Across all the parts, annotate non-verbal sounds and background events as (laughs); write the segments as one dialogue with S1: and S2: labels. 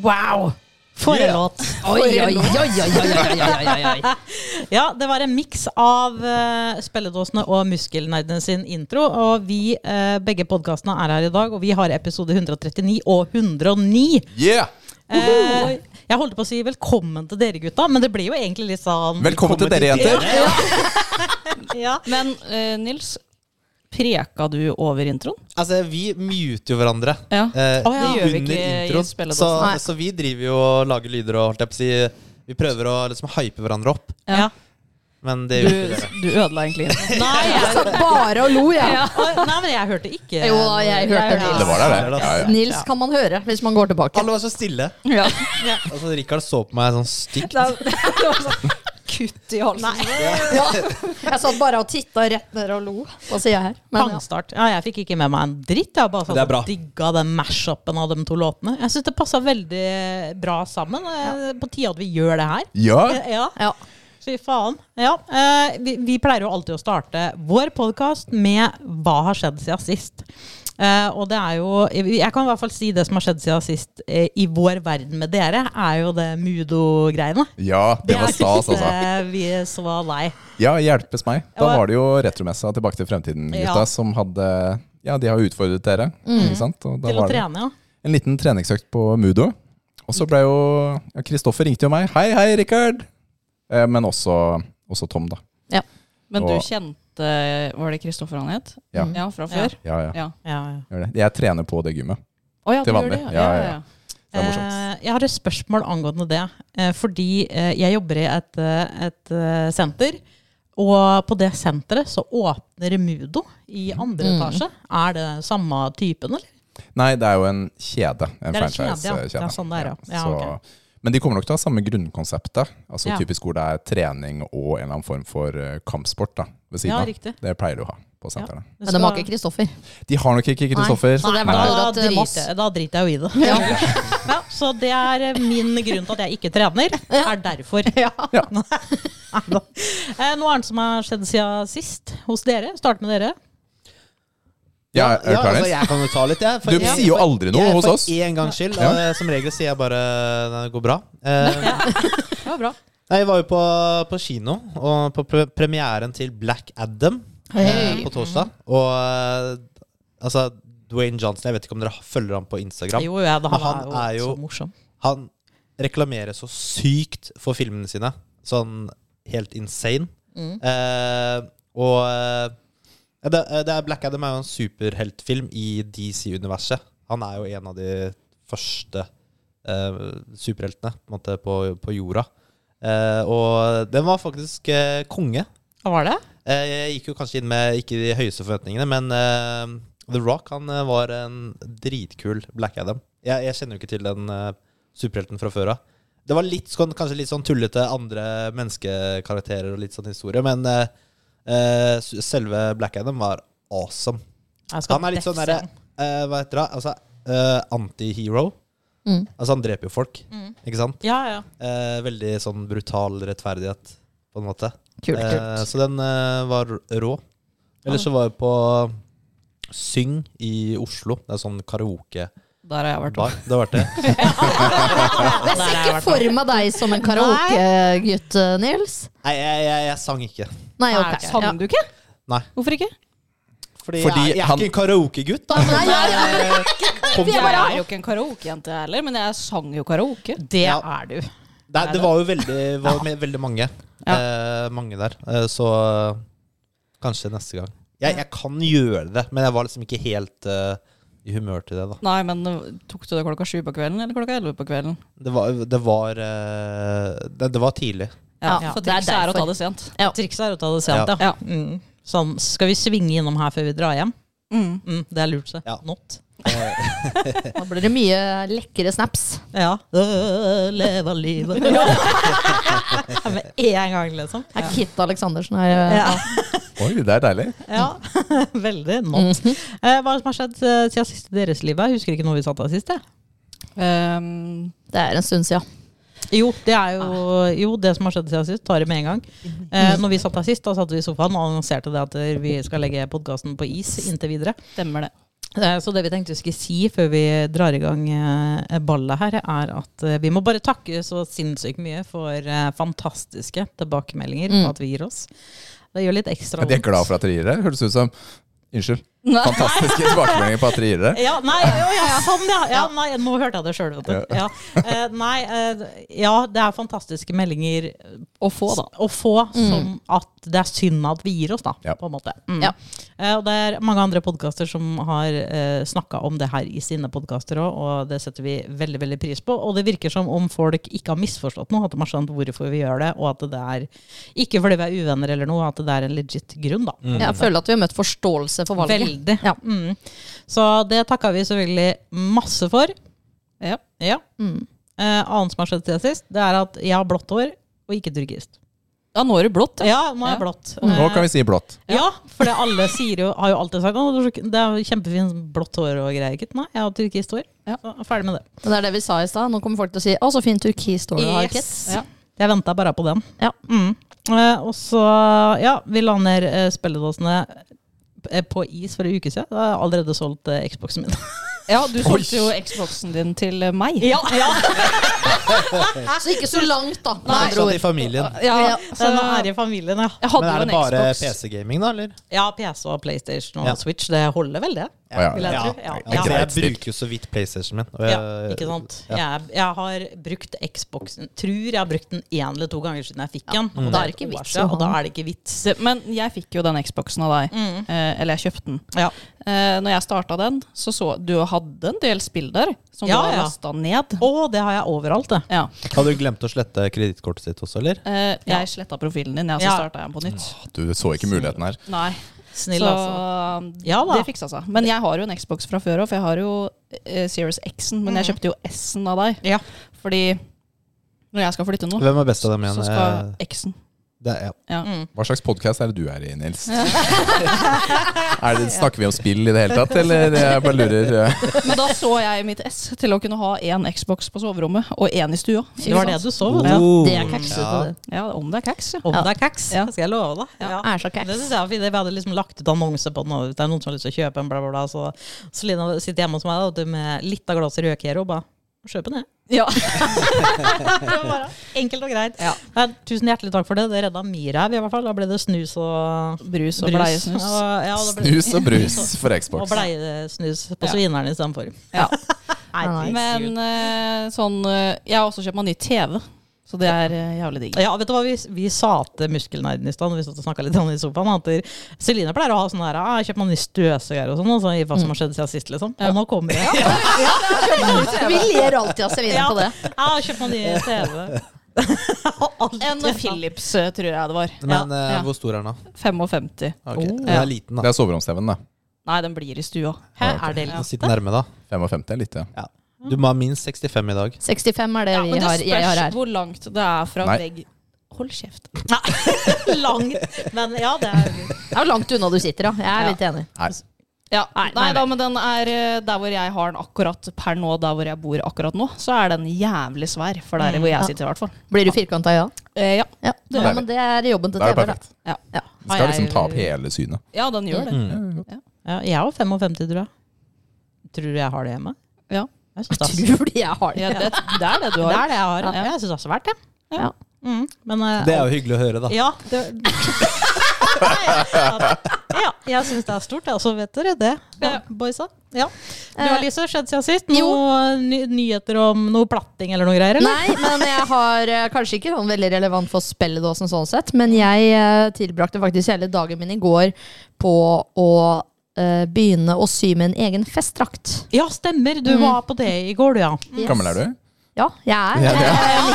S1: Wow!
S2: For en
S1: Yeah.
S2: låt.
S1: Oi, oi, oi, oi, oi, oi, oi, oi, oi.
S2: (laughs) Ja, det var en miks av eh, spilledåsene og muskelnerdene sin intro. Og vi, eh, begge podkastene er her i dag, og vi har episode 139 og 109.
S3: Yeah!
S2: Eh, jeg holdt på å si velkommen til dere, gutta, men det blir jo egentlig litt sånn
S3: Velkommen til dere, jenter.
S2: ja.
S4: Men eh, Nils, preka du over introen?
S5: Altså, vi muter jo hverandre.
S4: Ja.
S5: eh,
S2: Å, ja.
S4: Det gjør vi
S5: under
S4: ikke i
S5: introen.
S4: spilledåsen.
S5: Så,
S2: Nei.
S5: så vi driver jo og lager lyder og holdt jeg på å si Vi prøver å liksom hype hverandre opp,
S2: Ja.
S5: men det
S4: Du,
S5: gjør ikke dere.
S4: du ødela egentlig (laughs) introen.
S2: Nei,
S6: Jeg
S2: jeg,
S6: satt bare og lo, jeg.
S2: Å, nei, men jeg hørte ikke.
S6: Jo da, jeg hørte
S2: Ja.
S3: Det
S6: Nils.
S3: var der, det. Ja, ja.
S6: Nils kan man høre hvis man går tilbake.
S5: Alle var så stille.
S4: Ja.
S5: (laughs) Altså, Rikard så på meg sånn stygt.
S4: Kutt i halsen.
S6: Ja. Jeg satt bare og titta rett ned og lo. Hva sier jeg her? Men, ja.
S2: Pangstart. Ja, jeg fikk ikke med meg en dritt. Jeg har bare
S3: Det er
S2: satt
S3: bra.
S2: og digga den mash-upen av de to låtene. Jeg syns det passa veldig bra sammen. Eh, På tide at vi gjør det her. Eh,
S3: Ja.
S2: Ja,
S6: Ja.
S2: Fy faen. Ja, eh, vi, vi pleier jo alltid å starte vår podkast med 'Hva har skjedd siden sist?' Eh, og det er jo Jeg kan i hvert fall si det som har skjedd siden sist eh, i vår verden med dere, er jo det Mudo-greiene.
S3: ja, det var stas, altså.
S2: eh, vi så lei.
S3: Ja, hjelpes meg. Da
S2: Ja.
S3: var det jo retromessa Tilbake til fremtiden-gutta
S2: Ja.
S3: som hadde Ja, de har jo utfordret dere, ikke sant? Og da
S2: Til å
S3: var det
S2: trene, ja.
S3: en liten treningsøkt på Mudo. Og så ble jo ja, Kristoffer ringte jo meg. Hei, hei, Rikard! Eh, men også, også Tom, da.
S4: Men du
S3: Og-
S4: kjente Var det Kristoffer han het?
S3: Ja.
S4: ja fra før?
S3: Ja, ja.
S4: Ja.
S2: ja, ja.
S3: Gjør det. Jeg trener på det gymmet.
S4: Å ja,
S3: Til
S4: du gjør
S3: vanlig.
S4: det,
S3: Ja, ja, ja. Det er morsomt.
S2: Eh, jeg har et spørsmål angående det. Eh, fordi eh, jeg jobber i et, eh, et eh, senter. Og på det senteret så åpner Mudo i andre
S6: Mm.
S2: etasje. Er det samme typen, eller?
S3: Nei, det er jo en kjede. En
S2: Det er en kjede, ja.
S3: franchise-kjede.
S2: Ja, sånn det er, ja. Ja,
S3: så- Men de kommer nok til å ha samme grunnkonseptet. Altså
S2: Ja.
S3: Typisk hvor det er trening og en eller annen form for eh, kampsport da, ved siden
S2: Ja,
S3: av.
S2: riktig.
S3: Det pleier de å ha på sentrene.
S6: Men det var ikke Kristoffer.
S3: De har nok ikke Kristoffer.
S6: Nei, så det er
S3: Nei.
S6: bra.
S2: da,
S6: Da driter-
S2: driter, da driter jeg jo i det.
S6: (laughs) Ja.
S2: Ja, så det er eh, min grunn til at jeg ikke
S6: (laughs)
S2: trener. Er derfor. (laughs)
S3: Ja.
S2: Neida. Eh, Noe annet som har skjedd siden sist hos dere? Start med dere.
S3: Ja, er du klar,
S5: altså,
S3: Nils?
S5: jeg kan jo ta litt, jeg.
S3: Du sier jo aldri noe hos oss.
S5: For en gangs skyld.
S3: Ja.
S5: og, eh, Som regel sier jeg bare "Nei, det går bra. Eh,
S4: (laughs) Det var bra.
S5: nei, jeg var jo på, på kino, og på pre premieren til Black Adam eh, på torsdag. Og eh, altså Dwayne Johnson, jeg vet ikke om dere følger ham på Instagram.
S2: Jo, ja,
S5: Men han
S2: han er
S5: er
S2: jo
S5: jo-
S2: så morsom.
S5: Han reklamerer så sykt for filmene sine. Sånn helt insane. Eh, og eh, det, eh, det er Black Adam er jo en superheltfilm i DC-universet. Han er jo en av de første eh, superheltene på, en måte, på, på jorda. Eh, og den var faktisk eh, konge.
S2: Hva var det?
S5: Eh, Jeg gikk jo kanskje inn med ikke de høyeste forventningene, men eh, The Rock han eh, var en dritkul Black Adam. Jeg, jeg kjenner jo ikke til den eh, superhelten fra før av. Det var litt, sånn- kanskje litt sånn tullete andre menneskekarakterer og litt sånn historie, men eh, eh, s- selve Black Adam var awesome.
S2: Jeg skal
S5: Han er litt sånn
S2: defse
S5: derre
S2: han.
S5: eh, Hva heter det? Altså, eh, antihero.
S6: Mm.
S5: Altså, han dreper jo folk, ikke sant?
S2: Ja, ja.
S5: Eh, veldig sånn brutal rettferdighet, på en måte.
S6: Kult,
S5: Eh,
S6: kult.
S5: så den eh, var rå. Ellers så var jeg på Syng i Oslo. Det er sånn karaokebar.
S4: Der har jeg vært.
S5: Det har vært det.
S6: Jeg
S2: Der
S6: ser
S2: har jeg
S6: ikke
S2: vært
S6: for meg deg som en karaokegutt, eh, Nils.
S5: Nei, jeg, jeg, jeg sang ikke.
S6: Nei,
S2: Nei, ok.
S6: ok. Sånn. Ja.
S4: Sang du ikke?
S5: Nei.
S4: Hvorfor ikke?
S5: Fordi,
S3: Fordi
S5: jeg, jeg er
S3: han-
S5: ikke en karaokegutt, da.
S6: Nei, nei, nei.
S5: Kom,
S4: Jeg
S5: det,
S4: er jo ikke en karaokejente jeg heller, men jeg sang jo karaoke.
S2: Det
S5: Ja.
S2: er du.
S5: det var jo veldig, var med, veldig mange.
S4: Ja.
S5: Eh, mange der. Eh, så eh, kanskje neste gang. Jeg, jeg kan gjøre det, men jeg var liksom ikke helt eh, i humør til det. da
S4: Nei, men øh, tok du det klokka sju på kvelden eller klokka elleve på kvelden?
S5: Det var, det var, eh, det, det var
S4: (laughs)
S5: tidlig.
S4: Ja,
S2: Ja,
S4: for
S6: det er
S4: trikset er å
S6: derfor.
S4: ta det sent.
S2: Trikset er å ta det sent,
S5: Ja.
S2: ja.
S4: Ja.
S2: Mm. Sånn, skal vi svinge innom her før vi drar hjem?
S4: Mm.
S2: Mm, det er lurt, så.
S5: Ja.
S2: Not.
S6: Da blir det mye lekre snaps.
S2: Ja. Øh, Leve livet. Ja. (laughs) Med én gang, liksom.
S6: Det er Kit Aleksandersen her. eh,
S2: Ja.
S3: Oi, det er deilig.
S2: Ja, (laughs) veldig not.
S6: Mhm.
S2: Eh, hva er det som har skjedd eh, siden siste deres liv? Jeg husker ikke noe vi satt av sist. jeg.
S4: Ehm,
S6: Det er en stund sia.
S2: Jo, det er jo, Ah. jo, det som har skjedd siden sist, tar det med en gang. Eh, når vi satt der sist, da satt vi i sofaen og annonserte det at vi skal legge podkasten på is inntil videre.
S4: stemmer det.
S2: Eh, Så det vi tenkte vi skulle si før vi drar i gang eh, ballet her, er at eh, vi må bare takke så sinnssykt mye for eh, fantastiske tilbakemeldinger
S6: Mm.
S2: på at vi gir oss. Det gjør litt ekstra
S3: De er glad for at dere gir det. Høres ut som Unnskyld. Fantastiske tilbakemeldinger på at dere gir det.
S2: Ja, nei, jo, ja, sånn, ja. ja nei, nå hørte jeg det sjøl, vet du. Ja. Eh, nei, eh, ja, det er fantastiske meldinger
S4: Å få, da.
S2: å få som at det er synd at vi gir oss, da,
S3: Ja.
S2: på en måte. Mm.
S6: Ja.
S2: Eh, og det er mange andre podkaster som har uh, snakka om det her i sine podkaster òg, og det setter vi veldig veldig pris på. Og det virker som om folk ikke har misforstått noe, at de har skjønt hvorfor vi gjør det, og at det er ikke fordi vi er uvenner eller noe, at det er en legit grunn, da.
S3: Mm.
S6: Jeg føler at vi har møtt forståelse for valget.
S2: Veldig.
S6: Mm. Ja.
S2: Mm. Så det takka vi selvfølgelig masse for.
S4: Ja.
S6: Mm.
S2: Eh, annet som har skjedd siden sist, det er at jeg har blått hår, og ikke turkist.
S4: Ja, nå er det blått. Ja.
S2: Ja, nå er jeg blått.
S3: Nå kan vi si blått.
S2: Ja, for det alle sier jo, har jo alltid sagt at det er jo kjempefint sånn blått hår og greier. Gutt. Nei, jeg har turkist hår.
S4: Ja.
S2: Så jeg er ferdig med det.
S6: Men det er det vi sa i stad. Nå kommer folk til å si 'Å, så fin turkist hår du har', Kit.
S2: Ja. Jeg venta bare på den.
S6: Ja.
S2: Mm. Eh, og så, ja, vi la ned eh, spilledåsene eh, på is for en uke siden. Da har jeg allerede solgt eh, Xboxen min.
S4: Ja, du solgte jo Xboxen din til eh, meg.
S2: (laughs) Ja, ja.
S6: Så ikke så langt, da. med andre
S5: Sånn i
S6: ord.
S5: familien.
S4: Ja,
S2: Så
S4: så
S2: nå er det i familien, ja.
S4: jeg hadde
S5: Men er
S4: jo
S5: det
S4: en
S5: bare
S4: Xbox.
S5: PC-gaming, da, eller?
S2: Ja, PC og PlayStation og
S5: Ja.
S2: Switch, det holder vel, det?
S3: Å, ja.
S2: Vil jeg tro. Ja.
S5: Altså,
S2: Ja.
S5: Jeg bruker jo så vidt PlayStation min. Og
S2: Ja,
S5: jeg,
S2: ikke sant.
S5: Eh, ja.
S2: Jeg, jeg har brukt Xboxen Tror jeg har brukt den én eller to ganger siden jeg fikk den. Og, da er det ikke vits,
S6: å ha
S2: og da er det ikke vits.
S4: Det, men jeg fikk jo den Xboxen av deg. Eh, eller jeg kjøpte den.
S2: Mm. Ja.
S4: Eh, når jeg starta den, så så du hadde en del spill der som
S2: Ja,
S4: du har
S2: ja.
S4: lasta ned.
S2: Å, det har jeg overalt, det.
S4: Ja.
S5: Hadde du glemt å slette kredittkortet sitt også, eller?
S4: Eh, jeg sletta profilen din, jeg, så
S2: Ja.
S4: starta jeg den på nytt.
S3: Du så ikke muligheten her.
S4: Nei,
S2: Snill,
S4: så
S2: altså. Ja
S4: ja,
S2: da.
S4: det fiksa seg. Men jeg har jo en Xbox fra før òg, for jeg har jo eh, Series X-en. Men jeg kjøpte jo S-en av deg.
S2: Mm. Ja.
S4: Fordi når jeg skal flytte nå,
S5: Hvem er best av dem igjen? Eh,
S4: så skal X-en
S5: Det er, ja.
S4: Mm.
S2: Mm.
S3: Hva slags podkast er det du er i, Nils? Er det, snakker vi om spill i det hele tatt, eller jeg bare lurer? eh?
S4: Men da så jeg mitt S til å kunne ha én Xbox på soverommet og én i stua.
S2: Det var det du så, vet du.
S5: Oh.
S6: Det er kaksete,
S5: Ja.
S6: det.
S4: Ja, om det er kaks, ja.
S2: Om
S6: Ja.
S2: det er kaks,
S4: Ja.
S2: skal jeg love deg. Ja.
S6: Er så
S2: Det
S6: kaks.
S2: synes jeg var fint. Vi hadde liksom lagt ut annonser på den, og det er noen som har lyst til å kjøpe en, bla, bla, bla. Så, så Lina sitter hjemme hos meg da, vet du, med litt av glasset rødk her og bare Kjøp
S4: (laughs)
S2: den, jeg.
S4: Ja.
S2: Bare Enkelt og greit. Men, tusen hjertelig takk for det. Det redda mi ræv, i hvert fall. Da ble det snus og
S4: Brus og
S2: brus.
S4: bleiesnus.
S2: Og, ja, da ble-
S3: Snus og
S6: (laughs)
S3: brus for
S2: Og
S3: Xbox.
S2: bleiesnus på
S4: Ja.
S2: svineren istedenfor.
S4: Ja.
S2: (laughs) Nei,
S4: Men eh, sånn eh, Jeg har også kjøpt meg ny TV, så det er eh, jævlig digg.
S2: Ja, vet du hva, vi, vi sa til muskelnerden i stad, når vi satt og snakka litt om det i sofaen, at der- Celine pleier å ha sånn her ah, 'Jeg kjøper meg ny støvsuger' og sånn, altså, i hva som har skjedd siden sist, liksom. Og nå kommer det. (laughs) Ja,
S6: (laughs) Vi ler alltid av Celine på det.
S2: jeg har kjøpt Ah, meg ny TV. Alt.
S4: En Philips, eh, tror jeg det var.
S5: Men eh,
S4: Ja.
S5: hvor stor er den, da?
S4: 55.
S5: Ah, ok. Den
S4: Ja.
S5: er liten,
S3: Det
S5: da.
S3: er soveromsteven, da.
S4: Nei, den blir i stua.
S2: Hæ, er det
S4: liksom?
S5: Den
S2: litt?
S5: sitter nærme, da.
S3: 55 er lite.
S5: Du må ha minst 65 i dag.
S6: 65 er det
S4: Ja,
S6: vi
S4: men det
S6: har, jeg har
S4: spørs
S6: her.
S4: hvor langt det er fra
S3: Nei.
S4: vegg Hold kjeft.
S2: (laughs) Nei, langt. Men ja, det er
S6: Det er jo langt unna du sitter, da. Jeg er litt enig.
S3: Nei.
S4: Ja, nei,
S6: nei, nei.
S4: da, men den er eh, der hvor jeg har den akkurat per nå, der hvor jeg bor akkurat nå, så er den jævlig svær. For der hvor
S6: Ja.
S4: jeg sitter, i hvert fall.
S6: Blir du firkanta, ja?
S4: Mm. Eh, ja.
S6: Ja.
S3: Ja.
S6: ja, men det er jobben til
S3: Da er det
S6: TV, da.
S3: perfekt.
S4: Ja.
S6: Ja.
S3: Du skal liksom ta opp hele synet.
S4: ja, den gjør det.
S2: ja, Jeg er jo 55, tror jeg. Tror du jeg har det hjemme?
S4: Ja.
S2: Jeg synes det er-
S6: (laughs) Tror de jeg har det?
S4: Ja, det, det er det du
S2: Det
S4: har.
S2: er det jeg har.
S4: Ja.
S2: Jeg syns det er svært, jeg.
S6: Ja.
S2: Mm, men, eh,
S5: Det er jo hyggelig å høre, da.
S2: Ja, det (laughs) Nei, ja, jeg syns det er stort, jeg. Så vet dere det,
S4: Ja.
S2: boysa. Ja. Du har lyst til å skjedd siden sist?
S6: Eh, Jo.
S2: Noe ny nyheter om noe platting eller noe greier? Eller?
S6: Nei, men jeg har eh, kanskje ikke sånn veldig relevant for spilledåsen sånn sett, men jeg eh, tilbrakte faktisk hele dagen min i går på å eh, begynne å sy med en egen festdrakt.
S2: Ja, stemmer.
S6: Mm.
S2: Du var på det i går, du, ja.
S6: Yes.
S3: Gammel er du?
S6: Ja, jeg er.
S3: Ja, det er.
S2: Ja,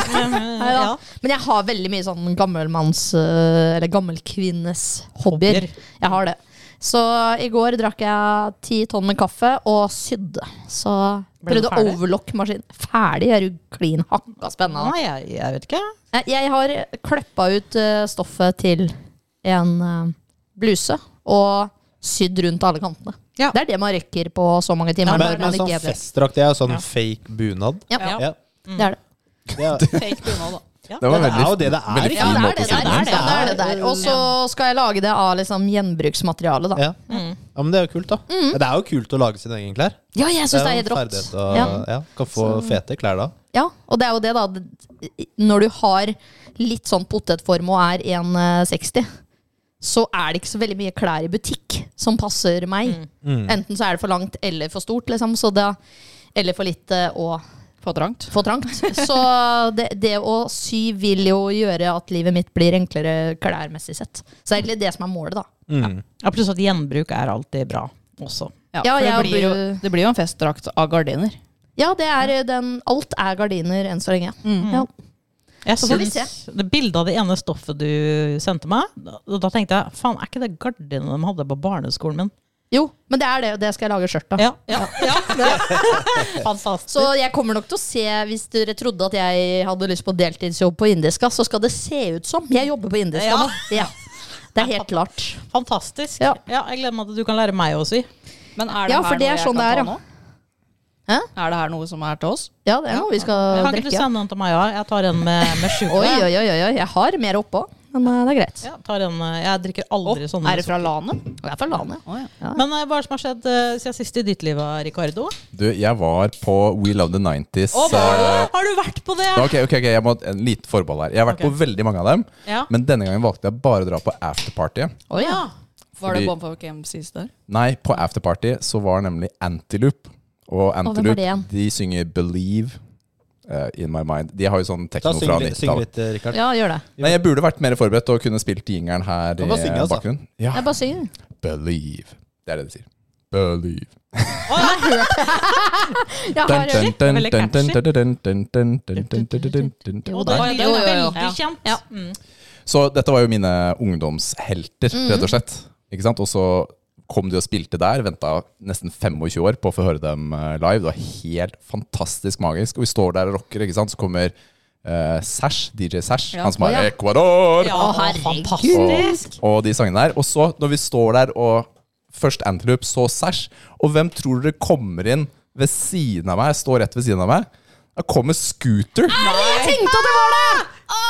S2: Eh, ja.
S6: Men jeg har veldig mye sånn gammelmanns, eh, eller gammelkvinnes
S2: Hobbyer.
S6: hobbyer. Jeg har det. Så i går drakk jeg ti tonn med kaffe og sydde. Så
S2: Ble du
S6: prøvde
S2: ferdig?
S6: overlock-maskin. Ferdig? Jeg er jo klin hakka spennende.
S2: Nei, jeg, jeg vet ikke.
S6: Eh, Jeg har kløppa ut eh, stoffet til en eh, bluse og sydd rundt alle kantene.
S2: Ja.
S6: Det er det man rekker på så mange timer.
S5: Men,
S6: når man
S5: men sånn
S6: ikke er-
S5: festdrakt, det er jo sånn
S2: Ja. Mm.
S5: fake bunad.
S6: Ja,
S5: Ja.
S6: det er det.
S3: (laughs)
S5: Det er,
S4: Fake bunad, da.
S2: Ja.
S3: Det var
S5: Det
S3: veldig,
S5: er jo det det er,
S3: veldig
S5: ikke
S6: Ja,
S3: fin
S6: det er
S3: måte
S6: det
S3: å si
S6: der.
S3: det
S6: Ja,
S3: på.
S6: det er det der. Og så skal jeg lage det av liksom gjenbruksmateriale, da.
S5: Ja. ja, men det er jo kult, da. Det er jo kult å lage sine egne klær.
S6: Ja, jeg syns det er
S5: jo
S6: helt
S5: en
S6: rått.
S5: ferdighet å-
S6: Ja.
S5: ja, kan få fete klær da.
S6: Ja, og det er jo det, da. Når du har litt sånn potetform og er 1,60, så er det ikke så veldig mye klær i butikk som passer meg. Enten så er det for langt eller for stort, liksom. Så da, eller for lite og
S4: For trangt.
S6: for trangt. Så det, det å sy vil jo gjøre at livet mitt blir enklere klærmessig sett. Så det er egentlig det som er målet, da.
S2: Ja, pluss at gjenbruk er alltid bra også.
S4: Ja,
S6: Ja,
S4: for det,
S6: jeg
S4: blir jo,
S6: burde-
S4: det blir jo en festdrakt av gardiner.
S6: Ja, det er eh, den Alt er gardiner enn så lenge. Ja.
S2: Jeg
S6: Så får vi
S2: syns det bildet av det ene stoffet du sendte meg, da, da tenkte jeg faen, er ikke det gardinene de hadde på barneskolen min?
S6: Jo, men det er det, og det skal jeg lage skjørt av.
S2: Ja, ja, ja. Fantastisk.
S6: Så jeg kommer nok til å se, hvis dere trodde at jeg hadde lyst på deltidsjobb på Indiska, så skal det se ut som jeg jobber på Indiska
S2: Ja.
S6: nå. Ja. Det er helt klart.
S2: Fantastisk.
S6: Ja.
S2: Ja. jeg gleder meg til du kan lære meg å sy.
S4: Men er det
S6: Ja,
S4: her
S6: for det
S4: noe
S6: er
S4: jeg
S6: sånn
S4: kan
S6: det er,
S4: ta
S6: ja.
S4: nå?
S6: Hæ?
S4: Er det her noe som er til oss?
S6: Ja, det er noe vi skal
S2: Kan ikke du
S6: drikke.
S2: sende den til meg òg? Jeg tar en med, med sugar.
S6: Oi, oi, oi, oi, jeg har mer oppå, men eh, det er greit.
S2: Ja, tar en, eh, jeg drikker
S4: Å,
S2: aldri sånne.
S4: er det fra Lane?
S6: Det er for landet.
S4: Å, ja.
S2: Men eh, hva er det som har skjedd eh, siden sist i ditt liv, eh, Ricardo?
S3: Du, jeg var på We Love the 90s. eh,
S2: Har du vært på det?
S3: Ok, ok, ok, jeg må En liten forbehold her. Jeg har vært
S2: Ok.
S3: på veldig mange av dem,
S2: Ja.
S3: men denne gangen valgte jeg bare å dra på afterparty.
S6: Å ja.
S4: Var det
S3: Fordi-
S4: Bomb for Camp sist der?
S3: Nei, på afterparty så var nemlig Antiloop. Og
S6: hvem var det
S3: Antiloop
S6: igjen?
S3: de synger 'Believe eh, In My Mind'. De har jo sånn
S5: Ta
S3: tekno
S5: og
S3: fra
S5: Syng litt, syng
S3: 90-tallet.
S5: litt, eh, Rikard.
S6: ja, gjør det.
S3: Nei, Jeg burde vært mer forberedt og kunne spilt jingeren her i
S5: kan bare synge, altså.
S3: bakgrunnen. Ja.
S6: Jeg bare synger.
S3: Believe. Det er det de sier. Believe.
S6: Jeg har
S3: Dun, dun,
S2: veldig
S3: dun, dun,
S2: catchy.
S3: dun, dun, dun, dun, dun, dun, dun, dun, dun.
S2: Jo, det var, det
S6: Jo,
S2: var
S6: jo, jo.
S2: veldig kjent.
S6: Ja.
S2: Mm.
S3: Så dette var jo mine ungdomshelter,
S6: Mm.
S3: rett og slett. Ikke sant? Og så kom de og spilte der, venta nesten 25 år på å få høre dem eh, live. Det var helt fantastisk magisk. Og vi står der og rocker, ikke sant? så kommer eh, Sash, DJ Sash, han som har
S6: Å, ja.
S3: Ecuador,
S2: Ja,
S6: Å, herregud.
S2: fantastisk.
S3: og de sangene der. Og så, når vi står der og først Antelope, så Sash, og hvem tror dere kommer inn ved siden av meg, står rett ved siden av meg? Da kommer Scooter.
S6: Jeg tenkte at det var det!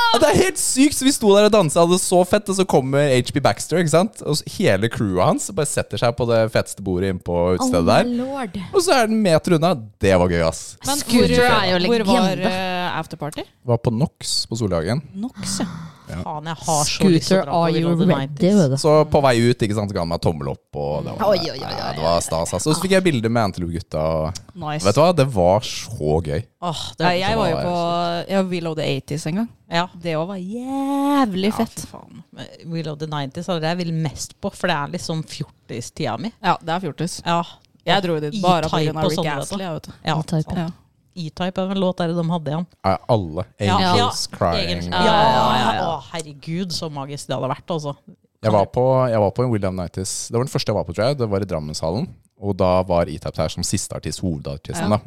S3: Ja, det er helt sykt! Så vi sto der og dansa, hadde det så fett, og så kommer HB Baxter, ikke sant? Og så hele crewet hans bare setter seg på det feteste bordet inne på utestedet der.
S6: lord.
S3: Og så er den en meter unna. Det var gøy, ass.
S4: Men
S6: Scooter
S4: hvor,
S6: er jo
S4: Hvor var
S6: legende.
S4: eh, afterparty?
S3: Var på NOX på Solhagen.
S4: Nox, ja.
S2: Faen, jeg har så lyst til å
S6: Scooter,
S2: dra på
S6: are
S2: Will
S6: you
S2: of the
S6: ready?
S2: 90s.
S3: Så på vei ut ikke sant, så ga han meg tommel opp, og det var,
S6: Oi, oi, oi, oi,
S3: Ja, det var stas. ass. Og så fikk jeg bilde med Antelope-gutta. og-
S4: Nice.
S3: Vet du hva, det var så gøy.
S2: Åh, det
S4: Nei,
S2: er
S4: jeg var jo
S3: var
S4: på ja, We Love the 80s en gang.
S2: ja.
S4: Det òg var jævlig fett.
S2: Ja, faen. Will of the 90s er det jeg vil mest på, for det er liksom fjortistida mi.
S4: Ja, det er fjortis.
S2: Ja.
S4: Jeg dro dit bare pga.
S2: E-type og
S4: Rick
S2: sånn,
S4: Astley. jeg, Vet du. Sånn.
S2: Ja.
S6: E-type.
S2: sant. E-type er en låt der de hadde igjen.
S3: Er alle
S2: Ja.
S3: angels
S2: Ja,
S3: crying.
S2: Ja, ja, ja. Å, herregud, så magisk det hadde vært, altså.
S3: Jeg var på, jeg var på en William Nightis. Det var den første jeg var på, tror jeg. Det var i Drammenshallen. Og da var E-Type her som siste artist, hovedartisten. da.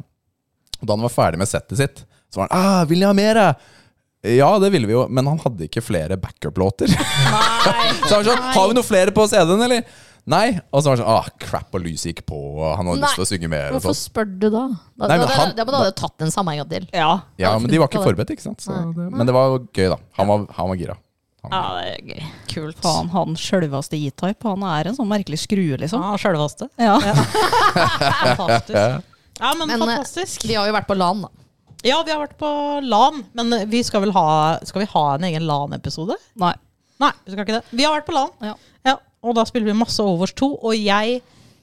S3: Og da han var ferdig med settet sitt, så var han ah, 'Vil jeg ha mer?' Ja, det ville vi jo, men han hadde ikke
S2: (laughs)
S3: flere backup-låter. (laughs) så han var sånn 'Har vi noe flere på CD-en, eller?' Nei. Og så var han sånn 'Ah, crap, og lyset gikk på', og han hadde
S6: Nei.
S3: lyst til å synge mer. Og
S6: Hvorfor
S3: sånn.
S6: spør du da? Da, da,
S3: Nei, men
S6: da,
S3: han-
S6: da, da hadde jeg tatt den samme en gang til.
S4: Ja.
S3: Ja, men de var ikke forberedt, ikke sant. Så det, men det var jo gøy, da. Han var, han var gira. Han var gira.
S2: det er gøy. Kult.
S4: Faen, han sjølveste E-type. Han er en sånn merkelig skrue, liksom.
S2: Ja, sjølveste.
S4: Ja.
S2: Fantastisk. (laughs) Ja, men,
S6: Men, eh,
S2: fantastisk.
S6: Vi har jo vært på LAN, da.
S2: Ja, vi har vært på LAN, men eh, vi skal vel ha Skal vi ha en egen LAN-episode?
S4: (laughs) Nei.
S2: Nei, vi skal ikke det. Vi har vært på LAN,
S4: Ja.
S2: ja, og da spiller vi masse Overwatch 2, og jeg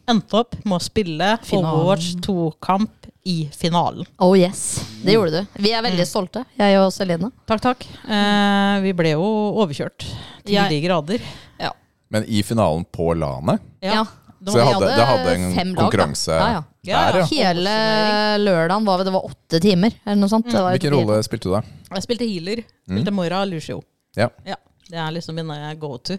S2: endte opp med å spille
S4: Finalen.
S2: Overwatch 2-kamp i finalen.
S6: Oh yes, det gjorde du. Vi er veldig stolte, jeg og Celine.
S2: Takk, takk. Eh, vi ble jo overkjørt til
S4: Jeg-
S2: de grader.
S3: Men i finalen på LANet
S6: Ja.
S2: Det
S3: Så
S2: var,
S3: jeg
S6: Vi
S3: hadde, det hadde en
S6: fem lag, da.
S3: konkurranse
S6: Ja, ja.
S2: Ja,
S3: der, ja.
S6: Hele lørdagen var vi, det var åtte timer, eller noe sånt. Det var
S3: Hvilken rolle spilte du da?
S2: jeg spilte healer. Spilte Moira Lucio.
S3: Ja.
S2: Ja, det er liksom min go to.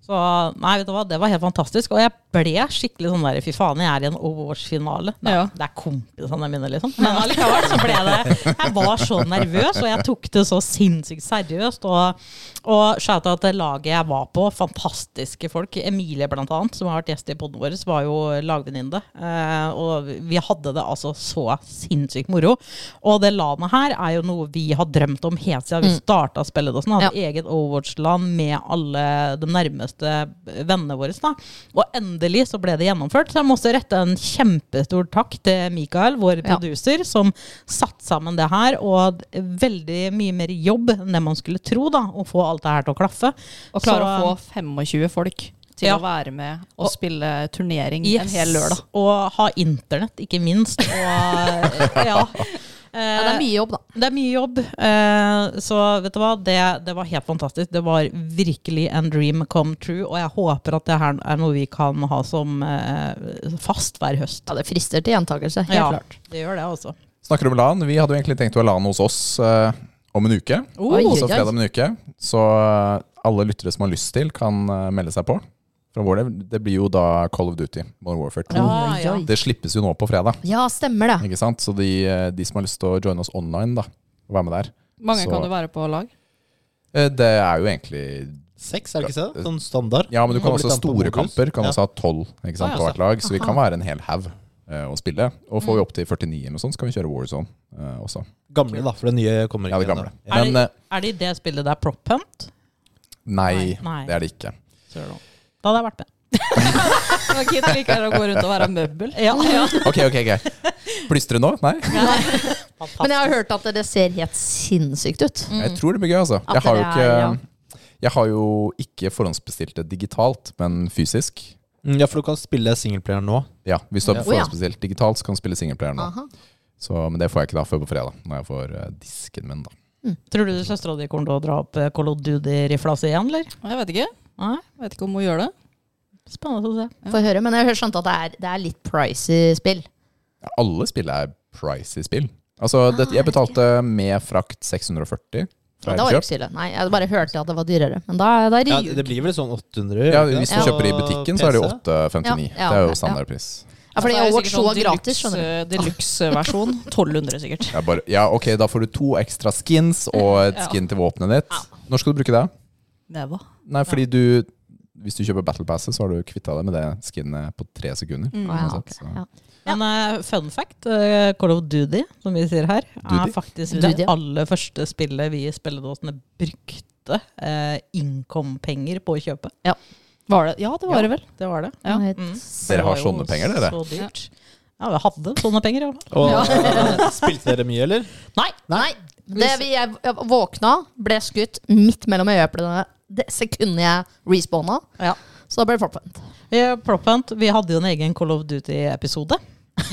S2: Så nei, vet du hva, det var helt fantastisk. Og jeg ble skikkelig sånn der fy faen, jeg er i en Awards-finale. Det, er-
S4: Ja.
S2: det er kompisene mine, liksom. Men allikevel så ble det Jeg var så nervøs, og jeg tok det så sinnssykt seriøst. Og, og shouta til laget jeg var på, fantastiske folk. Emilie, blant annet, som har vært gjest i poden vår, var jo lagvenninne. Eh, og vi hadde det altså så sinnssykt moro. Og det landet her er jo noe vi har drømt om helt siden
S4: Mm.
S2: vi starta spillet. og sånn, Hadde eget Overwatch-land med alle de nærmeste vennene våre. Da. Og endelig så ble det gjennomført. Så jeg må også rette en kjempestor takk til Mikael, vår
S6: Ja.
S2: producer, som satte sammen det her. Og d- veldig mye mer jobb enn det man skulle tro, da, å få alt det her til å klaffe.
S4: Og klare
S2: Så-
S4: å få 25 folk til
S2: Ja.
S4: å være med og spille turnering en
S2: Yes,
S4: hel lørdag.
S2: Og ha internett, ikke minst. Og (laughs) ja. Eh,
S6: Ja, det er mye jobb, da.
S2: Det er mye jobb, eh, så vet du hva, det, det var helt fantastisk. Det var virkelig en dream come true, og jeg håper at det her er noe vi kan ha som eh, fast hver høst.
S6: Ja, det frister til gjentakelse. Helt
S2: Ja,
S6: klart.
S2: Det gjør det, altså.
S3: Snakker om LAN. Vi hadde jo egentlig tenkt å ha LAN hos oss eh, om en uke.
S4: Oh,
S6: Oi, oi, oi.
S3: Så fredag om en uke. Så eh, alle lyttere som har lyst til, kan eh, melde seg på. Fra vår del. Det blir jo da Call of Duty, Modern Warfare 2.
S2: Ja, ja.
S3: Det slippes jo nå på fredag.
S6: Ja, stemmer det.
S3: Ikke sant? Så de, eh, de som har lyst til å joine oss online, da, og være med der.
S4: Mange
S3: Så-
S4: kan du være på lag.
S3: Eh, Det er jo egentlig
S5: Seks, er det ikke det? Sånn standard.
S3: Ja, men du kan
S5: Kommer litt
S3: også ha
S5: an på
S3: store
S5: modus.
S3: kamper. Kan
S5: Ja.
S3: også ha tolv ikke sant,
S5: Ja,
S3: på
S5: ja,
S3: hvert lag. Så vi kan være en hel haug eh, å spille. Og får vi opp til 49 eller noe sånt, så kan vi kjøre Warzone eh, også.
S5: Gamle, da, for det nye kommer
S3: Ja,
S5: ikke
S3: det gamle.
S5: ennå.
S2: Er det-
S3: Men eh,
S2: Er det i det spillet der prop hunt?
S3: nei,
S2: Nei.
S3: det er det ikke.
S2: Søren. Da hadde jeg vært med.
S4: Og Kit liker å gå rundt og være møbel.
S2: Ja, (laughs) ja.
S3: (laughs) Ok, ok, greit. Plystre nå? Nei?
S6: Men jeg har hørt at det ser helt sinnssykt ut.
S3: Jeg tror det blir gøy, altså.
S6: At
S3: Jeg har jo
S6: dere er, ja.
S3: ikke, jeg har jo ikke forhåndsbestilt det digitalt, men fysisk.
S5: Mm, Ja, for du kan spille singleplayer nå.
S3: Ja, Hvis du har
S5: Ja.
S3: forhåndsbestilt digitalt, så kan du spille singleplayer nå.
S6: Aha.
S3: Så, men det får jeg ikke da før på fredag, når jeg får eh, disken min. da.
S2: Tror du søstera di kommer til å dra opp eh, Call of Duty-rifla si igjen, eller?
S4: Jeg vet ikke.
S2: Nei?
S4: Vet ikke om hun gjør det.
S2: Spennende å se.
S6: Får høre, men jeg skjønte at det er, det er litt pricy spill.
S3: Ja, alle spill er pricey spill. Altså,
S6: Ah,
S3: dette- jeg betalte med frakt 640.
S6: Ja,
S3: Fra
S6: det var
S3: Elkjøp.
S6: ikke så ille. Nei, jeg bare hørte at det var dyrere. Men da, da er det
S5: Ja,
S6: ljug.
S5: det blir vel sånn 800?
S3: Ja, Hvis du
S5: Og
S3: kjøper i butikken, så er det jo
S5: PC.
S3: 859.
S6: Ja, ja,
S3: det er
S6: ja.
S3: jo standardpris.
S6: Ja,
S4: Så
S6: fordi
S4: er det sikkert
S6: Overwatch 2
S4: sånn
S6: var gratis,
S4: deluxe-
S6: skjønner du.
S4: Deluxe-versjon. (laughs) 1200 sikkert.
S3: Ja, bare, ja, ok, da får du to ekstra skins og et
S4: Ja.
S3: skin til våpenet ditt. Når skal du bruke det?
S4: Neva.
S3: Nei, fordi du Hvis du kjøper Battle Passet, så har du kvitta deg med det skinnet på tre sekunder.
S4: Mm. Ah,
S6: Ja,
S3: uansett,
S6: ok,
S3: så.
S6: ja.
S2: Men eh, fun fact, eh, Call of Duty, som vi sier her,
S3: Duty?
S2: er faktisk
S6: Duty,
S2: det
S6: ja.
S2: aller første spillet vi i spilledåsene brukte uh, income-penger på å kjøpe.
S4: Var det? Ja, det var det vel.
S2: Det var det.
S4: Ja.
S6: Helt
S2: Mm.
S6: s-
S3: Dere har
S2: Det var jo
S3: sånne penger, dere?
S2: Så dyrt. Ja, vi hadde sånne penger, i hvert fall.
S5: Og, (laughs) spilte dere mye, eller?
S2: Nei!
S6: Nei. Det vi, jeg, jeg våkna, ble skutt midt mellom øyeeplene det sekundet jeg respawna.
S2: Ja.
S6: Så da ble det forpent.
S2: Vi, Prop Hunt, vi hadde jo en egen Call of Duty-episode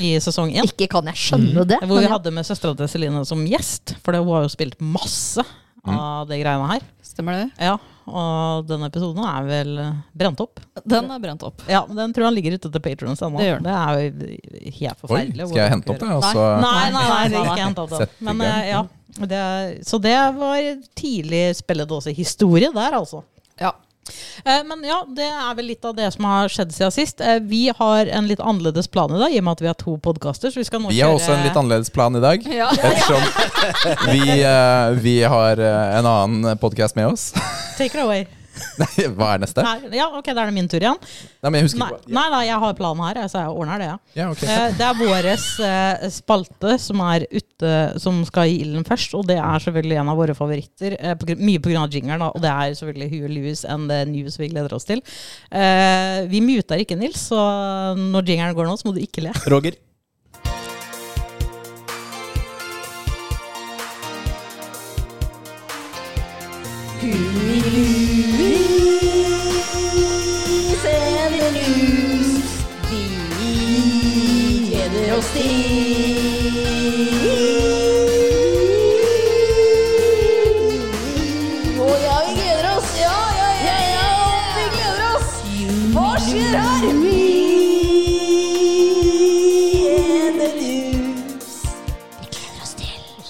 S2: i sesong én.
S6: Ikke kan jeg skjønne det.
S2: Mm. Hvor
S6: men
S2: vi
S6: ja.
S2: hadde med søstera til Celine som gjest, for det- hun har jo spilt masse
S3: Mm.
S2: av de greiene her.
S4: Stemmer det?
S2: Ja, Og den episoden er vel eh, brent opp.
S4: Den er brent opp.
S2: Ja, men den tror jeg han ligger ute til Patrons ennå.
S4: Det gjør den.
S2: det er jo helt
S3: Oi,
S2: forferdelig.
S3: skal jeg hente opp det? Altså, Og
S4: Nei.
S3: så
S2: Nei, nei, nei, det er ikke hent opp det.
S3: Sett i
S2: Men
S3: gang.
S2: eh, ja, det, er- så det var tidlig spilledåsehistorie der, altså.
S4: Ja.
S2: Eh, Men ja, det er vel litt av det som har skjedd siden sist. Eh, Vi har en litt annerledes plan i dag, i og med at vi har to podkaster. Så vi skal nå
S3: Vi har også en litt annerledes plan i dag.
S4: Ja.
S3: (laughs) Ettersom vi, eh, vi har eh, en annen podkast med oss. (laughs)
S2: Take it away.
S3: Nei, Hva er neste?
S2: Nei, ja, ok, da er det min tur igjen.
S3: Nei, men jeg husker
S2: Nei,
S3: ikke. hva-
S2: nei, nei jeg har planen her, jeg, så jeg ordner det, ja.
S3: Ja,
S2: (laughs)
S3: ok.
S2: Eh, Det er vår spalte som er ute Som skal i ilden først, og det er selvfølgelig en av våre favoritter. eh, På, grunn- mye pga. jingeren, da, og det er selvfølgelig Hugh Lewis and the News vi gleder oss til. Eh, Vi muter ikke, Nils, så når jingeren går nå, så må du (laughs) ikke le.
S5: Roger.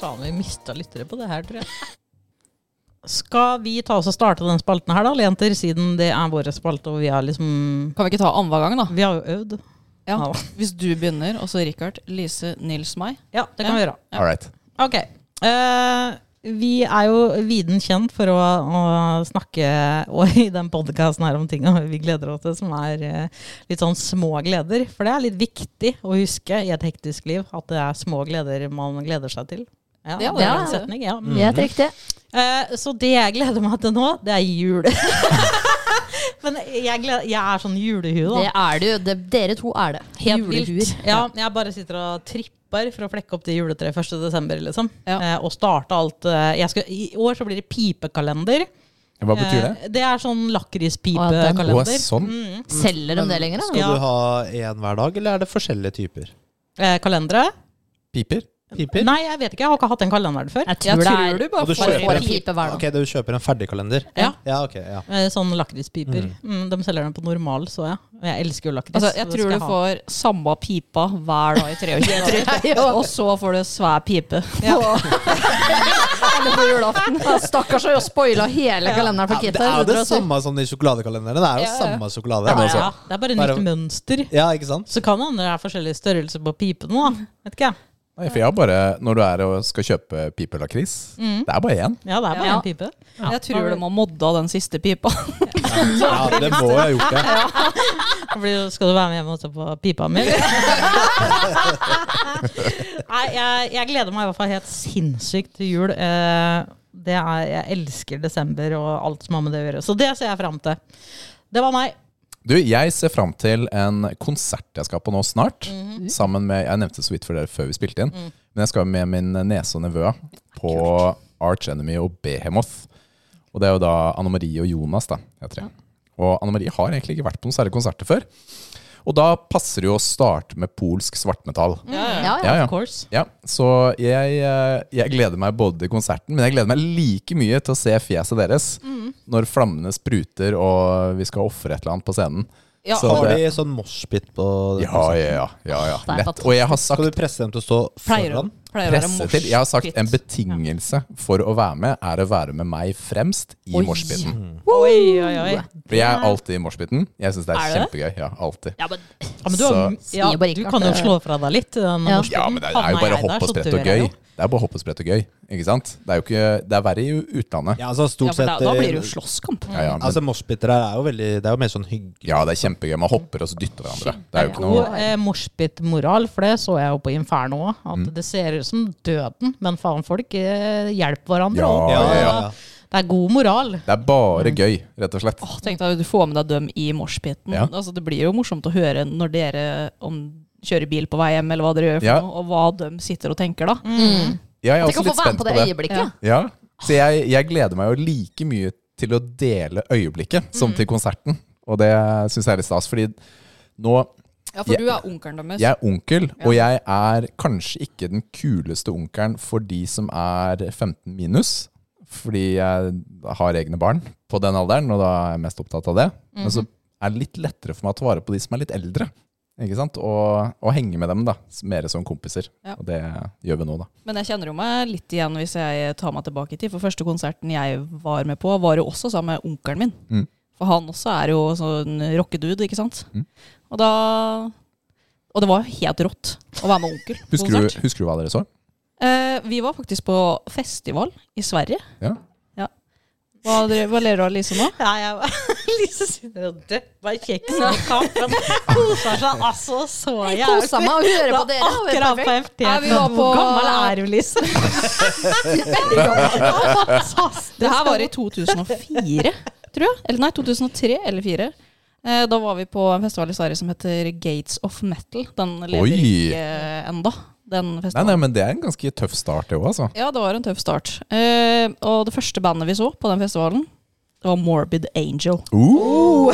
S2: Faen, vi mista lyttere på det her, tror jeg. Skal vi ta oss og starte den spalten her, da, eller jenter? Siden det er vår spalte, og vi har liksom
S4: Kan vi ikke ta annenhver gang, da?
S2: Vi har jo øvd.
S4: Ja.
S2: Ja.
S4: Hvis du begynner, og så Richard, Lise, Nils, meg.
S2: Ja, det kan
S4: Ja.
S2: vi gjøre.
S3: All right.
S2: Ok. eh, vi er jo viden kjent for å, å snakke og i den podkasten her om ting vi gleder oss til, som er eh, litt sånn små gleder. For det er litt viktig å huske i et hektisk liv at det er små gleder man gleder seg til. Ja, det
S4: Ja,
S2: Mm. er
S6: ja.
S2: en setning, ja.
S6: Helt riktig.
S2: Eh, så det jeg gleder meg til nå, det er jul. (laughs) Men jeg, gleder, jeg er sånn julehue, da.
S6: Det er det jo. Det- Dere to er det.
S2: Helt
S6: Julehuer.
S2: vilt. Ja, jeg bare sitter og tripper for å flekke opp det juletreet 1. desember, liksom.
S4: Ja.
S2: Eh, og starte alt. eh, jeg skal, I år så blir det pipekalender.
S3: Hva betyr det?
S2: Eh, det er sånn
S6: Å, ja, den.
S3: Å,
S2: lakrispipekalender.
S3: sånn?
S6: Selger de det lenger, da?
S5: Skal
S2: Mm. Ja.
S5: du ha én hver dag, eller er det forskjellige typer?
S2: Eh, kalendere?
S3: Piper?
S5: Piper?
S2: Nei, jeg vet ikke. Jeg har ikke hatt den kalenderen før.
S6: Jeg tror, det er
S4: du bare
S5: Og du
S4: får
S5: kjøper
S6: bare
S5: en-
S6: pipe hver dag.
S5: Ok, du kjøper en ferdigkalender?
S2: Ja.
S5: ja, ok, ja.
S2: Eh, Sånn lakrispiper. Mm, de selger den på normal, så jeg. Og Jeg elsker jo lakris.
S4: Altså,
S2: så
S4: jeg
S2: det
S4: tror
S2: skal
S4: du
S2: ha.
S4: får samme pipa hver dag i (laughs) 23 år, og så får du svær pipe. (laughs)
S6: Eller på julaften. Ja, Stakkars, jeg har spoila hele kalenderen for
S5: Ja,
S6: Kita.
S5: det er jo det
S6: sånn.
S5: samme som i sjokoladekalenderen. Det er jo
S4: Ja, ja.
S5: samme sjokolade.
S3: Ja,
S2: ja,
S3: men altså,
S2: Det er bare sånn.
S5: Bare-
S2: nytt mønster.
S5: Ja,
S2: (laughs)
S5: ikke sant?
S2: Så kan det hende det er forskjellig størrelse på pipene, da. Vet ikke jeg.
S3: Nei, for jeg har bare, når du er og skal kjøpe pipelakris,
S2: Mm.
S3: det er bare én.
S2: Ja, det er bare
S4: Ja.
S2: en pipe.
S4: (laughs) Jeg tror de har modda den siste pipa. (laughs)
S5: Ja, det må jeg ha gjort, det.
S2: Da blir det- Skal du være med hjemme og se på pipa mi? Nei, jeg, jeg gleder meg i hvert fall helt sinnssykt til jul. Eh, Det er, jeg elsker desember og alt som har med det å gjøre. Så det ser jeg fram til. Det var meg.
S3: Du, jeg ser fram til en konsert jeg skal på nå snart.
S2: Mhm.
S3: Sammen med, Jeg nevnte det så vidt for dere før vi spilte inn,
S2: Mm.
S3: men jeg skal med min nese og nevø på Arch Enemy og Behemoth. Og det er jo da Anne Marie og Jonas, da, heter de. Og Anne Marie har egentlig ikke vært på noen særlige konserter før. Og da passer det jo å starte med polsk svartmetall.
S6: Ja, ja.
S3: Ja, ja.
S2: Of course.
S3: Ja, så jeg, eh, jeg gleder meg både til konserten, men jeg gleder meg like mye til å se fjeset deres når flammene spruter og vi skal ofre et eller annet på scenen.
S4: Ja,
S3: Så
S5: Har
S3: det-
S5: de sånn moshpit på
S3: Ja, ja, ja. ja,
S6: det
S3: ja.
S6: er
S3: Lett.
S6: fantastisk.
S3: Og jeg har
S5: Skal
S3: sagt
S5: du presse dem til å stå
S4: Pleier å
S5: foran?
S4: pleier å være
S3: presse til. Jeg har sagt en
S4: moshpit.
S3: betingelse for å være med, er å være med meg fremst i
S6: Oi.
S3: moshpiten.
S2: Oi, oi, oi.
S3: For jeg er alltid i moshpiten. Jeg syns det er,
S4: Er
S3: kjempegøy. Ja, alltid.
S6: Ja, men
S2: Ja, men du, har,
S3: Så-
S2: ja,
S6: Sier bare
S2: du
S6: ikke
S2: kan jo
S6: at det-
S2: slå fra deg litt. eh, Den
S6: Ja.
S2: norske.
S3: Ja, men det er jo
S2: Havner
S3: bare
S2: jeg der,
S3: hopp og
S2: så
S3: sprett
S2: dør jeg
S3: og gøy.
S2: jo.
S3: Det er bare hopp og sprett og gøy, ikke sant? Det er jo ikke Det er verre i utlandet.
S5: Ja, altså
S4: Ja,
S5: stort
S4: for
S5: sett
S4: da, da blir det jo slåsskamp.
S3: eh, Ja, ja, men,
S5: Altså moshpiter her er jo veldig Det er jo mer sånn hyggelig.
S3: ja det er kjempegøy. Man hopper og så dytter hverandre. Det er jo ikke
S2: God
S3: noe
S2: eh, moshpit-moral, for det så jeg jo på Inferno òg. At
S3: Mm.
S2: det ser ut som døden, men faen, folk eh, hjelper hverandre.
S3: Ja,
S2: også.
S5: ja, ja, ja.
S2: Det er god moral.
S3: Det er bare gøy, rett og slett.
S4: Åh, Tenk deg at du får med deg dem i moshpiten.
S3: Ja.
S4: Altså, det blir jo morsomt å høre når dere om, kjører bil på vei hjem, eller hva dere gjør, for
S3: Ja.
S4: noe, og hva de sitter og tenker da.
S6: Mm.
S3: Jeg er
S6: Tenk
S3: også
S6: å få være med
S3: litt spent
S6: på det øyeblikket.
S4: Ja.
S3: Ja, så jeg, jeg gleder meg jo like mye til å dele øyeblikket
S6: Mm.
S3: som til konserten. Og det syns jeg er litt stas, fordi nå
S4: Ja,
S3: for
S4: for
S3: Ja.
S4: du er onkelen deres.
S3: Jeg er onkel, og jeg er kanskje ikke den kuleste onkelen for de som er 15 minus. Fordi jeg har egne barn på den alderen, og da er jeg mest opptatt av det. Men så er det litt lettere for meg å ta vare på de som er litt eldre. Ikke sant? Og, og henge med dem, da. Mer som kompiser.
S4: Ja.
S3: Og det gjør vi nå, da.
S4: Men jeg kjenner jo meg litt igjen hvis jeg tar meg tilbake i tid. For første konserten jeg var med på, var jo også sammen med onkelen min.
S3: Mm.
S4: For han også er jo sånn rockedude, ikke sant. Og da Og det var jo helt rått å være med onkel. på
S3: (laughs) Husker du,
S4: konsert.
S3: husker du hva dere så?
S4: Eh, vi var faktisk på festival i Sverige.
S3: Ja.
S4: Hva, dere- hva ler du av, Lise, nå?
S2: Nei, jeg Lise sitter og døpper kjeks i kampen. Koser seg altså så
S6: Jeg
S2: jævlig.
S6: kosa meg å høre på dere. Det var
S2: Akkurat på
S6: perfekt.
S2: FT.
S4: Nei, vi var
S2: Hvor
S4: på-
S2: gammel er du, Lise? Fantastisk.
S4: Det her var
S2: (laughs)
S4: i 2004, tror jeg. Eller nei, 2003 eller 2004. Eh, da var vi på en festival i Sverige som heter Gates of Metal. Den lever
S3: Oi.
S4: ikke eh, enda, den
S3: Nei,
S4: festivalen.
S3: nei, men det er en ganske tøff start, det òg, altså.
S4: Ja, det var en tøff start. Eh, og det første bandet vi så på den festivalen, det var Morbid
S3: (laughs)
S4: Angel.
S3: Uh!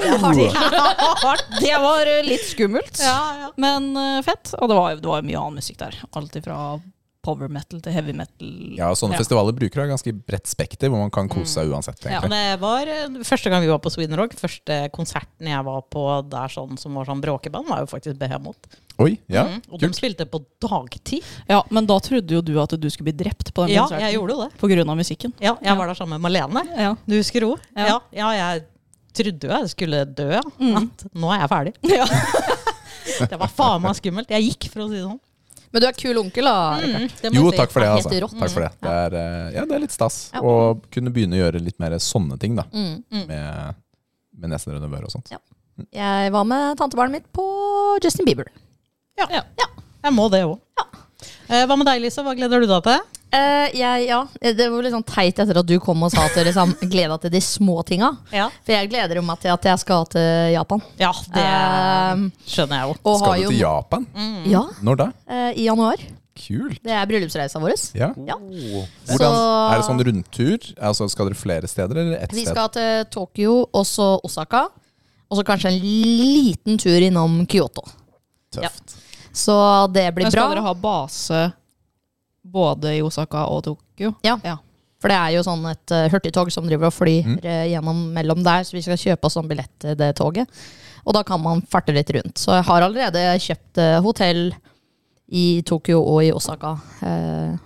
S4: Det var eh, litt skummelt,
S2: Ja, ja.
S4: men eh, fett. Og det var, det var mye annen musikk der. Alt ifra power metal til heavy metal.
S3: Ja, og Sånne
S4: Ja.
S3: festivaler bruker da ganske bredt spekter, hvor man kan kose seg uansett.
S2: Ja,
S3: egentlig.
S2: det var eh, første gang vi var på Sweden Rock. Første konserten jeg var på der sånn, som var sånn bråkeband, var jo faktisk Behemoth.
S3: Oi, ja,
S2: Mm. Og de
S3: kult.
S2: spilte på dagtid.
S4: Ja, Men da trodde jo du at du skulle bli drept på den
S2: Ja,
S4: konserten.
S2: jeg gjorde jo det.
S4: På grunn av musikken.
S2: Ja, jeg var der sammen med Malene.
S4: Ja.
S2: Du husker henne? Ja. Mm.
S4: Ja.
S2: ja, jeg trodde jo jeg skulle dø. ja. At nå er jeg (laughs) ferdig. Det var faen meg skummelt. Jeg gikk, for å si det sånn.
S6: (laughs) Men du er kul onkel, da. Rikard.
S2: Mm, Det må
S3: Jo,
S2: jeg si.
S3: takk for det.
S6: er
S3: altså.
S6: helt rått.
S3: Takk for det. Det, er, eh, ja, det er litt stas
S6: Ja.
S3: å kunne begynne å gjøre litt mer sånne ting da,
S6: Mm.
S3: med, med nesen under øret og sånt.
S6: Ja. Jeg var med tantebarnet mitt på Justin Bieber.
S2: Jeg må det òg. Eh, hva med deg, Lise? Hva gleder du deg til?
S6: Eh, jeg, ja, Det var litt sånn teit etter at du kom og sa at dere (laughs) liksom gleda til de små tinga.
S2: Ja,
S6: For jeg gleder meg til at jeg skal til Japan.
S2: det
S6: Eh,
S2: skjønner jeg jo.
S6: og har
S3: Skal du
S6: jo, Mm.
S3: til Japan?
S6: Ja,
S3: Når da?
S6: eh, i januar.
S3: Kult.
S6: Det er bryllupsreisa vår.
S3: Ja.
S6: Ja.
S3: Hvordan,
S6: Så-
S3: er det sånn rundtur? Altså, skal dere flere steder eller ett
S6: Vi
S3: sted?
S6: skal til Tokyo og så Osaka. Og så kanskje en liten tur innom Kyoto.
S3: Tøft.
S6: Så det blir
S4: Men skal dere
S6: bra.
S4: ha base både i Osaka og Tokyo?
S6: Ja.
S4: ja.
S6: For det er jo sånn et eh, hurtigtog som driver og flyr eh, gjennom mellom der, så vi skal kjøpe oss en billett til det toget. Og da kan man farte litt rundt. Så jeg har allerede kjøpt eh, hotell i Tokyo og i Osaka. Eh,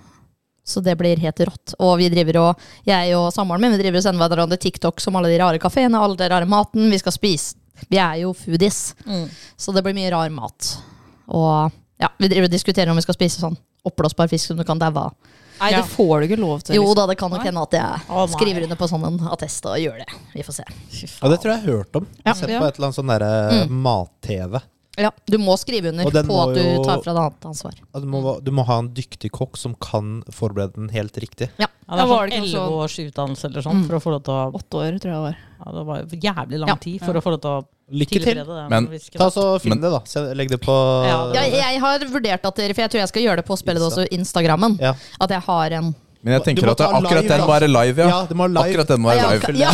S6: så det blir helt rått. Og vi driver og, jeg og samboeren min vi driver og sender hverandre TikTok som alle de rare kafeene, alle den rare maten. Vi skal spise. Vi er jo foodies, så det blir mye rar mat. Og ja, vi driver og diskuterer om vi skal spise sånn oppblåsbar fisk som du kan daue av.
S4: Nei,
S2: Ja.
S4: det får du ikke lov til.
S6: Jo
S4: liksom.
S6: da, det kan nok
S4: Nei.
S6: hende at jeg
S2: Å, nei.
S6: skriver under på sånn en attest og gjør det. Vi får se.
S5: Ja, det tror jeg jeg har hørt om. Jeg
S4: Ja.
S5: har sett
S4: Ja.
S5: på et eller annet sånn derre mat-TV.
S6: Ja, Du må skrive under
S5: Og den
S6: på
S5: må
S6: at du
S5: jo-
S6: tar fra deg annet ansvar.
S5: Ja, Altså, Du, må- du må ha en dyktig kokk som kan forberede den helt riktig.
S2: Ja, det er
S4: Var
S2: sånn
S4: det ikke noe
S2: elleve
S4: sånn-
S2: års utdannelse eller sånn for å få lov til å
S4: Åtte år, tror jeg det var.
S2: ja, Det var jævlig lang
S6: Ja.
S2: tid for å få lov til å
S5: Lykke til.
S2: tilberede det.
S3: Men-
S2: hvis ikke
S5: Ta
S2: det-
S5: så Finn
S3: Men-
S5: det, da. Se- Legg det på
S2: Ja,
S6: Ja, jeg har vurdert at dere, for jeg tror jeg skal gjøre det på spillet også Instagrammen.
S5: Ja.
S6: At jeg har en
S3: Men jeg
S5: Du
S3: tenker
S5: må
S3: at det,
S5: ta live,
S3: akkurat den
S5: da.
S3: må være live, ja.
S5: Ja, det må være live.
S3: Akkurat den må være
S6: Ja,
S3: live.
S6: ok. Ja, (laughs)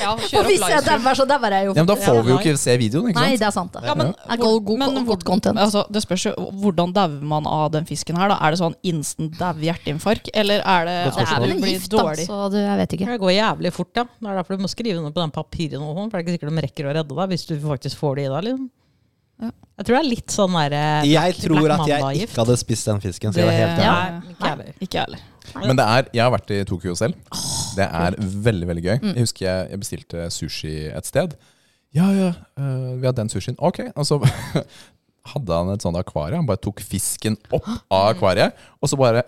S4: Ja,
S6: for hvis jeg dauer, så dauer jeg jo.
S3: Ja, men da får vi jo ikke se videoen, ikke
S6: Nei,
S3: sant?
S6: det er sant, det.
S3: Ja, men-
S6: Jeg går god,
S4: Men
S6: godt content.
S4: Altså, det spørs jo hvordan dauer man av den fisken her, da. Er det sånn instant dau hjerteinfarkt, eller er
S5: Godt
S4: det
S6: Det
S4: at
S6: er
S5: spørsmål.
S4: du
S6: vel en
S4: blir
S6: gift, da,
S4: dårlig?
S6: så du, jeg vet ikke.
S2: Det går jævlig fort, ja. Det er derfor du må skrive under på den papiren. Og sånn, for det er ikke sikkert de rekker å redde deg hvis du faktisk får det i deg. Liksom. Jeg tror det er litt sånn derre
S5: Jeg tror at jeg
S2: Mandag-gift.
S5: ikke hadde spist den fisken. Så jeg var helt ærlig.
S2: ærlig. Nei, ikke jeg heller.
S4: Ikke jeg heller.
S3: Men det er, jeg har vært i Tokyo selv. Det er veldig veldig gøy.
S6: Mm.
S3: Jeg husker jeg, jeg bestilte sushi et sted. Ja, ja, øh, vi har den sushien. Ok. Og så (laughs) hadde han et sånt akvarium. Han bare tok fisken opp av akvariet, og så bare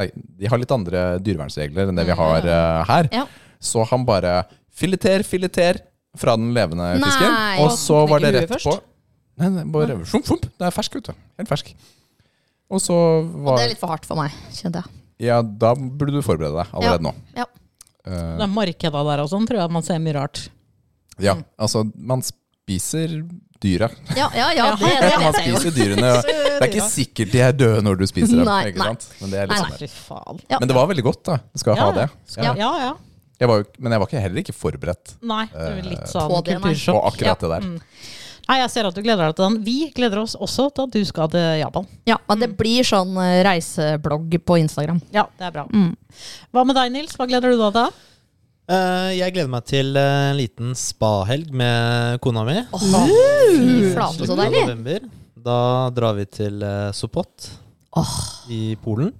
S3: Nei, de har litt andre dyrevernsregler enn det vi har øh, her.
S6: Ja.
S3: Så han bare fileter, fileter fra den levende
S6: Nei.
S3: fisken. Og så var det
S4: Knekker
S3: rett
S4: huet
S3: på.
S4: først?
S3: Nei, nei, bare sjump, sjump. Det er fersk, vet du. Helt fersk. Og så
S6: Og det
S3: var
S6: er litt for hardt for meg, kjente jeg.
S3: Ja, da burde du forberede deg allerede nå.
S6: Ja.
S3: Eh,
S2: Det er markeda der og sånn, tror jeg man ser mye rart.
S3: Ja, altså man spiser dyret.
S6: Ja, ja, ja, det, det
S3: (laughs) man
S6: vet jeg jo.
S3: spiser dyrene. og Det er ikke sikkert de er døde når du spiser dem.
S6: Nei,
S3: ikke
S6: nei.
S3: sant? Men, det er litt
S6: Nei,
S3: sånn der.
S2: Fy faen.
S6: Ja.
S3: men det var veldig godt, da. Du skal
S2: Ja,
S3: ha det.
S2: Skal- Ja, ja.
S3: Jeg var jo, men jeg var ikke, heller ikke forberedt
S2: Nei, det er vel litt sånn
S6: På det, nei.
S3: på
S2: kultursjokk.
S3: akkurat det der.
S6: Mm.
S2: Nei, jeg ser at du gleder deg til den. Vi gleder oss også til at du skal til Japan.
S6: Ja, men det blir sånn eh, reiseblogg på Instagram.
S2: Ja, det er bra. Hva med deg, Nils? Hva gleder du deg til?
S5: Eh, jeg gleder meg til eh, en liten spahelg med kona mi.
S6: Åh,
S4: Mm.
S6: fy flate, Uh, sånn, så
S5: Slutten av
S6: deilig!
S5: november. Da drar vi til eh, Sopot i Polen.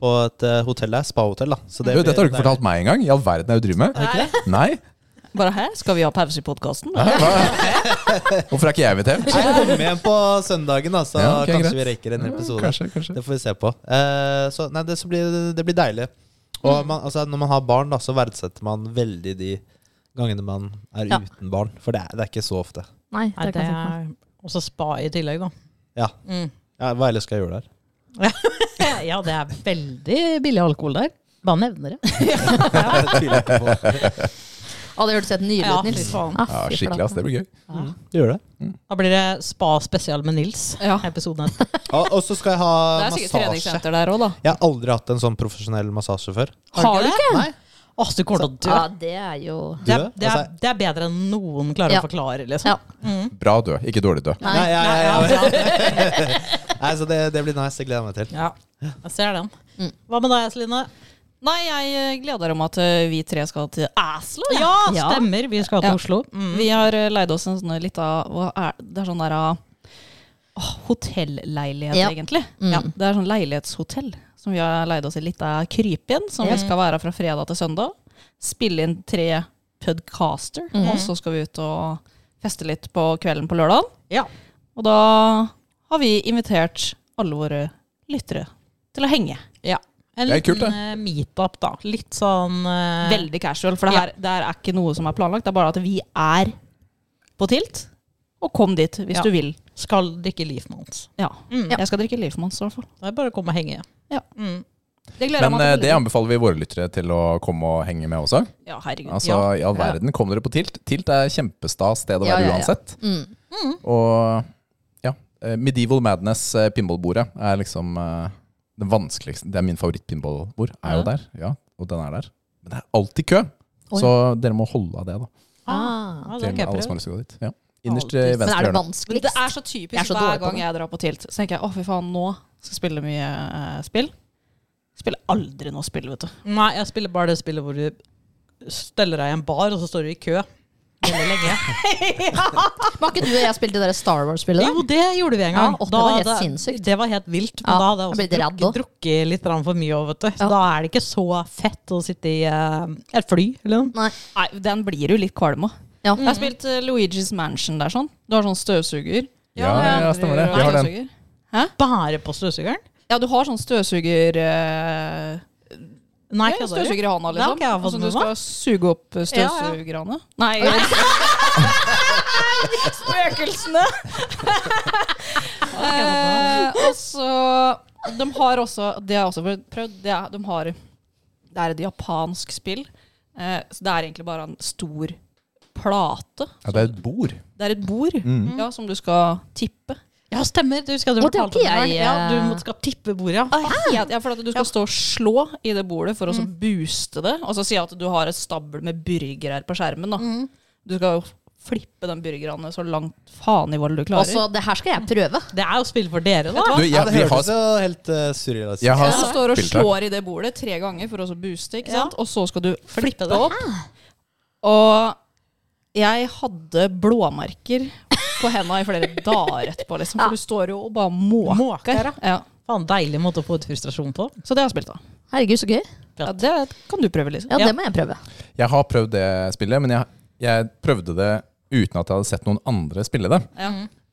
S5: På et eh, hotell der. Spahotell, da. Så
S3: Du, dette har du ikke fortalt meg engang. I all verden er du driver med?
S5: Ikke det?
S3: Nei?
S4: Bare hæ, skal vi ha pause i podkasten?
S3: Hæ? Hva? Hvorfor er ikke jeg invitert?
S5: Nei, jeg er med på søndagen, da, så
S3: Ja, ok,
S5: kanskje
S3: greit.
S5: vi rekker en episode.
S3: Kanskje, kanskje.
S5: Det får vi se på. Eh, så, nei, det, så blir, det blir deilig.
S4: Mm.
S5: Og man, altså, når man har barn, da, så verdsetter man veldig de gangene man er
S6: Ja.
S5: uten barn. For det er, det er ikke så ofte.
S6: Nei, det kan jeg tenke meg.
S2: Og så spa i tillegg, da.
S5: Ja.
S4: Mm.
S5: ja hva ellers skal jeg gjøre
S2: (laughs)
S5: der?
S2: Ja, det er veldig billig alkohol der. Bare nevner det.
S5: Det tviler jeg ikke på.
S6: Å, det hørtes helt
S2: (laughs)
S6: nydelig
S2: Ja,
S6: ut, Nils.
S2: fy faen.
S6: Ah,
S3: Ja,
S6: fy
S3: skikkelig,
S6: flate.
S3: ass. Det blir gøy.
S5: Du gjør det.
S2: Da blir det spa spesial med Nils.
S4: Ja.
S2: Episoden (laughs) etter.
S5: Ja, og så skal jeg ha
S4: Det er sikkert
S5: massasje.
S4: treningssenter der òg, da.
S5: Jeg har aldri hatt en sånn profesjonell massasje før.
S6: Har du ikke?
S5: Nei.
S2: Å, Åh, du kommer til å dø.
S6: Ja, det er jo
S2: Det er,
S5: Dø?
S2: det, er,
S5: Altså-
S2: det er bedre enn noen klarer
S6: Ja.
S2: å forklare, liksom.
S6: Ja.
S3: Bra død, ikke dårlig død.
S5: Nei,
S6: Nei.
S5: ja, ja, ja.
S2: Nei, ja.
S5: (laughs) Nei, så det, det blir nice. Det gleder jeg meg til.
S2: Ja, jeg ser den. Hva med deg, Celine?
S4: Nei, jeg eh, gleder meg til at vi tre skal til Aslo. jeg.
S2: Ja, stemmer. Vi skal til
S4: Ja.
S2: Oslo.
S4: Vi har eh, leid oss en sånn lita hva er, Det er sånn der ah, åh, hotelleilighet,
S6: Ja.
S4: egentlig. Ja, det er sånn leilighetshotell som vi har leid oss i lita kryp igjen, som vi skal være fra fredag til søndag. Spille inn tre podcaster, og så skal vi ut og feste litt på kvelden på lørdag.
S2: Ja.
S4: Og da har vi invitert alle våre lyttere til å henge.
S2: ja. En
S3: Det er
S2: liten
S3: kult, det.
S2: eh, meetup, da. Litt sånn eh,
S4: Veldig casual, for det her det her er ikke noe som er planlagt. Det er bare at vi er på tilt, og kom dit hvis
S2: Ja.
S4: du vil.
S2: Skal drikke Leafmons.
S4: Ja.
S2: Mm.
S4: Jeg skal drikke Leafmonster, i hvert fall.
S2: Det er bare å komme og henge.
S4: Ja.
S2: Mm.
S4: Det
S3: Men eh, det anbefaler vi våre lyttere til å komme og henge med også.
S4: Ja, herregud.
S3: Altså,
S2: Ja.
S3: I all verden, kom dere på Tilt. Tilt er kjempestas sted å
S6: Ja,
S3: være
S6: ja, ja.
S3: uansett.
S6: Mm.
S3: Og ja, eh, Medieval Madness eh, pinballbordet er liksom eh, det vanskeligste. Det er min favoritt-pinballbord. Er jo der, ja. Og den er der. Men det er alltid kø,
S6: Oi.
S3: så dere må holde av det. da.
S6: Ah.
S2: Ja, det har
S3: Til
S2: ikke jeg
S3: alle som
S2: prøvd.
S3: har lyst til å gå dit. Ja. Innerst i
S2: Alltid.
S6: Men er
S3: venstre
S6: det
S3: hjørne.
S4: Men
S6: vanskeligst?
S4: det er så typisk
S6: Jeg er så dårlig
S4: hver
S6: på
S4: gang
S6: det.
S4: jeg drar på tilt. Så tenker jeg å, fy faen, nå skal jeg spille mye eh, spill. Spiller aldri noe spill, vet du.
S2: Nei, jeg spiller bare det spillet hvor du steller deg i en bar, og så står du i kø veldig
S6: (laughs)
S2: lenge.
S6: Var ikke du og jeg spilte det der Star Wars-spillet? da?
S2: Jo, det gjorde vi en gang.
S6: Ja, og det var helt
S2: Da-
S6: sinnssykt.
S2: Det var helt vilt. Men
S6: Ja,
S2: da hadde jeg
S6: jeg
S2: også
S6: ble redd
S2: drukket,
S6: også.
S2: drukket litt grann for mye. Vet du. Så
S6: Ja.
S2: Da er det ikke så fett å sitte i eh, et fly. Eller noe.
S6: Nei.
S4: Nei, den blir du litt kvalm av.
S6: Ja.
S4: Jeg har spilt eh, Luigi's Mansion der sånn. Du har sånn støvsuger.
S3: Ja, ja, ja, stemmer det. Vi
S4: Nei,
S3: har den.
S4: støvsuger.
S2: Bare på støvsugeren?
S4: Ja, du har sånn støvsuger eh,
S2: Nei,
S4: ja,
S2: kødder du?
S4: Støvsuger i hana,
S2: Det har
S4: liksom.
S2: ikke jeg fått
S4: Sånn
S2: med
S4: du skal suge opp eh, støvsugerhane. Nei,
S2: (laughs)
S4: spøkelsene! eh, og så De har også Det har jeg også prøvd. Det er, de har, det er et japansk spill. Eh, så det er egentlig bare en stor plate.
S3: Ja, det er et bord.
S4: Det er et bord ja, som du skal tippe.
S2: Ja, stemmer. Du skal du
S6: Og det har
S2: fortalte om
S6: ikke
S2: det her.
S6: jeg,
S2: Ja, du
S6: eh,
S2: må- skal tippe bordet, ja.
S4: Ja, ja, for at du skal stå og slå i det bordet for å så booste det. Og så si at du har et stabel med burgere på skjermen. Da. Du skal jo flippe den burgerne så langt faen i hva du klarer.
S6: Altså, det her skal jeg prøve.
S2: Det er jo spill for dere, da.
S3: Du,
S5: Ja,
S3: jeg,
S5: det
S3: vi
S5: høres
S3: har,
S5: jo helt uh, surreal ut.
S3: jeg har
S4: du står og
S3: spilt det.
S4: slår i det bordet tre ganger for å så booste, ikke
S2: Ja.
S4: sant? og så skal du
S2: Flippe
S4: flippe
S2: det.
S4: det opp. Og jeg hadde blåmerker på henda i flere dager etterpå, liksom. For du står jo og bare måker.
S2: Måker,
S4: Ja.
S2: Faen, deilig måte å få ut frustrasjon på.
S4: Så det har jeg spilt, da.
S6: Herregud, så gøy.
S4: Ja, det kan du prøve, liksom. Lise.
S6: Ja,
S2: Ja.
S6: det må jeg prøve.
S3: Jeg har prøvd det spillet, men jeg, jeg prøvde det uten at jeg hadde sett noen andre spille det.
S4: Ja.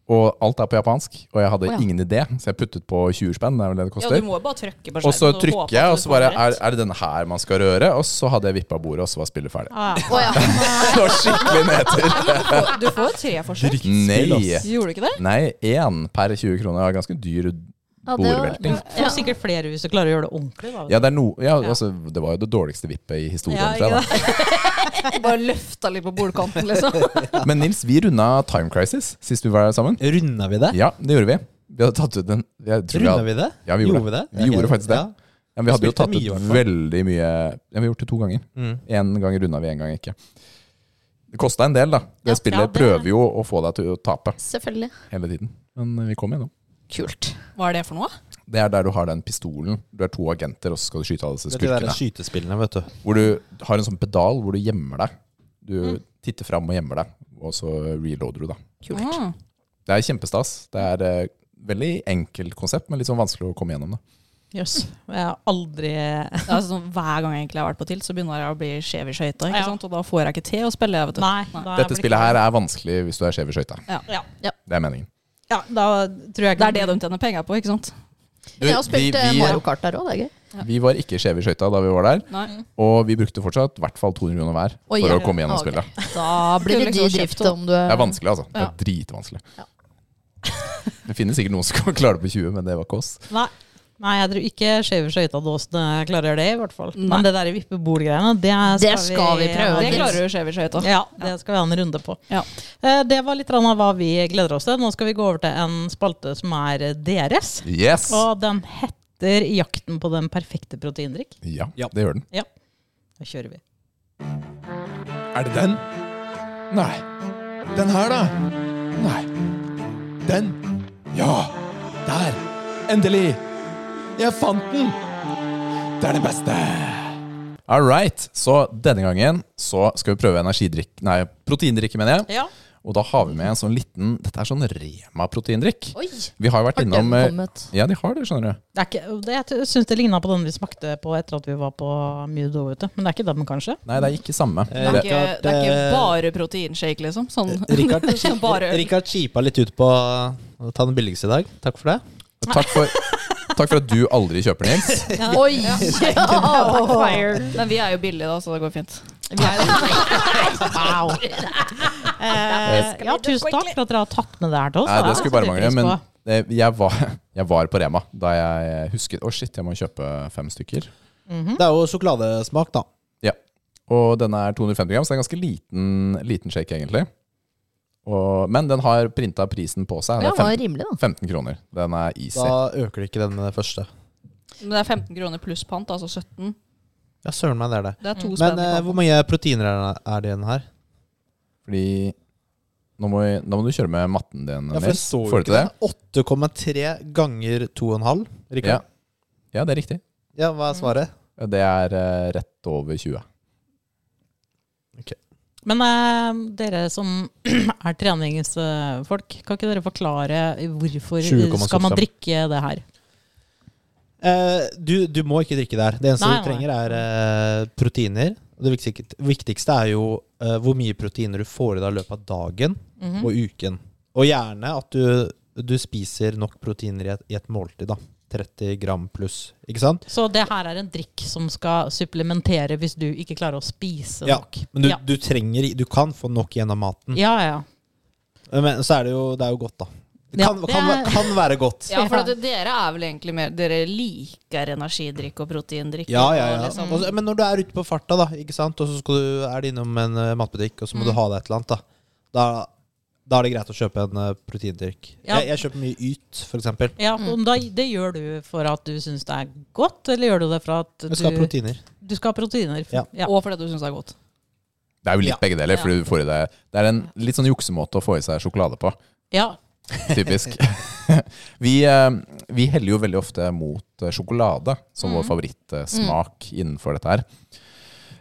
S3: Og alt er på japansk, og jeg hadde
S6: Mhm. Å, ja.
S3: ingen idé, så jeg puttet på 20 spenn. Det er vel det det
S4: Ja,
S3: koster.
S4: du må jo bare trykke på skjermen.
S3: og så
S4: håpe at
S3: trykker
S4: du
S3: jeg, og så
S4: får
S3: bare
S4: rett.
S3: er, er det denne her man skal røre? Og så hadde jeg vippa bordet, og så var spillet ferdig.
S6: Å Ah, ja.
S3: (laughs) Det var skikkelig nedtur.
S4: Du får jo tre forsøk.
S3: Nei.
S4: Gjorde du ikke det?
S3: Nei, én per 20 kroner er ganske dyr
S6: Ja, det var-
S3: bordvelting.
S2: Du får sikkert flere hvis du klarer å gjøre det ordentlig. Da.
S3: Ja, det, er no, ja, altså, det var jo det dårligste vippet i historien.
S2: Ja,
S3: tror jeg, da.
S4: Bare løfta litt på bordkanten, liksom. (laughs)
S3: Men Nils, vi runda Time Crisis sist vi var sammen.
S5: Runda vi det?
S3: Ja, det gjorde vi. Vi hadde tatt ut en jeg tror vi
S5: Runda
S3: hadde-
S5: vi det?
S3: Ja, vi gjorde
S5: Gjorde vi det?
S3: Vi
S5: Ok.
S3: gjorde faktisk det.
S5: Ja.
S3: Ja, vi hadde jo
S5: Spilte
S3: tatt
S5: mye,
S3: ut
S5: i hvert fall.
S3: veldig mye Ja, vi har gjort det to ganger.
S5: Mm.
S3: Én gang runda vi, én gang ikke. Det kosta en del, da. Det
S2: Ja,
S3: spillet
S2: ja, det-
S3: prøver jo å få deg til å tape
S6: Selvfølgelig.
S3: hele tiden. Men eh, vi kom gjennom.
S6: Kult.
S4: Hva er det for noe?
S3: Det er der du har den pistolen. Du er to agenter, og så skal du skyte alle disse
S5: Det er de der
S3: skurkene.
S5: skytespillene, vet du.
S3: Hvor du har en sånn pedal hvor du gjemmer deg. Du
S2: Mm.
S3: titter fram og gjemmer deg, og så reloader du, da.
S4: Kult.
S3: Det er kjempestas. Det er eh, veldig enkelt konsept, men litt sånn vanskelig å komme gjennom det.
S2: Jøss. Jeg har aldri
S4: Det er sånn, hver gang jeg egentlig har vært på tilt, så begynner jeg å bli skjev i skøyta. ikke
S2: Ja.
S4: sant? Og da får jeg ikke til å spille. Jeg, vet du.
S2: Nei. da
S3: Dette
S2: blir-
S3: spillet her er vanskelig hvis du er skjev i skøyta.
S2: ja.
S3: Det er meningen.
S2: ja, da tror jeg ikke
S4: Det er det de tjener penger på, ikke sant?
S3: Du,
S6: Jeg har
S3: vi-
S6: spilt eh,
S3: vi-
S6: Mario Kart der òg, det er gøy.
S3: Vi var ikke skjeve i skøyta da vi var der,
S4: Nei.
S3: og vi brukte fortsatt i hvert fall 200 kroner hver
S6: Oi,
S3: for
S6: ja.
S3: å komme gjennom
S6: Ah, ok.
S3: spillet.
S6: Da blir
S4: Skulle
S6: det dyr
S4: liksom
S6: drift
S4: kjøpt
S6: om du
S3: Det er vanskelig, altså. Det
S4: Ja.
S3: er dritvanskelig.
S6: Ja.
S3: (laughs) Det finnes sikkert noen som kan klare det på 20, men det var ikke oss.
S2: Nei. Nei, jeg tror ikke skjeve skøytadåsene klarer det, i hvert fall.
S4: Nei.
S2: Men det der vippebol-greiene, det skal,
S6: Det skal vi prøve.
S4: Det
S6: Nils.
S4: klarer du skjev i skøyta.
S2: Ja, det skal vi ha en runde på.
S4: Ja.
S2: Eh, Det var litt grann av hva vi gleder oss til. Nå skal vi gå over til en spalte som er deres.
S3: Yes!
S2: Og den heter 'Jakten på den perfekte proteindrikk'.
S3: Ja,
S5: Ja.
S3: det gjør den.
S2: Ja, da kjører vi.
S7: Er det den? Nei. Den her, da? Nei. Den? Ja. Der. Endelig. Jeg fant den. Det er det beste.
S3: All right. Så denne gangen så skal vi prøve energidrikk Nei, proteindrikke, mener jeg.
S2: Ja.
S3: Og da har vi med en sånn liten Dette er sånn Rema-proteindrikk.
S6: Oi!
S3: Vi har jo vært
S6: Har
S3: innom
S6: den
S3: eh,
S6: kommet?
S3: Ja, de har det, skjønner du.
S2: Det er ikke, det, jeg syns det ligna på den vi smakte på etter at vi var på Mudo. Vet du. Men det er ikke den, kanskje?
S3: Nei, det er ikke samme.
S4: Det er
S3: Det,
S4: ikke, det er ikke
S5: Eh,
S4: bare proteinshake, liksom. Sånn. (laughs)
S5: Rikard,
S4: Det er ikke bare øl.
S5: Rikard chipa litt ut på å ta den billigste i dag. Takk for det.
S3: takk, for, takk for at du aldri kjøper, Nils.
S6: Oi!
S5: (laughs)
S4: Men vi er jo billige, da, så det går fint.
S2: Wow. Eh, ja, tusen takk for at dere har tatt med det her til oss.
S3: Nei, det skulle bare
S2: setter vi
S3: mangle. Men
S2: pris på.
S3: eh, jeg var, (laughs) jeg var på Rema da jeg husket Å, shit, jeg må kjøpe fem stykker.
S2: Mhm.
S5: Det er jo sjokoladesmak, da.
S3: Ja. Og denne er 250 gram, så det er en ganske liten, liten shake, egentlig. Og, men den har printa prisen på seg.
S6: Ja,
S3: Det
S6: det var
S3: er 15,
S6: rimelig, da.
S3: 15 kroner. Den er easy.
S5: Da øker det ikke den
S3: eh,
S5: med det første.
S4: Men det er 15 kroner pluss pant, altså 17.
S5: Ja, søren meg, det er det.
S4: Det er to
S5: Men
S4: spenn. i
S5: eh,
S4: pant.
S5: hvor mange proteiner er- er det i den her?
S3: Fordi nå må, vi, nå må du kjøre med matten din,
S5: Ja, for det
S3: Nils.
S5: står jo
S3: Får du
S5: ikke
S3: til det?
S5: det. 8,3 ganger 2,5.
S3: Ja.
S5: Rikard?
S3: ja, det er riktig.
S5: Ja, hva er svaret?
S3: Det er eh, rett over 20.
S2: Men eh, dere som (clears throat) er treningsfolk, kan ikke dere forklare hvorfor
S5: 7,75.
S2: skal man drikke det her?
S5: Eh, du, du må ikke drikke der. Det eneste
S2: Nei,
S5: du
S2: nei.
S5: trenger, er eh, proteiner. Og det viktigste, viktigste er jo eh, hvor mye proteiner du får i deg i løpet av dagen
S2: Mhm.
S5: og uken. Og gjerne at du, du spiser nok proteiner i et, i et måltid. da 30 gram pluss, ikke sant?
S2: Så det her er en drikk som skal supplementere hvis du ikke klarer å spise
S5: Ja,
S2: nok?
S5: Men du,
S2: ja.
S5: du trenger Du kan få nok gjennom maten.
S2: ja, ja.
S5: Men så er det jo, det er jo godt, da. Det
S2: Ja,
S5: kan,
S2: det
S5: kan,
S2: er-
S5: kan være godt.
S4: Ja, for at dere er vel egentlig mer Dere liker energidrikk og proteindrikk.
S5: Ja, ja,
S4: og
S5: ja.
S4: liksom-
S5: Og så- men når du er ute på farta, da, ikke sant? og så skal du, er du innom en eh,
S2: Mm.
S5: matbutikk, og så må du ha deg et eller annet, da. da da er det greit å kjøpe en eh, proteindrikk.
S2: Ja.
S5: Jeg, jeg kjøper mye Yt, for eksempel.
S2: ja men da, det gjør du for at du syns det er godt, eller gjør du det for at du
S5: Jeg skal ha proteiner.
S2: Du skal ha proteiner.
S5: Ja.
S4: Og fordi du syns det er godt.
S3: Det er jo litt
S5: Ja.
S3: begge deler. Fordi du får i deg, det er en litt sånn juksemåte å få i seg sjokolade på.
S2: Ja.
S3: Typisk. (laughs) vi, eh, vi heller jo veldig ofte mot eh, sjokolade som vår favorittsmak innenfor dette her.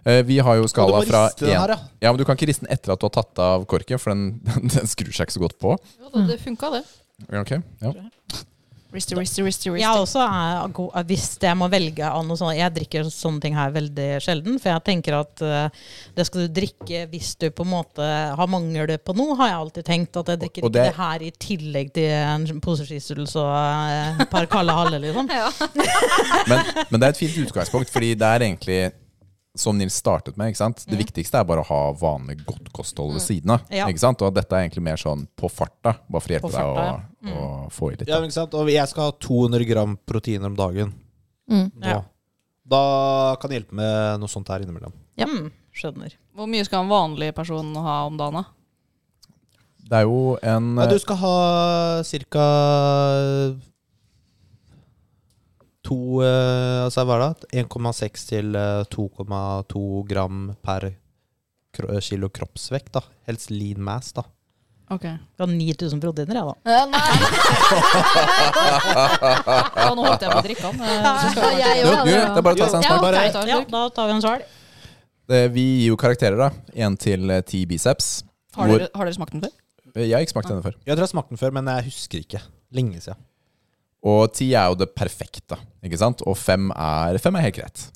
S3: Eh, Vi har jo
S5: Og
S3: skala
S5: du må
S3: fra
S5: riste den
S3: en-
S5: her, ja.
S3: ja, men Du kan ikke riste den etter at du har tatt av korken, for den, (laughs) den, skrur seg ikke så godt på.
S4: Jo, da, det funka, det.
S3: Ok, ja.
S4: Risty, risty, risty, risty.
S2: Jeg også er god Hvis jeg må velge av noe sånt Jeg drikker sånne ting her veldig sjelden, for jeg tenker at eh, det skal du drikke hvis du på en måte har mangel på noe, har jeg alltid tenkt. At jeg drikker
S3: Og- og det-
S2: ikke det her i tillegg til en pose skisuls og eh, et par kalde haller,
S4: (laughs)
S2: liksom.
S3: Men, men det er et fint utgangspunkt, fordi det er egentlig som Nils startet med, ikke sant? det viktigste er bare å ha vanlig godt kosthold ved siden av.
S2: Ja.
S3: Ikke sant? Og dette er egentlig mer sånn på farta, bare for å hjelpe
S2: På farta, ja.
S3: deg å, å få i litt.
S5: Ja, men ikke sant? Og jeg skal ha 200 gram proteiner om dagen. Nå.
S2: Mm. Ja.
S5: Da kan det hjelpe med noe sånt her innimellom.
S2: Mm, skjønner.
S4: Hvor mye skal en vanlig person ha om dagen? da?
S3: Det er jo en eh,
S5: Ja, du skal ha ca. to eh, Altså hva er det? 1,6 til eh, 2,2 gram per kro eh, kilo kroppsvekt. da Helst lean mass, da.
S4: Ok.
S2: Jeg har 9000 proteiner, jeg, da.
S4: Ja, nå holdt jeg på å drikke (laughs) den. eh, så skal jeg bare-
S6: Jeg
S3: du,
S6: òg,
S3: du, det er bare å ta seg
S6: Ja,
S3: en smak.
S6: ok.
S4: Jeg tar en
S2: Ja,
S4: slurk.
S2: da tar vi en sval.
S3: Det- Vi gir jo karakterer, da. Én til eh, ti biceps.
S4: Har
S3: Hvor-
S4: dere, har dere smakt den før?
S3: Jeg har ikke smakt denne før.
S5: Jeg tror jeg har smakt den før, men jeg husker ikke. Lenge siden.
S3: Og ti er jo det perfekte, ikke sant? Og fem er, fem er helt greit.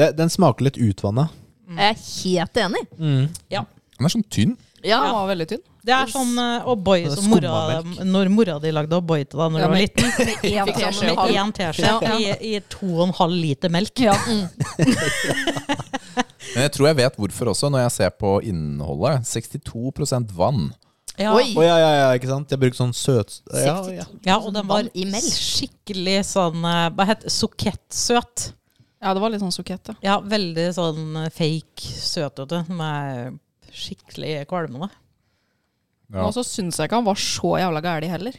S5: Det, den smaker litt utvanna.
S6: Jeg er helt enig. (laughs)
S3: Den er sånn tynn.
S4: Ja, den var veldig tynn.
S2: Det er sånn eh, O'boy
S5: Det er
S2: som mora,
S5: skummamelk.
S2: når mora di lagde O'boy til deg når
S4: Ja,
S2: du var
S4: men-
S2: liten.
S6: Ja,
S4: Fikk
S6: faen,
S4: sånn
S2: Med
S4: halv-
S2: én teskje i, i to og en halv liter melk.
S3: Men jeg tror jeg vet hvorfor også, når jeg ser på innholdet. 62 vann.
S2: Ja.
S6: Oi!
S5: Å ja, ja, ja, ikke sant? Jeg bruker sånn søt... Ja, ja.
S2: Ja, og den var
S6: Vann i melk.
S2: skikkelig sånn eh, Hva het Sukettsøt.
S4: Ja, det var litt sånn sukett, ja.
S2: Ja, veldig sånn eh, fake søtete. Med skikkelig kvalmende.
S3: Ja.
S4: Og så syns jeg ikke han var så jævla gæren heller.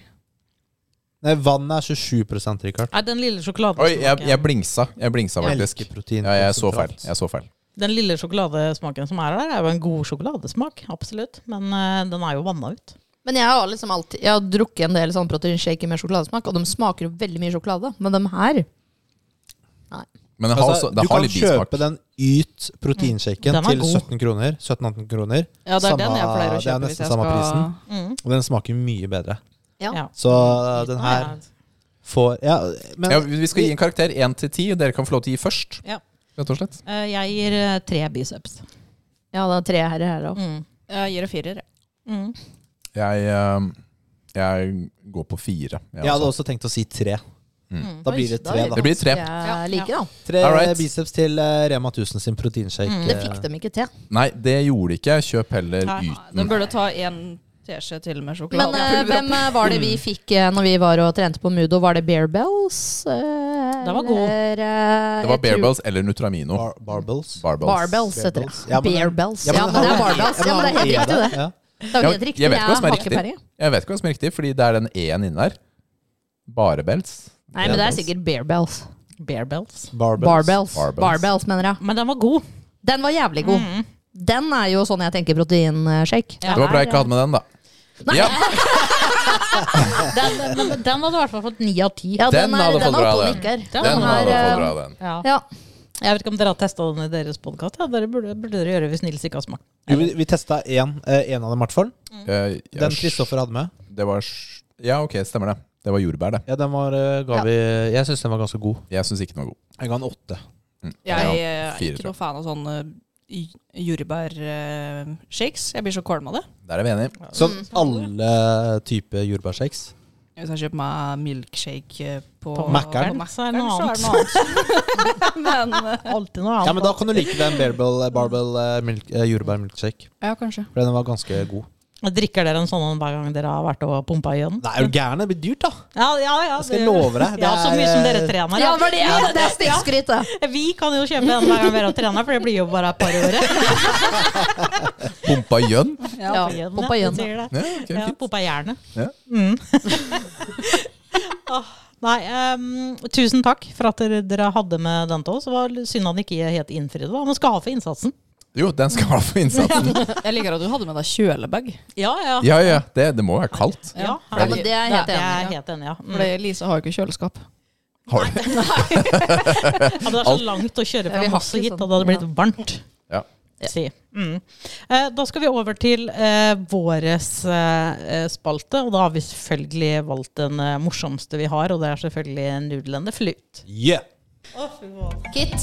S5: Nei, vannet er 27 Rikard.
S2: Nei, den lille sjokoladen
S3: Oi, jeg, jeg blingsa. Jeg blingsa
S5: Jeg
S3: faktisk.
S5: elsker protein.
S3: Ja, jeg så feil.
S5: konsentrat.
S3: Jeg så feil.
S2: Den lille sjokoladesmaken som er der, er jo en god sjokoladesmak, absolutt. Men eh, den er jo vanna ut.
S6: Men jeg har liksom alltid Jeg har drukket en del sånn proteinshaker med sjokoladesmak, og de smaker jo veldig mye sjokolade. Men de her
S3: Men det har,
S5: Altså,
S3: også, det
S5: du
S3: har
S5: kan
S3: litt Mm. bismak.
S5: kjøpe den Yt proteinshaken
S2: Den er
S5: til
S2: god.
S5: 17 kroner. 17-18 kroner.
S4: Ja, det er
S5: Samme-
S4: den jeg
S5: det
S4: pleier å
S5: er
S4: kjøpe hvis
S5: nesten
S4: jeg
S5: samme
S4: skal
S5: prisen. Og den smaker mye bedre.
S6: Ja.
S2: Ja.
S5: Så
S2: Mm.
S5: øh, den her får Ja, men
S3: Ja, vi skal gi en karakter 1 til 10, og dere kan få lov til å gi først.
S2: Ja.
S3: Rett og slett.
S2: Eh, Jeg gir eh, tre biceps.
S6: Ja, det er tre her her òg.
S2: Mm.
S4: Jeg gir det firer. jeg.
S2: Mm.
S3: Jeg, eh, jeg går på fire. jeg
S5: jeg hadde
S3: også.
S5: også tenkt å si tre.
S2: Mm.
S5: Da blir det tre, da.
S3: Det blir tre.
S6: Jeg liker da.
S5: Tre
S3: Alright.
S5: biceps til eh, Rema 1000 sin proteinshake.
S2: Mm.
S6: Det fikk de ikke til.
S3: Nei, det gjorde ikke jeg. Kjøp heller
S2: Nei,
S4: Den
S5: Mm.
S3: Yten.
S4: burde ta en teskje til med
S6: Men
S4: sjokolade.
S6: eh, hvem eh, var det vi
S2: Mm.
S6: fikk eh, når vi var og trente på Mudo? Var det Bear Bells? eh,
S2: Den var god.
S3: Det var Bearbells eller Nutramino.
S5: eh, Bar Barbells.
S3: Barbells.
S6: Barbells heter det.
S5: Ja, men-
S6: Bear Bells. Ja, men det er Barbells. Ja, men det er helt riktig, det.
S5: Ja.
S6: Det er jo helt riktig.
S3: jeg vet ikke hva som er
S6: har ikke
S3: riktig.
S6: peiling.
S3: Jeg vet ikke hva som er riktig, fordi det er den E-en inne der. Barebells.
S6: Nei, men det er sikkert Bear Bells.
S2: Bear bells.
S5: Barbells.
S6: Barbells.
S3: Barbells.
S6: Barbells, mener jeg.
S2: Men den var god.
S6: Den var jævlig god. Den er jo sånn jeg tenker proteinshake.
S2: Ja.
S3: Det var bra jeg ikke hadde med den, da. Ja,
S2: Den, den, den, den hadde i hvert fall fått ni av ti.
S6: Ja, den,
S3: Den
S6: er,
S3: hadde
S6: den
S3: fått
S6: er
S3: bra,
S6: oppe og
S3: den.
S6: nikker.
S3: den hadde
S6: er,
S3: fått
S6: eh,
S3: bra, den.
S2: Ja.
S6: Ja.
S2: Jeg vet ikke om dere har testa den i deres podkast. Ja, dere burde, burde dere gjøre hvis Nils ikke har smakt.
S5: Jo, vi vi testa én av dem, i hvert fall.
S3: Eh, jeg-
S5: Den Kristoffer hadde med.
S3: Det var sj- Ja, ok, stemmer det. Det var jordbær, det.
S5: Ja, den var, eh, ga
S6: Ja.
S5: vi, jeg syns den var ganske god.
S3: Jeg syns ikke den var god.
S5: Jeg ga den åtte.
S3: Mm.
S4: Jeg eh,
S3: Ja,
S4: er
S3: fire,
S4: ikke noe fan av sånne jordbærshakes. Jeg blir så kvalm av det.
S3: tror jeg. Der er vi enige.
S5: Sånn
S6: Mm.
S5: alle typer jordbærshakes.
S4: Hvis jeg kjøper meg milkshake eh, på,
S2: På
S5: Mac'eren.
S4: på
S2: Så er det noe
S4: så er det noe annet. (laughs) Men eh,
S2: Alltid noe annet.
S5: Ja, men da kan du like den Barbell, barbell eh, milk, eh, jordbærmilkshake.
S4: ja, kanskje.
S5: For den var ganske god.
S2: Drikker dere en sånn en hver gang dere har vært og pumpa i den?
S5: Det er jo gæren. Det blir dyrt, da.
S2: Ja, ja, ja,
S5: Jeg skal
S2: det-
S5: love deg, det
S2: Ja, så
S5: er,
S2: mye som dere
S5: eh,
S2: trener.
S6: Ja, for det er, det er stikkskryt, det.
S2: Vi kan jo kjøpe en hver gang vi er og trener, for det blir jo bare et par i året.
S3: Pumpa gjønn?
S6: Ja, Pumpa igjen.
S2: Ja,
S3: Ja, ok,
S2: ja,
S3: fint.
S2: Pumpa jernet.
S3: Ja.
S2: Mm. (laughs) Åh, Nei, em, tusen takk for at dere, dere hadde med den til oss. Det var synd han ikke helt innfridde. da. Han skal ha for innsatsen.
S3: Jo, den skal ha for innsatsen.
S4: (laughs) Jeg liker at du hadde med deg kjølebag.
S2: Ja, ja.
S3: Ja, ja, det, det må være kaldt.
S2: Ja,
S6: Ja, men det er jeg helt
S2: jeg
S6: enig
S2: er
S6: i.
S2: helt enig, ja. Mm.
S4: Fordi Lise har jo ikke kjøleskap.
S2: (laughs)
S3: Har du?
S2: Ja, det er så langt å kjøre
S4: Ja, vi
S2: fra
S4: har
S2: Moss
S4: ikke
S2: og hit,
S4: sånn.
S2: og det hadde blitt varmt.
S3: Ja.
S2: Si. Mm. Eh, da skal vi over til eh, våres eh, spalte, og da har vi selvfølgelig valgt den eh, morsomste vi har, og det er selvfølgelig nudlende flut.
S5: Yeah.
S6: Kit,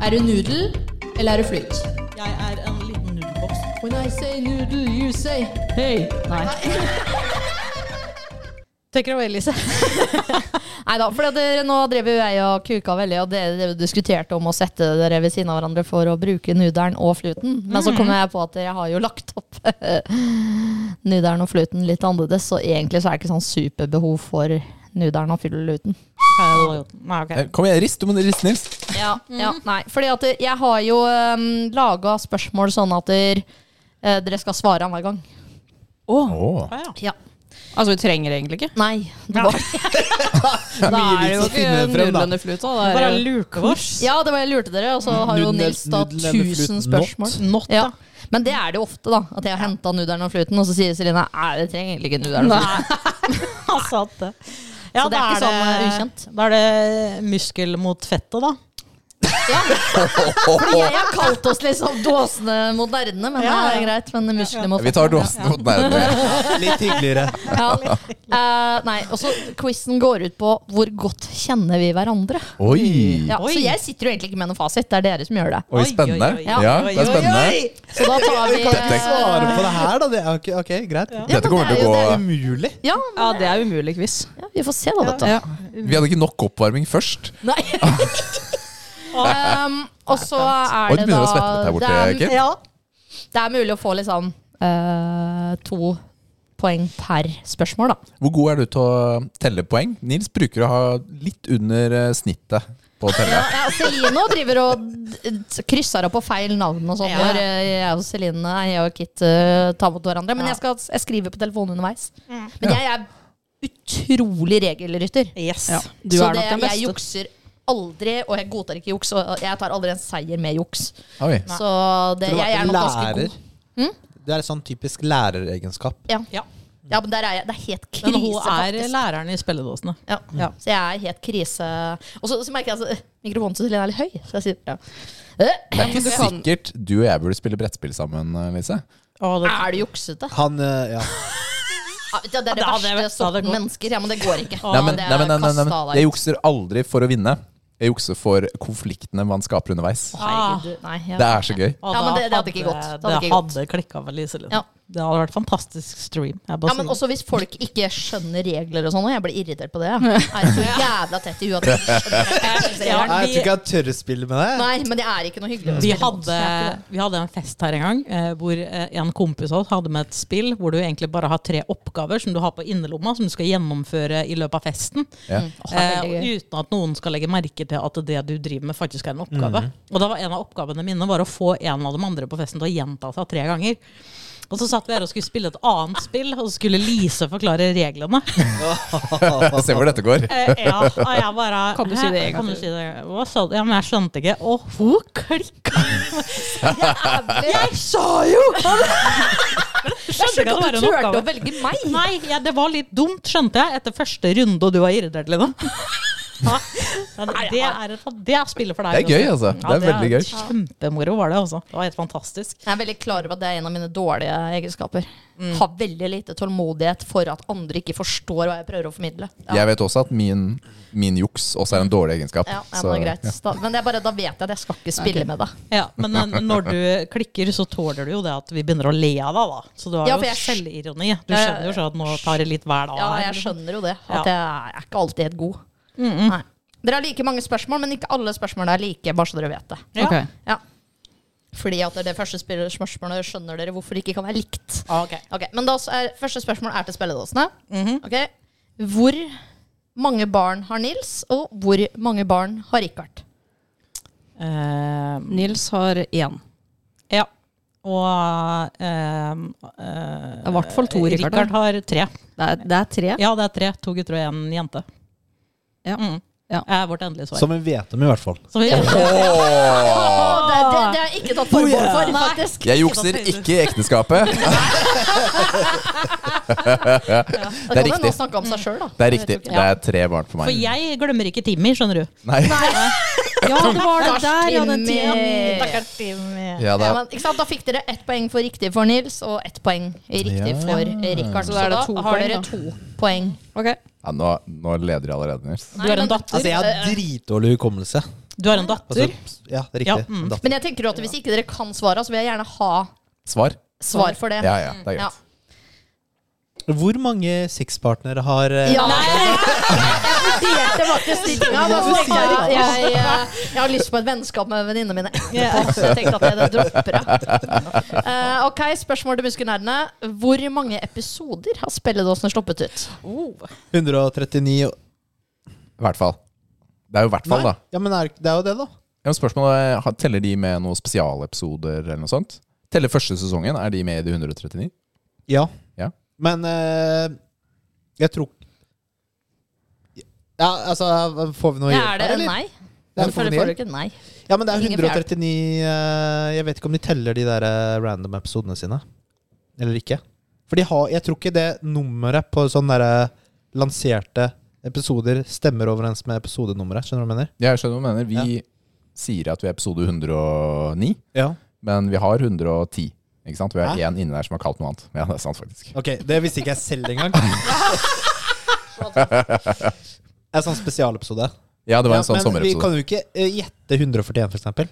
S6: er du nudel, eller er du flyt?
S2: Jeg er en liten nudelboks.
S6: When I say noodle, you say
S2: Hei! Nei. (laughs) Take it away, Lise.
S6: Nei da, for dere, nå drev jo jeg og kuka veldig, og dere, dere diskuterte om å sette dere ved siden av hverandre for å bruke nudelen og fluten. Men så kom jeg på at jeg har jo lagt opp (laughs) nudelen og fluten litt annerledes, så egentlig så er det ikke sånn superbehov for nudelen og fluten.
S2: Nei, ok.
S3: Eh, Kom igjen, rist. Du må riste, Nils.
S6: Ja,
S2: Mm.
S6: ja, nei. Fordi at jeg har jo um, laga spørsmål sånn at dere, eh, dere skal svare hver gang.
S4: Åh.
S3: Åh.
S2: Ah, ja.
S6: Ja.
S4: Altså, vi trenger egentlig ikke.
S6: Nei. Det var, (laughs)
S4: Da er det
S5: vits
S4: jo
S5: å finne
S4: ikke
S5: frem, da.
S4: nudlende fluta. Da
S2: Bare
S4: er det
S2: luke oss.
S6: ja, det var jeg lurte dere, og så har jo
S5: Nudel-
S6: Nils da
S5: nudel eller flut?
S6: 1000
S5: Not.
S6: spørsmål.
S2: Not,
S6: Ja.
S2: da.
S6: Men det er det jo ofte, da. At jeg har henta nudelen og fluten, og så sier Celine at det trenger egentlig ikke nudelen. og fluten».
S2: (laughs)
S6: (laughs)
S2: Han sa at det. Ja,
S6: Så det er
S2: da
S6: ikke sånn, eh, ukjent.
S2: Da er det muskel mot fettet, da.
S6: Fordi jeg har kalt oss liksom dåsene mot nerdene, men
S2: Ja,
S6: det
S2: ja.
S6: er greit. Men musklene mot
S3: (laughs) Vi tar dåsen mot nærmere.
S5: Litt hyggeligere.
S6: Ja. Eh, nei, og så quizen går ut på hvor godt kjenner vi hverandre.
S3: Oi.
S6: Ja,
S2: Oi.
S6: så jeg sitter jo egentlig ikke med noen fasit, det er dere som gjør det.
S3: Oi, spennende.
S2: oi, oi.
S3: Ja, det er spennende.
S6: Så da tar vi
S5: Svare på det her, da. Det er jo ikke, ok, greit.
S6: Ja, men
S3: Dette kommer
S6: det er
S3: til å
S6: jo
S3: gå
S5: Umulig.
S6: Ja,
S4: Ja, det er umulig quiz.
S6: ja, vi får se da, vet du.
S4: Ja.
S3: Vi hadde ikke nok oppvarming først.
S2: (laughs)
S6: Nei. um, og så er
S3: Oi,
S6: det da
S3: du begynner å svette litt her borte,
S6: det,
S3: Kit.
S6: er, det er mulig å få liksom eh, to poeng per spørsmål, da.
S3: Hvor god er du til å telle poeng? Nils bruker å ha litt under eh, snittet på å telle.
S6: Ja, Celine driver og d- d- krysser opp på feil navn og sånn
S2: Ja.
S6: når eh, jeg og Celine nei, jeg og Kit eh, tar mot hverandre. Men
S2: Ja. Mm.
S6: jeg, skal, jeg skriver på telefonen underveis. Men
S3: Ja.
S6: jeg er utrolig regelrytter.
S2: Yes.
S4: Du
S6: så
S4: er nok
S6: det,
S4: den
S6: jeg
S4: beste.
S6: jukser aldri Og jeg godtar ikke juks, og jeg tar aldri en seier med juks.
S3: Oi.
S6: Så det,
S5: Tror du
S6: jeg
S5: vært
S6: er nok ganske
S5: lærer?
S6: god.
S5: Det er et sånn typisk læreregenskap.
S2: Ja.
S6: Ja, men der er jeg. Det er helt
S2: Men
S6: krise,
S2: hun er
S6: faktisk.
S2: læreren i spilledåsene.
S6: Ja.
S2: Ja.
S6: Så jeg er helt krise. Og så, så merker jeg at mikrofonen til Helene er litt høy, så jeg sier ja. Øh,
S3: Eh,
S4: Men du kan,
S3: Sikkert du og jeg burde spille brettspill sammen, eh, Lise.
S2: Å, det,
S6: Er du juksete?
S5: Han eh, Ja.
S6: Ja, Det er det
S2: Ja, det er- ja,
S6: verste
S2: det er
S6: sorten
S2: godt.
S6: mennesker. Ja, men det går ikke.
S3: Nei, men,
S6: det
S3: nei,
S6: er
S3: men, nei, nei,
S6: kastet
S3: nei,
S6: av
S3: Jeg
S6: deg.
S3: jukser aldri for å vinne. Jeg jukser for konfliktene man skaper underveis.
S6: Herregud, du- nei, jeg-
S3: Det er så gøy.
S2: og
S6: Ja,
S2: Ah, da
S6: men det- det hadde ikke gått. Det
S2: Det
S6: hadde
S2: hadde,
S6: ikke gått.
S2: klikka for Lise Lund.
S6: Ja.
S2: Det hadde vært fantastisk stream. Jeg bare
S6: Ja,
S2: sier
S6: men
S2: det.
S6: også hvis folk ikke skjønner regler og sånn, og jeg blir irritert på det. Jeg er så jævla tett i huet. at jeg ikke skjønner
S2: Ja,
S5: Nei, Jeg
S6: regler.
S2: vi-
S5: tror ikke jeg tør å spille med deg.
S6: Nei, men det er ikke noe hyggelig.
S2: Vi
S6: å spille mot.
S2: hadde,
S6: Det er ikke det.
S2: vi hadde en fest her en gang eh, hvor eh, en kompis av oss hadde med et spill hvor du egentlig bare har tre oppgaver som du har på innerlomma som du skal gjennomføre i løpet av festen.
S3: Ja.
S6: Mm.
S2: Eh, og uten at noen skal legge merke til at det du driver med, faktisk er en oppgave. Og da var en av oppgavene mine var å få en av de andre på festen til å gjenta seg tre ganger. Og så satt vi her og skulle spille et annet spill, og så skulle Lise forklare reglene.
S3: (laughs) Se hvor dette går.
S2: Eh, ja, og jeg bare
S4: Kan du si det
S2: "Hæ?
S4: en gang
S2: Kan du
S4: til?"
S2: si det? Hva sa du? Ja, men jeg skjønte ikke. Å, hun
S4: (laughs)
S2: klikka! Jeg sa jo! Jeg skjønte ikke at det var
S6: Du
S2: en
S6: turte å
S2: oppgave.
S6: velge meg!
S2: Nei, ja, det var litt dumt, skjønte jeg, etter første runde, og du var irritert, Lina. Ja, det, er et, det er spillet for deg.
S3: Det er gøy, altså.
S2: Ja,
S3: Det er veldig gøy.
S2: Kjempemoro var det, altså. Det var helt fantastisk.
S6: Jeg er veldig klar over at det er en av mine dårlige egenskaper.
S2: Mm.
S6: Har veldig lite tålmodighet for at andre ikke forstår hva jeg prøver å formidle. Ja.
S3: Jeg vet også at min, min juks også er en dårlig egenskap.
S6: Ja, ja, men
S3: så-
S6: det er greit. Da, men det er bare, da vet jeg at jeg skal ikke spille med deg.
S2: Ja, men eh, når du klikker, så tåler du jo det at vi begynner å le av deg, da. Så du har
S6: Ja, for
S2: jo
S6: jeg-
S2: selvironi. Du skjønner jo sånn at nå tar det litt hver dag.
S6: Ja, jeg
S2: liksom.
S6: skjønner jo det.
S2: Ja.
S6: At jeg er ikke alltid helt god. Nei. Dere har like mange spørsmål, men ikke alle spørsmålene er like, bare så dere vet det.
S2: Ja.
S4: Ok.
S6: Ja. Fordi at det er det første spiller- spørsmålet skjønner dere hvorfor det ikke kan være likt.
S2: Ah, ok.
S6: Ok, Men da er, første spørsmål er til spilledåsene. Ok. Hvor mange barn har Nils, og hvor mange barn har Richard?
S2: Eh,
S4: Nils har én.
S2: ja. Og um,
S4: Det er i hvert fall to Rikard.
S2: Richard har tre.
S4: Det er, det er tre.
S2: Ja, det er tre. To gutter og én jente.
S4: Ja.
S2: Mm.
S4: Ja.
S2: Er vårt endelige svar.
S5: Som vi vet om, i hvert fall.
S2: Som vi,
S3: Åh! Oh,
S6: Det, det, det er ikke tatt formål for, faktisk.
S3: Jeg jukser ikke i ekteskapet.
S6: Da
S3: Det er
S6: kan jo nå
S3: riktig.
S6: snakke om seg sjøl, da.
S3: Det er riktig. Det er tre barn for
S2: For
S3: meg.
S2: jeg glemmer ikke Timmy, skjønner du.
S3: Nei.
S2: Ja, det var
S6: det der, ja, den Timmy.
S2: Stakkars Timmy.
S3: Ja,
S6: Ja,
S3: da.
S6: men, ikke sant? Da fikk dere ett poeng for riktig for Nils, og ett poeng riktig
S3: Ja.
S6: for Richard. Så,
S4: Så da er det
S6: da
S4: to
S6: har
S4: poeng,
S6: dere
S4: da.
S6: to poeng.
S3: Ja, nå, nå leder jeg allerede, Nils.
S2: Du har en datter.
S5: Altså, jeg har dritdårlig hukommelse.
S2: Du har en
S5: Altså,
S2: datter. Ja,
S5: ja, riktig.
S2: mm.
S5: En datter.
S6: Men jeg tenker at hvis ikke dere kan svare, så vil jeg gjerne ha
S3: Svar?
S6: svar for det.
S3: Ja, ja. Det er
S6: Ja.
S3: greit.
S5: Hvor mange sexpartnere har eh,
S6: Ja. (laughs) Det var ikke stillinga. men så tenkte Jeg, jeg, jeg, jeg har lyst på et vennskap med venninnene mine etterpå, så jeg tenkte at jeg det dropper jeg. Eh, ok, spørsmål til muskernerdene. Hvor mange episoder har spilledåsene sluppet ut?
S5: 139 og-
S3: I hvert fall. Det er jo i hvert fall,
S5: Nei.
S3: da.
S5: Ja, men er, det er jo det, da.
S3: Ja, men spørsmålet er, har- Teller de med noen spesialepisoder eller noe sånt? Teller første sesongen? Er de med i de 139?
S5: Ja.
S3: Ja.
S5: Men eh, jeg tror Ja, altså Får vi noe
S6: Ja, er det
S5: eller?
S6: nei?
S5: Det er
S6: Hvorfor
S5: fornyer.
S6: får du ikke nei?
S5: Ja, men det er
S6: Ingen
S5: 139 eh, Jeg vet ikke om de teller de der eh, random episodene sine. Eller ikke. For de har, jeg tror ikke det nummeret på sånne der eh, lanserte episoder stemmer overens med episodenummeret. Skjønner du hva jeg mener?
S3: Jeg skjønner hva du mener. Vi sier at vi er episode 109,
S5: Ja.
S3: men vi har 110. Ikke sant? Vi har
S5: Hæ?
S3: én inni der som har kalt noe annet. Ja, det er sant, faktisk.
S5: Ok, Det visste ikke jeg selv (laughs) engang. Det er sånn spesialepisode.
S3: Ja, det var
S5: Ja,
S3: en sånn
S5: vi kan
S3: sommerepisode.
S5: jo ikke eh, gjette 141, for eksempel.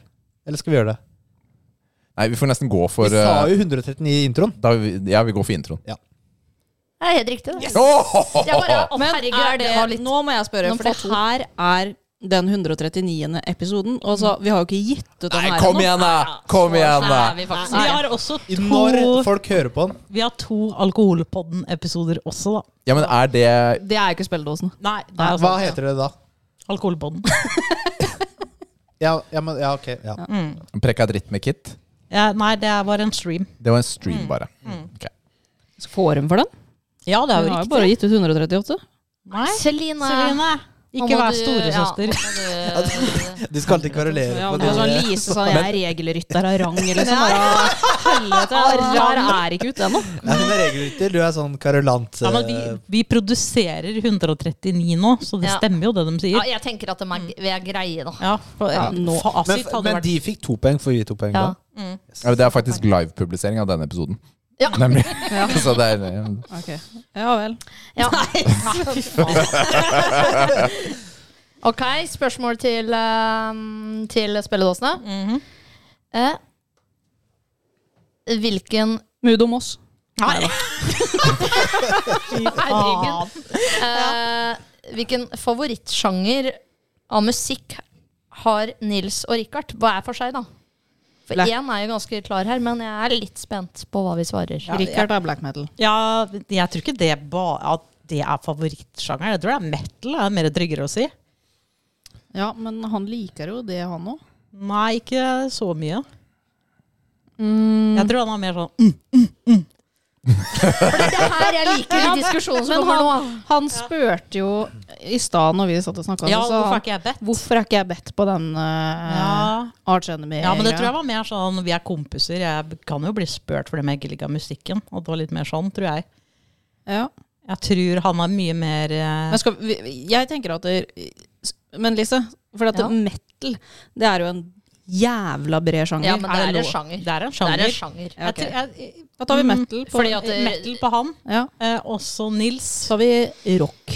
S5: Eller skal vi gjøre det?
S3: Nei, vi får nesten gå for
S5: vi sa
S3: eh,
S5: jo 139 i introen.
S3: da, vi- Ja, vi går for introen.
S6: Det er helt riktig. Det.
S3: (laughs) Åh!
S6: Jeg bare, å,
S4: Men
S6: herregud,
S4: er det,
S6: det var litt
S4: nå må jeg spørre,
S6: Nå
S4: for det
S6: får to.
S4: her er den 139. episoden. Og så, vi har jo ikke gitt ut den
S3: Nei,
S4: her
S3: kom
S4: ennå.
S3: igjen, da! Kom igjen, da!
S6: vi faktisk
S2: Vi har også
S5: Når
S2: to,
S5: folk hører på den.
S2: vi har to Alkoholpodden-episoder også, da.
S3: Ja, men er det
S4: Det er jo ikke spilledåsen.
S2: Nei, altså- det er
S5: Hva heter det da?
S2: Alkoholpodden.
S5: Ja, ja, men, ja ok. Ja.
S3: Prekka dritt med Kit?
S2: Ja, nei, det var en stream.
S3: Det var en
S6: Mm.
S3: stream, bare. Ok.
S4: Forum for den?
S2: Ja, det
S4: Vi
S2: er jo
S4: har jo
S2: riktig.
S4: bare gitt ut 138.
S2: Nei,
S6: Celine.
S2: Celine.
S6: Nå
S2: Ikke
S6: må
S2: vær
S6: du-
S2: storesøster.
S6: Ja, nå må du-
S5: De skal alltid kverulere
S4: Ja,
S5: på
S4: det er
S2: altså,
S5: det.
S4: sånn Lise sånn, jeg er regelrytter av rang, eller sånn. Bare, helvete, Arar er ikke ute ennå.
S5: Nei, hun er regelrytter. Du er sånn kverulant.
S2: Ja, men vi,
S5: eh,
S2: vi produserer 139 nå, så det
S6: Ja.
S2: stemmer jo det de
S6: ja,
S2: sier.
S6: jeg tenker at de er, vi er greie, da.
S2: Ja, for,
S4: nå.
S5: Men,
S2: Fasit hadde
S5: men
S2: vært
S5: de fikk to poeng, får vi to poeng
S6: Ja.
S5: da?
S3: Ja, det er faktisk livepublisering av denne episoden.
S6: (laughs) Ja.
S3: (laughs) Nemlig. Så det er, eh,
S4: Ja vel.
S6: Ja. (laughs) ok, spørsmål til, eh, til spilledåsene. eh, hvilken
S4: Mudo Moss.
S6: (laughs) Herregud. Eh, hvilken favorittsjanger av musikk har Nils og Richard? Hva er for seg, da? For
S4: Black.
S6: én er jo ganske klar her, men jeg er litt spent på hva vi svarer.
S4: Richard er black metal.
S2: Ja, jeg tror ikke det bare at det er favorittsjangeren. Jeg tror det er metal. Det er mer tryggere å si.
S4: Ja, men han liker jo det, han òg.
S2: Nei, ikke så mye. Jeg tror han er mer sånn mm.
S6: For det er det her jeg liker i diskusjonen som
S4: Men
S6: kommer nå.
S4: han, han spurte jo i stad når vi satt og snakka,
S2: Ja,
S4: så sa
S2: hvorfor er
S4: han
S2: ikke jeg bedt?
S4: Hvorfor er ikke jeg bedt på den eh,
S2: Ja.
S4: Arch Enemy?
S2: ja, men det tror jeg var mer sånn Vi er kompiser. Jeg kan jo bli spurt fordi jeg ikke liker musikken. Og det var litt mer sånn, tror jeg.
S4: Ja.
S2: Jeg tror han er mye mer eh,
S4: Men skal, vi- jeg tenker at det, Men Lise, for at
S6: Ja.
S4: metal det er jo en jævla bred sjanger.
S6: Ja, men det er
S2: lov?
S6: en sjanger.
S2: Det er en
S6: Det
S2: sjanger.
S6: er en sjanger.
S4: Ja, ok.
S2: Jeg tror- jeg, Mm.
S4: Da tar vi metal på
S6: Fordi at det-
S2: metal på han,
S4: ja.
S2: eh, også Nils.
S4: Så har vi rock.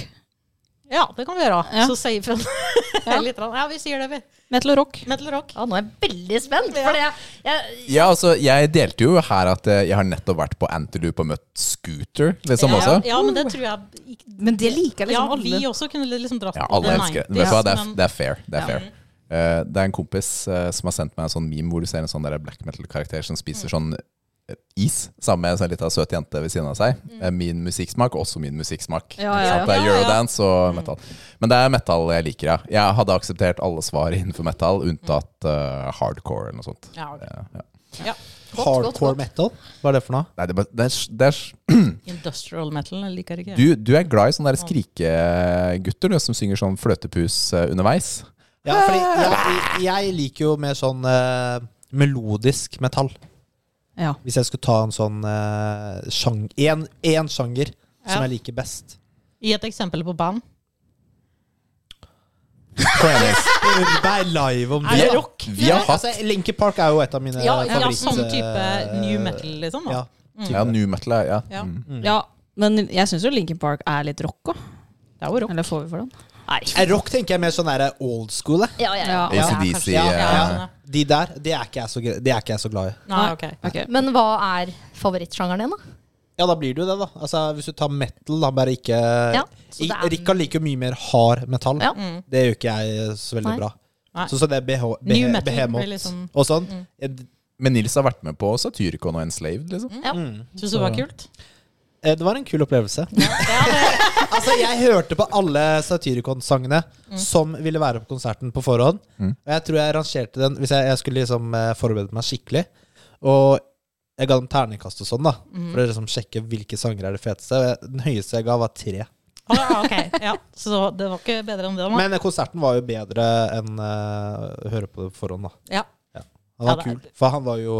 S2: Ja, det kan vi gjøre.
S4: Ja.
S2: Så safe han. Litt rann. ja, vi sier det, vi.
S4: Metal og rock.
S2: Metal rock.
S6: Ja, nå er jeg veldig spent. For jeg, jeg,
S3: ja, altså, jeg delte jo her at eh, jeg har nettopp vært på Antelope og møtt Scooter, liksom også.
S2: Ja, ja, men det tror jeg ikke-
S4: Men det liker
S2: Ja, vi også kunne liksom dratt
S3: Ja,
S2: på
S3: alle
S2: det
S3: elsker det.
S2: 90s,
S3: Vet du hva, det er,
S2: men-
S3: det er fair. Det er fair. Eh, det er en kompis eh, som har sendt meg en sånn meme hvor du ser en sånn der black metal-karakter som spiser sånn eh, is sammen med en sånn lita søt jente ved siden av seg. Eh, Min musikksmak, også min musikksmak.
S4: Ja,
S3: Ikke
S4: ja,
S3: sant? Det er eurodance og metal. Men det er metal jeg liker, ja. Jeg hadde akseptert alle svar innenfor metal, unntatt eh, hardcore eller noe sånt.
S2: Ja, ok.
S3: Eh, ja.
S6: godt,
S5: Hardcore
S6: godt.
S5: metal? Hva er det for noe?
S3: Nei, det er, bare- det er, det er
S2: Industrial metal jeg liker ikke jeg.
S3: du, du er glad i sånne der skrikegutter du, som synger sånn fløtepus eh, underveis.
S5: Ja, fordi jeg, jeg liker jo mer sånn eh, melodisk metall.
S4: Ja.
S5: Hvis jeg skulle ta en sånn eh, sjang, en, en sjanger
S2: Ja.
S5: som jeg liker best.
S2: Gi et eksempel på band.
S5: Spør meg live om
S2: Er det
S5: da.
S2: rock?
S3: Vi har hatt
S5: Altså, Linkin Park er jo et av mine
S2: Ja, ja
S5: favoritt...
S2: sånn type
S5: eh,
S2: new metal, liksom. Da.
S5: Ja, type.
S3: Ja, new metal er ja.
S2: Ja.
S3: Mm.
S4: Ja, men jeg syns jo Linkin Park er litt rock òg.
S2: Det er jo rock.
S4: Eller får vi for den?
S5: Eh, Rock tenker jeg mer sånn der old school. jeg.
S6: ja, ja, ja.
S4: Ja.
S3: ACDC.
S5: Ja,
S3: eh,
S2: ja.
S5: De der, det er, ikke jeg så, gre- det er ikke jeg så glad i.
S2: Nei, ok.
S4: Ok.
S6: Men hva er favorittsjangeren din, da?
S5: Ja, da blir det jo det, da. Altså, hvis du tar metal, da bare ikke
S6: Ja, så det
S5: I-
S6: er-
S5: Rikard liker jo mye mer hard metall.
S6: Ja.
S5: Det gjør ikke jeg så veldig
S6: Nei.
S5: bra.
S2: Nei.
S5: Sånn som det er BH,
S2: New metal
S5: Behemoth
S2: blir liksom-
S5: og sånn. Eh,
S3: Men Nils har vært med på Satyricon og Enslaved, liksom.
S2: Syns du det var kult?
S5: Eh, Det var en kul opplevelse. (laughs) altså, jeg hørte på alle Satyricon-sangene
S2: Mm.
S5: som ville være på konserten på forhånd. Og jeg tror jeg rangerte den hvis jeg, jeg skulle liksom eh, forberede meg skikkelig. Og jeg ga dem terningkast og sånn, da.
S2: Mm.
S5: For å liksom sjekke hvilke sanger er det feteste. Og jeg- Den høyeste jeg ga, var tre.
S2: Å, ja, ok. Ja. Så det var ikke bedre enn det, da?
S5: Men eh, konserten var jo bedre enn eh, å høre på det på forhånd, da.
S2: Ja.
S5: Han var
S2: Ja, det er-
S5: kul. For han var jo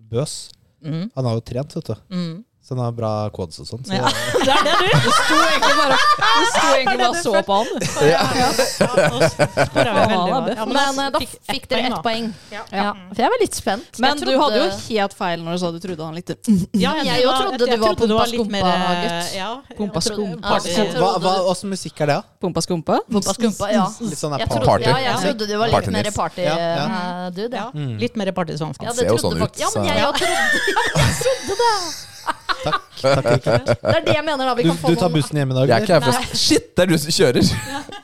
S5: bøs.
S2: Mm.
S5: Han har jo trent, vet du.
S2: Mm.
S5: Så han har bra kods og sånn. Så
S2: Ja. Det er det du
S4: Det sto egentlig (laughs) bare det sto egentlig bare og så på han.
S2: Ja, ja. nå sporer jeg veldig
S4: Ja,
S2: hva.
S4: det er
S2: Ja, men
S6: Men eh, da
S2: fikk
S6: fikk dere
S2: da.
S6: ett poeng. Ja. For jeg var litt spent.
S4: Men
S6: Jeg
S4: du hadde jo
S6: trodde-
S4: helt feil når du sa du trodde han likte (laughs) mm,
S2: Ja,
S6: Jeg jo
S2: tror-
S6: trodde du var pumpa
S2: litt mer,
S6: skumpa,
S2: eh,
S6: gutt.
S2: Ja,
S4: Pumpa
S2: jeg trodde-
S4: skumpa.
S2: party-
S6: Ja, jeg
S5: Hva, hva, åssen musikk er det, da?
S4: pumpa skumpa.
S6: Pumpa skumpa, ja.
S5: Litt sånn der
S6: Mm, Jeg
S5: party?
S6: trodde, ja, jeg
S2: Party.
S6: trodde du var litt
S3: Party
S6: mer
S3: Nils.
S6: party-dude.
S5: Ja,
S6: Ja,
S5: ja.
S2: Ja, litt mer partysonsk.
S6: Ja,
S3: ser
S6: det trodde
S3: jo sånn
S6: du
S3: ut,
S6: faktisk. Ja, men
S3: så-
S6: jeg, jeg, trodde, (laughs) det er det jeg mener, da. Vi
S5: Du,
S6: kan få sånn-
S5: du tar
S6: noen-
S5: bussen hjem i dag?
S3: Jeg er ikke her for å- Shit, det er du som kjører! (laughs)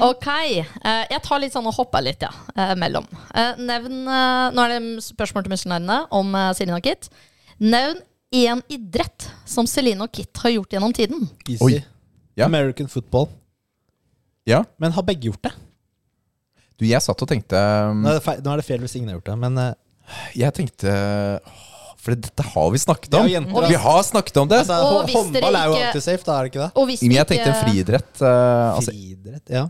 S6: Ok. eh, Jeg tar litt sånn og hopper litt, ja. eh, Mellom. Eh, Nevn eh, Nå er det spørsmål til muskelnerdene om eh, Celine og Kit. Nevn én idrett som Celine og Kit har gjort gjennom tiden.
S5: Easy.
S3: Oi. Ja.
S5: American football. Mm.
S3: Ja.
S5: Men har begge gjort det?
S3: Du, jeg satt og tenkte um,
S5: Nå er det feil, nå er det feil hvis ingen har gjort det, men eh,
S3: Jeg tenkte åh, For dette har vi snakket
S5: Ja,
S3: om.
S5: jenter,
S3: vi har snakket om det.
S5: Altså,
S6: Og
S5: hå-
S6: hvis dere
S5: håndball er jo
S6: ikke-
S5: alltid safe, da, er det ikke det?
S6: Og hvis
S3: Men jeg
S6: ikke-
S3: tenkte en friidrett. eh, altså,
S5: Friidrett, ja.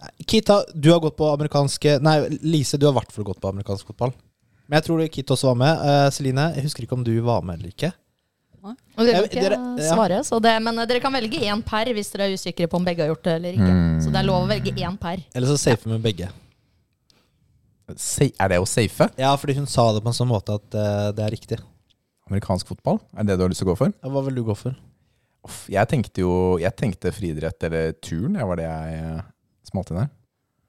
S5: Nei, Kita, du har gått på amerikanske Nei, Lise, du har i hvert fall gått på amerikansk fotball. Men jeg tror Kit også var med. Eh, Celine, jeg husker ikke om du var med eller ikke.
S6: Og dere
S5: Jeg-
S6: kan
S5: dere-
S6: ikke
S5: ja.
S6: svare, så det, men eh, dere kan velge én per hvis dere er usikre på om begge har gjort det eller ikke.
S3: Mm.
S6: Så det er lov å velge én per.
S5: Eller så safe med begge.
S3: sa- er det å safe?
S5: Ja, fordi hun sa det på en sånn måte at eh, det er riktig.
S3: Amerikansk fotball? Er det det du har lyst til å gå for?
S5: Hva vil du gå for?
S3: Uff, jeg tenkte jo Jeg tenkte friidrett eller turn. Det var det jeg eh, smalt inn her.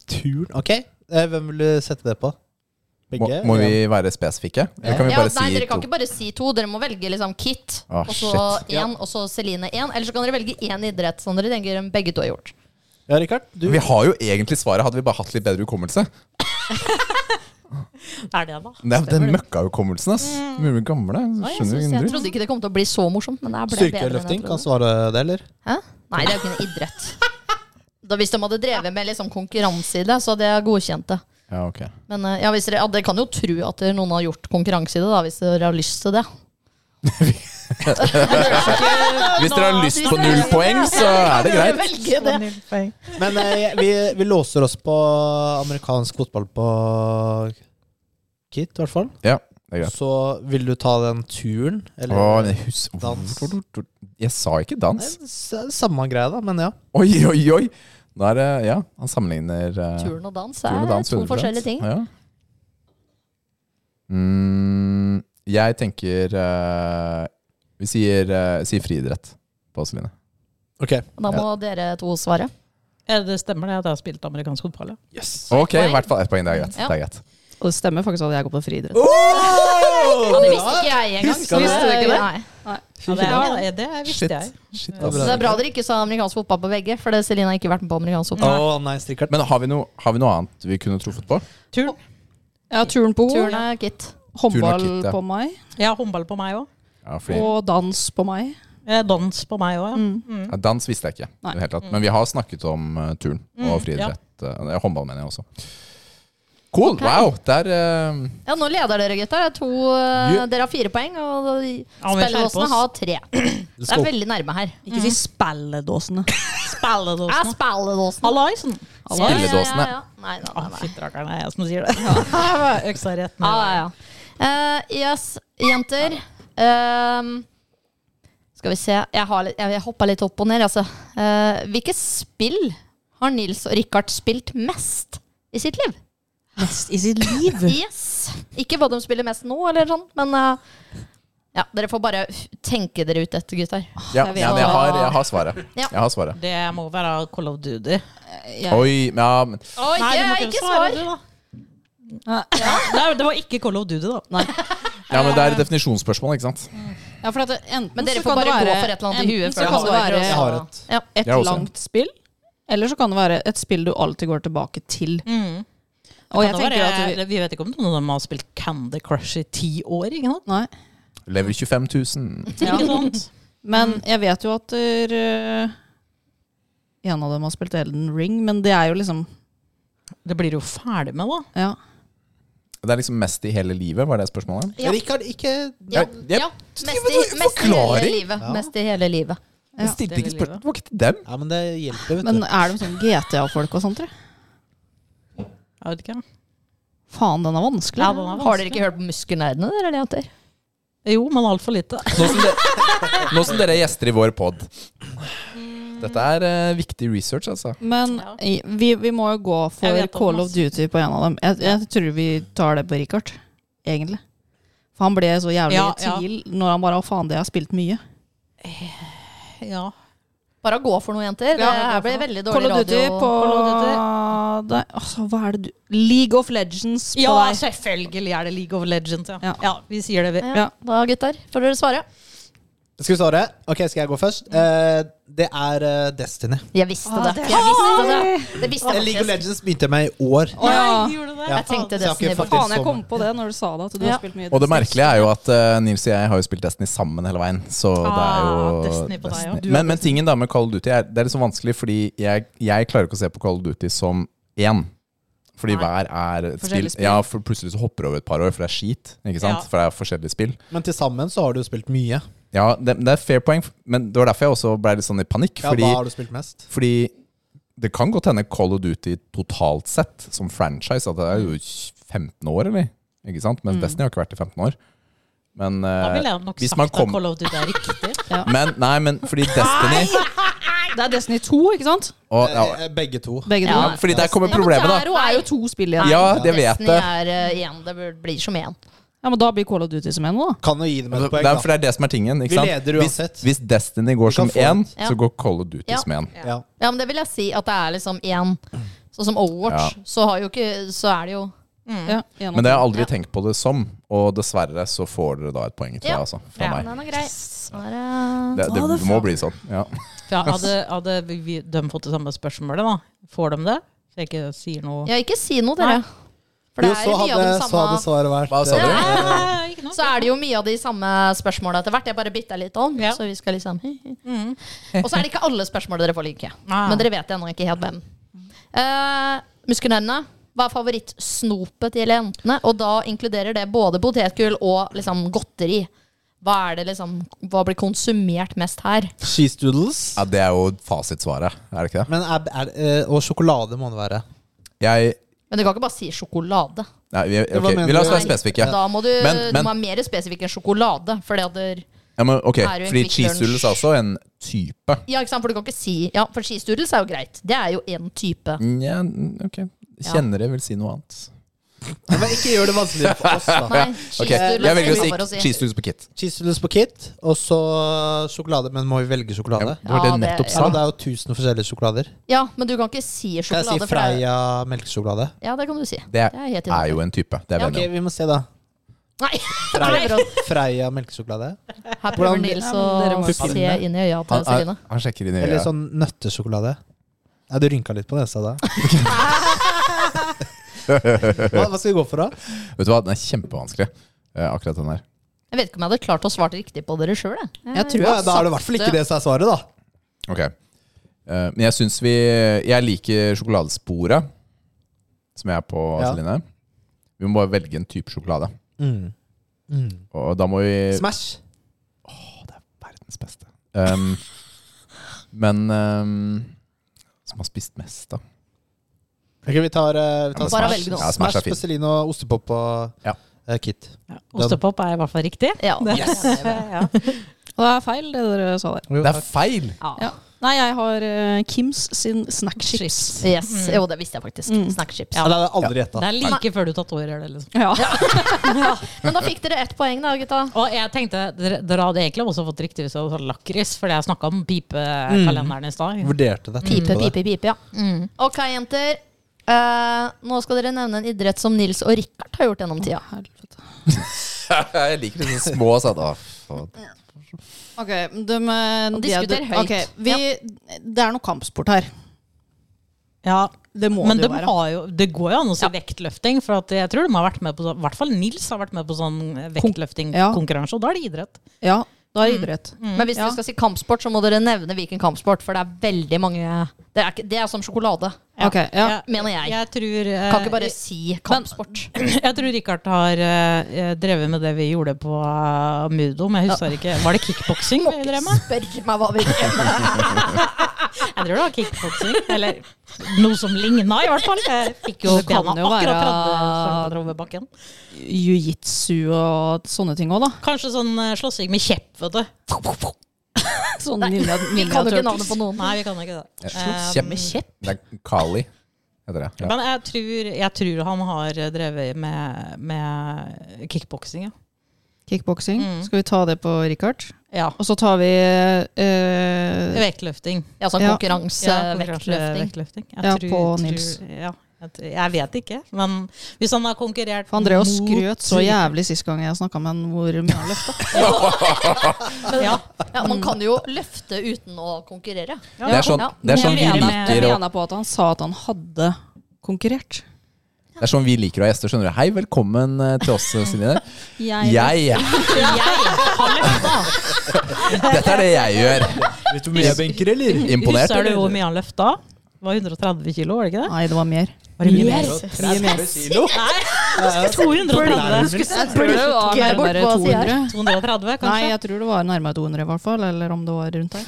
S5: Turn. Ok, eh, hvem vil du sette det på?
S3: Må,
S5: Begge?
S3: må vi være spesifikke? Eller kan vi
S6: Ja,
S3: bare
S6: nei, dere
S3: si
S6: kan
S3: to?
S6: ikke bare si to. Dere må velge liksom Kit,
S3: Ah,
S6: og så
S3: shit.
S6: én, og så Celine én. Eller så kan dere velge én idrett som dere tenker begge to har gjort.
S5: Ja, Rikard? Du?
S3: Vi har jo egentlig svaret, hadde vi bare hatt litt bedre hukommelse.
S2: Er det, da?
S3: Det er den møkkahukommelsen, ass. Vi er jo gamle. så
S6: Mm. Jeg,
S3: Skjønner jo ingen dritt.
S6: trodde ikke det kom til å bli så morsomt, men det ble
S5: Styrkeløfting, kan svare det, eller?
S6: Hæ? Nei, det er jo ikke en idrett. Da, hvis de hadde drevet med liksom konkurranse i det, så hadde jeg godkjent det.
S3: Ja, ok.
S6: Men eh, ja, hvis dere, ja, dere kan jo tro at dere- noen har gjort konkurranse i det, da, hvis dere har lyst til det.
S3: Hvis dere har lyst på null poeng, så er det greit.
S6: Velge det.
S5: Men eh, vi, vi låser oss på amerikansk fotball på Kit, i hvert fall.
S3: Ja, det er greit.
S5: Så vil du ta den turen? Eller?
S3: Å, men hus
S5: Dans.
S3: Jeg sa ikke
S5: Nei,
S3: dans.
S5: s- Samme greia, da, men ja.
S3: Oi, oi, oi! Da er det Ja, han sammenligner eh,
S6: Turn og dans
S3: turn
S6: er
S3: og dans
S6: to
S3: 100%.
S6: forskjellige ting.
S3: Ja. Mm, jeg tenker eh, Vi sier, eh, sier friidrett på Celine.
S5: Ok.
S6: Da må dere to svare.
S2: Eh, Det stemmer det at jeg har spilt amerikansk fotball, ja.
S3: Ok, i hvert fall ett poeng. Det er greit.
S6: Ja.
S3: Det er greit.
S4: Og det stemmer faktisk at jeg går på friidrett.
S6: Ja, det visste ikke jeg engang.
S5: Husker
S6: så-
S4: du ikke det?
S6: Nei.
S2: Ja, det, er, det visste
S3: Shit.
S2: jeg.
S3: Shit
S5: Ja,
S3: ass.
S6: Så det er bra dere ikke sa amerikansk fotball på begge, for det Celine har ikke vært med på amerikansk
S5: Å
S6: fotball.
S5: nei, Rikard.
S3: Men har vi, noe, har vi noe annet vi kunne truffet på?
S2: Turn.
S4: Ja, turen på
S6: Turn
S4: henne.
S6: er gitt.
S4: Håndball
S3: Turn og kitt, ja.
S4: på meg.
S2: Ja, håndball på meg òg.
S3: Ja, fordi,
S4: Og dans på meg.
S2: Eh, Dans på meg òg, ja.
S6: Mm.
S2: Mm.
S3: ja, dans visste jeg ikke. i
S4: Nei.
S3: det hele tatt. Men vi har snakket om eh, turn og friidrett. eh, håndball, mener jeg også. Cool! Wow! Der eh,
S6: Ja, nå leder dere, gutter. Det er to, eh, Dere har fire poeng,
S2: Ja,
S6: og
S2: men skjerp
S6: spilledåsene
S2: oss.
S6: har tre. Det er
S5: go.
S6: veldig nærme her.
S4: Ikke si spelledåsene.
S6: Er
S2: Spilledåsene.
S6: spilledåsene.
S2: Hallaisen!
S3: Spilledåsene.
S6: Ja, ja, ja. Nei, nei,
S2: Å,
S6: nei, nei.
S2: Fytti rakkeren, det er jeg som sier det. (laughs) Øksa rett
S6: (laughs) Ja, Ah.
S2: ned.
S6: ja, ja. Eh, yes, jenter. Ehm, skal vi se. Jeg, har, litt- jeg hoppa litt opp og ned, altså. Eh, hvilke spill har Nils og Richard spilt mest i sitt liv?
S4: I sitt liv.
S6: Yes. Ikke hva de spiller mest nå, eller sånn, men eh, ja, Dere får bare f- tenke dere ut dette, gutter.
S3: Ja,
S4: Jeg vet
S3: ja men jeg
S4: hva-
S3: har, jeg har svaret.
S6: Ja.
S3: Jeg har svaret.
S2: Det må være Call of Duty.
S3: Oi, men ja, men
S6: Oi,
S2: Nei, du må
S6: ikke
S2: svare,
S6: svar! Ah.
S2: du, da. Nei, det var ikke Call of Duty, da.
S3: Ja, men det er et definisjonsspørsmål, ikke sant?
S4: Ja, for at det- enten
S6: Men dere
S4: så
S6: får
S4: kan det
S6: bare gå
S4: være-
S6: for et eller annet i huet
S4: Enten så
S6: før
S4: kan
S6: dere svarer,
S4: det
S6: og
S5: Jeg
S6: så-
S5: har et.
S6: Ja.
S4: være
S3: Jeg har
S4: et
S3: også en.
S4: langt spill, eller så kan det være et spill du alltid går tilbake til. Og jeg
S2: Kan Mm. det
S4: tenker
S2: være-
S4: at vi,
S2: Vi vet ikke om noen av dem har spilt Candy Crush i ti år. Ikke sant?
S4: Nei.
S3: Lever 25 000.
S2: Ikke sant?
S4: Men
S2: Mm.
S4: jeg vet jo at der, eh, en av dem har spilt Elden Ring, men det er jo liksom
S2: Det blir du jo ferdig med, da.
S4: Ja.
S3: Det er liksom mest i hele livet, var det spørsmålet?
S6: Ja.
S5: Rikard, ikke
S6: Ja.
S3: Jeg- jeg-
S6: ja. Mest,
S3: Det var
S6: i, mest i
S3: en
S6: hele
S3: forklaring.
S6: livet. Mest i hele livet.
S4: Ja,
S3: Jeg stilte
S2: det
S3: ikke
S2: vil
S3: spørsmål, det var ikke til dem.
S5: Ja, men det hjelper, vet
S4: Men
S5: du.
S4: er de sånn GTA-folk og sånt, tror jeg?
S2: Jeg vet ikke.
S4: Faen, den er vanskelig.
S2: Ja, den er
S6: Har dere ikke hørt på Muskelnerdene, dere jenter?
S2: Jo, men altfor lite.
S3: Nå som, dere, nå som dere er gjester i vår pod. Dette er eh, viktig research, altså.
S4: Men i- vi, vi må jo
S2: Jeg
S4: gå for
S2: vet om
S4: Call of
S2: masse.
S4: Duty på en av dem. Jeg, jeg tror vi tar det på Richard, egentlig. For han ble så jævlig
S2: Ja,
S4: i tvil når han bare Å, faen, det har spilt mye.
S2: Ja.
S6: Bare gå for noe, jenter.
S2: Ja,
S6: det
S2: gå
S6: her
S2: for
S6: ble
S2: noe.
S6: veldig
S4: Call
S6: dårlig
S4: of Duty
S6: radio.
S4: på
S2: Call of Duty.
S4: deg. Altså, hva er det du League of Legends på
S2: ja,
S4: deg.
S2: selvfølgelig er det League of Legends. Ja,
S4: Ja.
S2: ja. vi sier det, vi.
S6: Ja,
S4: Ja.
S6: Da, gutter, får dere svare.
S5: Skal vi svare? Ok, skal jeg gå først? Eh, det er eh, Destiny.
S6: Jeg visste
S4: Ah,
S6: det.
S4: det er-
S6: Jeg visste det. det visste
S5: Eh,
S6: jeg
S5: League of
S6: faktisk.
S5: Legends begynte jeg med i år.
S4: Å, ja.
S2: gjorde det?
S5: Ja.
S6: Jeg
S5: Så
S6: tenkte
S5: jeg har ikke
S6: Destiny,
S5: fått
S6: faktisk.
S4: Faen, jeg kom på det når du sa det. At du
S6: Ja.
S4: har spilt mye
S3: Og det merkelige er jo at eh, Nils og jeg har jo spilt Destiny sammen hele veien. Så det er jo
S2: Ah, Destiny på deg, ja. Du
S3: Men, men tingen da med Call of Duty er, det er litt så vanskelig, fordi jeg, jeg klarer ikke å se på Call of Duty som én. Fordi hver er et spill.
S4: Forskjellige spill.
S3: Ja, for plutselig så hopper du over et par år, for det er skit. Ikke sant?
S2: Ja.
S3: For det er forskjellige spill.
S5: Men til sammen så har du spilt mye.
S3: Ja, det, det er fair poeng, men det var derfor jeg også ble litt sånn i panikk.
S5: Ja,
S3: fordi,
S5: Hva har du spilt mest?
S3: fordi det kan godt hende Call of Duty totalt sett, som franchise, at det er jo 15 år, eller? Ikke sant? Men Destiny har ikke vært i 15 år. Men,
S2: Da
S3: eh,
S2: ville jeg nok
S3: hvis
S2: sagt
S3: man
S2: at
S3: kom-
S2: Call of Duty er riktig.
S3: men Nei, men fordi Destiny
S4: Det er Destiny 2, ikke sant?
S3: og, ja,
S5: Eh, Begge to.
S4: Begge
S6: Ja.
S4: to.
S3: ja, Fordi der kommer
S6: Ja, men
S3: problemet,
S6: der
S3: da.
S6: også
S4: er jo to spill igjen. Ja.
S3: Ja, det vet
S6: Destiny
S3: jeg.
S6: er eh, igjen. Det blir- blir som én.
S4: men da blir Call of Duty som en nå. da.
S5: Kan jo gi dem et
S3: Altså, Det
S5: poeng,
S3: er, for
S5: da.
S3: det er det som er tingen.
S5: Vi
S3: Ikke sant?
S5: leder
S3: hvis,
S5: uansett.
S3: hvis Destiny går som
S5: kan få
S3: én,
S6: Ja.
S3: så går Call of Duty
S6: Ja.
S3: som én.
S5: Ja.
S6: Ja, men det vil jeg si at det er liksom én. Sånn som Overwatch, så, har jo ikke, så er det jo
S4: Ja, en av
S3: Men det har jeg aldri
S6: Ja.
S3: tenkt på det som, og dessverre så får dere da et poeng, tror
S6: Ja.
S3: jeg, altså. Fra
S2: Ja.
S3: meg.
S6: Den er grei. Bare-
S3: Det, det, må bli sånn. Ja.
S2: For ja, hadde, hadde vi, vi, de fått det samme spørsmålet, da? Får de det? Så jeg ikke sier noe
S6: Ja, ikke si noe, dere. For det
S5: Jo,
S6: er
S5: så
S6: jo mye av
S5: hadde,
S6: de
S5: så
S6: samme
S5: hadde svaret vært eh,
S3: Hva sa du?
S2: Nei, ikke noe.
S6: så er det jo mye av de samme spørsmåla etter hvert. Jeg bare bytta litt om.
S2: Ja.
S6: Så vi skal liksom (laughs)
S3: Mm.
S6: Og så er det ikke alle spørsmål dere får like.
S3: Ah.
S2: Nei.
S6: Men dere vet ennå ikke helt hvem. Uh, Muskernerdene. Hva er favorittsnopet til jentene? Og da inkluderer det både potetgull og liksom godteri. Hva er det liksom Hva blir konsumert mest her?
S5: Cheese doodles.
S3: ja, det er jo fasitsvaret, er det ikke det?
S5: Men er, er, eh, og sjokolade må det være.
S3: Jeg,
S6: Men du kan ikke bare si sjokolade.
S3: nei, vi,
S5: hva
S3: ok,
S5: mener
S3: vi la oss
S5: du?
S3: være spesifikke.
S6: Da må du,
S3: Men-
S6: du
S3: men-
S6: må være mer spesifikk enn sjokolade. For det at der-
S3: Ja, men, ok,
S6: Er du en
S3: fordi
S6: Quick
S3: cheese doodles
S6: Lunch?
S3: er også en type.
S6: ja, ikke sant? For du kan ikke si Ja, for skisturels er jo greit. Det er jo én type.
S3: Nja, ok. Kjennere vil si noe annet.
S5: Ja, Men ikke gjør det vanskeligere for oss, da.
S6: (laughs) Nei,
S3: Ok,
S6: cheesedoodles
S3: Jeg velger
S6: er
S3: å
S6: lov
S3: si cheese doodles på Kit.
S5: Cheese doodles på Kit, og så sjokolade. Men må vi velge
S3: Ja,
S5: sjokolade?
S3: det var
S6: Ja,
S3: det jeg
S6: det-
S3: nettopp
S5: Ja,
S3: sa.
S5: det er jo tusen forskjellige sjokolader.
S6: Ja, men du kan ikke si
S5: Kan jeg
S6: sjokolade.
S5: si
S6: for det er-
S5: Freia melkesjokolade?
S6: Ja, det kan du si.
S3: Det
S6: Det er helt
S3: er
S6: innafor.
S3: jo en type. Det er
S5: Ok,
S3: vi enige om.
S5: vi må se, da.
S6: Nei! (laughs)
S5: Freia, Freia melkesjokolade?
S6: Her prøver Nils
S4: dere
S6: å
S4: må
S6: se
S5: finne.
S6: inn i øya til
S3: Han,
S6: Celine.
S3: han, han sjekker inn i
S5: Eller
S3: øyet.
S5: sånn nøttesjokolade? Ja, du rynka litt på nesa (laughs) da. hva, hva skal vi gå for, da?
S3: Vet du hva, den er kjempevanskelig, eh, akkurat den der.
S6: Jeg vet ikke om jeg hadde klart å svare riktig på dere sjøl.
S4: Jeg tror
S5: Ja, da er det i hvert fall ikke det som er svaret, da.
S3: Ok. Eh, men jeg syns vi Jeg liker sjokoladesporet, som jeg er på,
S5: Ja.
S3: Celine. Vi må bare velge en type sjokolade.
S5: Mm. Mm.
S3: Og da må vi
S5: Smash.
S3: Verdens beste. Um, (laughs) men um, Som har spist mest, da.
S5: Ok, vi tar, eh, vi
S3: Ja,
S5: tar
S3: men
S6: Bare
S5: Smash.
S6: velg noe.
S3: Ja, Smash er
S5: Smash på
S3: fint.
S5: Celine og ostepop på
S3: Ja.
S5: eh, Kit.
S2: Ja, Ostepop er i hvert fall riktig.
S6: Ja.
S2: Ja.
S4: Det er feil, det dere sa der.
S3: Det er feil!
S4: Ja. Nei, jeg har eh, Kims sin snackchips.
S6: Yes. Jo, det visste jeg faktisk. Snackchips.
S5: Ja, det hadde jeg aldri gjetta.
S2: Det er like før du tatoverer det. liksom.
S4: Ja.
S6: Men da fikk dere ett poeng, da, gutta.
S2: Og jeg tenkte, Dere, dere hadde egentlig også fått riktig hvis dere hadde sagt lakris, fordi jeg snakka om
S4: Mm.
S2: pipekalenderen i stad.
S5: Vurderte
S3: Mm.
S5: det. tenkte
S6: Pipe,
S5: på det.
S6: pipe, pipe, ja. Ok, jenter. Eh, nå skal dere nevne en idrett som Nils og Richard har gjort gjennom tida.
S4: Helvete.
S3: (laughs) Jeg liker de små sånn. Å, faen.
S4: Ok, de, eh,
S6: Og
S4: de-
S6: diskuter høyt.
S4: ok, vi, Det er noe kampsport her.
S2: Ja,
S4: Det må
S2: Men de
S4: det jo være.
S2: har jo, det går jo an å si vektløfting, for at jeg tror de har vært med på sånn, i hvert fall Nils har vært med på sånn
S4: ja.
S2: vektløftingkonkurranse, og da er det idrett.
S4: Ja, da er det idrett.
S6: Men hvis
S4: Ja.
S6: dere skal si kampsport, så må dere nevne hvilken kampsport, for det er veldig mange Det er, ikke, det er som sjokolade,
S4: Ok, ja.
S6: mener jeg.
S2: Jeg tror, eh,
S6: Kan ikke bare si (laughs) kampsport.
S2: jeg tror Richard har eh, drevet med det vi gjorde på eh, Mudo, men jeg husker ikke. Var det kickboksing vi drev med?
S6: Spør meg hva vi gjør.
S2: Jeg tror det var kickboksing, eller noe som ligna i hvert fall. Jeg fikk jo
S4: Det kan
S2: bena
S4: jo være-
S2: akkurat 30 cm over bakken.
S4: Jiu-jitsu og sånne ting òg, da.
S2: Kanskje sånn eh, slåssing med kjepp, vet du.
S4: Sånne Sånn ninja,
S6: Vi kan jo ikke
S4: ninja
S6: navnet på noen.
S2: Nei, vi kan ikke det.
S3: Slåss kjepp med kjepp? Det er Kali, heter det. Ja.
S2: Men jeg tror, jeg tror han har eh, drevet med, med kickboksing, ja.
S4: Kickboksing.
S2: Mm.
S4: Skal vi ta det på Richard?
S2: ja.
S4: Og så tar vi eh,
S2: Vektløfting.
S6: Ja, sånn
S4: Ja.
S6: konkurransevektløfting.
S2: Vektløfting.
S4: Ja, på Nils.
S2: Tror, ja. Jeg tror- Jeg vet ikke, men hvis han har konkurrert
S4: For Andreas
S2: mot-
S4: skrøt så jævlig sist gang jeg snakka med han hvor mye han løfta.
S2: Ja.
S6: Ja, man kan jo løfte uten å konkurrere.
S3: Det er sånn, det er sånn vi
S2: Jeg
S4: Jeg
S3: liker å
S4: mener på at han sa at han hadde konkurrert.
S3: Det er sånn vi liker å ha gjester, skjønner du. Hei, velkommen eh, til oss, Celine. Jeg (laughs) Dette er det jeg gjør.
S5: Vet du hvor mye jeg benker, eller?
S3: Imponert,
S2: Husker du hvor
S3: eller?
S2: mye han løfta? Det var 130 kilo, var det ikke det?
S4: Nei, det var mer.
S2: Var det mye mer?
S6: Yes.
S5: Mye mer. Kilo?
S3: (laughs)
S2: Nei, 230.
S6: her borte på siden her.
S2: 230,
S4: Nei,
S2: kanskje?
S4: jeg tror det var nærmere 200 i hvert fall, eller om det var rundt der.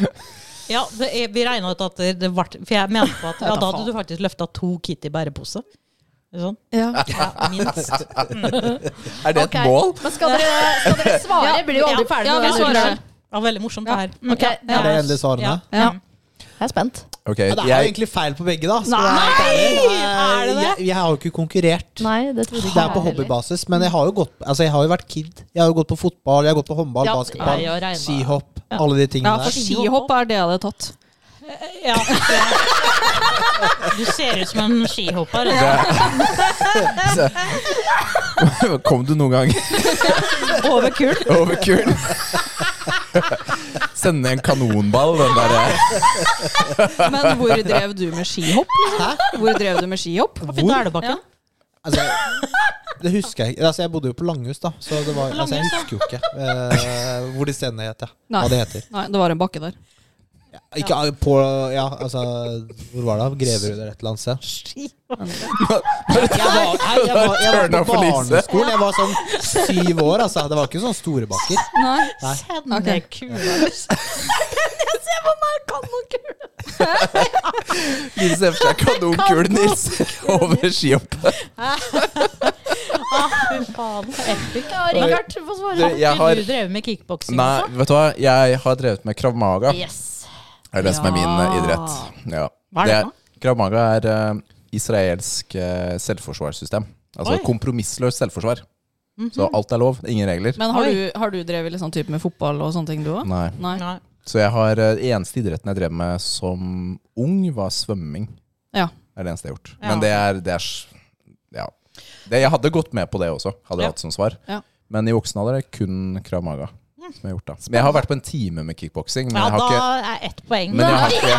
S2: Ja, det er, vi regna ut at det ble For jeg mente på
S4: (laughs)
S2: at ja,
S4: Jeg vet da
S2: da hadde du faktisk løfta to Kitty bærepose. Sånn. Ja, minst.
S3: Er det
S6: Ok,
S3: et mål?
S6: Men skal dere, skal (laughs) dere svare? Blir jo aldri ferdig
S4: ja,
S6: med
S4: vi
S6: det.
S4: svarer.
S2: Det var veldig morsomt, det her. Mm,
S6: Ok,
S2: ja.
S5: Er det endelig svarene?
S2: Ja.
S4: Ja.
S6: Jeg er spent.
S3: Ok,
S5: Ja, det er jo
S3: jeg,
S5: egentlig feil på begge, da. skal
S2: Nei!
S5: jeg være
S2: Er det
S5: ærlig.
S2: det?
S5: Jeg, jeg har jo ikke konkurrert.
S6: Nei, det trodde
S5: Det er på hobbybasis, men jeg har jo gått Altså jeg har jo vært kid. Jeg har jo gått på fotball, jeg har gått på håndball,
S6: Ja,
S5: basketball,
S2: jeg regner.
S5: skihopp. Alle de
S4: ja,
S5: tingene der.
S4: for skihopp er det jeg hadde tatt.
S2: Eh, Ja. (laughs) Du ser ut som en skihopper.
S3: (laughs) kom du noen gang
S2: Over kull.
S3: over kulen? Sende en kanonball, den der.
S4: Men hvor drev du med skihopp? Liksom? Hvor drev du med skihopp?
S2: Oppi Dalebakken.
S5: Altså, jeg- det husker jeg ikke. Altså, jeg bodde jo på Langhus, da, så det var, altså, jeg husker jo ikke eh, hvor de stedene het. Ja. Hva
S4: Nei.
S5: det heter.
S4: Nei, det var en bakke der.
S5: Ikke eh, på Ja, altså Hvor var det? Greverud eller et eller annet sted? Jeg var, nei, jeg var, jeg var
S3: Turn off
S5: på
S3: for Lise.
S5: barneskolen. Jeg var sånn syv år, altså. Det var ikke sånn store bakker.
S4: Nei.
S2: Sende kula.
S4: (laughs)
S3: Nils ser for seg kanonkul Nils
S2: (laughs)
S3: over skihoppet.
S4: Ah,
S6: Richard, du får svare.
S3: Du, Jeg har
S2: Du drev med kickboksing
S3: Nei,
S2: også?
S3: vet du hva? Jeg har drevet med krav maga.
S6: Yes.
S3: Det er det som er min eh, idrett. Ja.
S2: Hva er det for noe?
S3: Krav maga er eh, israelsk eh, selvforsvarssystem. Altså
S2: Oi.
S3: kompromissløst selvforsvar.
S2: Mhm.
S3: Så alt er lov. det er Ingen regler.
S4: Men har
S2: Oi.
S4: du, har du drevet litt sånn type med fotball og sånne ting, du òg?
S3: Nei.
S4: Nei.
S2: Nei.
S3: Så jeg har eh, eneste idretten jeg drev med som ung, var svømming.
S4: Ja.
S3: Det er det eneste jeg har gjort.
S2: Ja.
S3: Men det er, det er s- Ja. Det, jeg hadde gått med på det også, hadde jeg
S2: Ja.
S3: hatt som svar.
S4: Ja.
S3: Men i voksen alder er det kun krav maga som jeg har gjort, da. Men jeg har vært på en time med kickboksing, men
S2: Mm. Ja,
S3: jeg
S2: da
S3: har ikke
S2: er ett poeng.
S3: Men jeg har ikke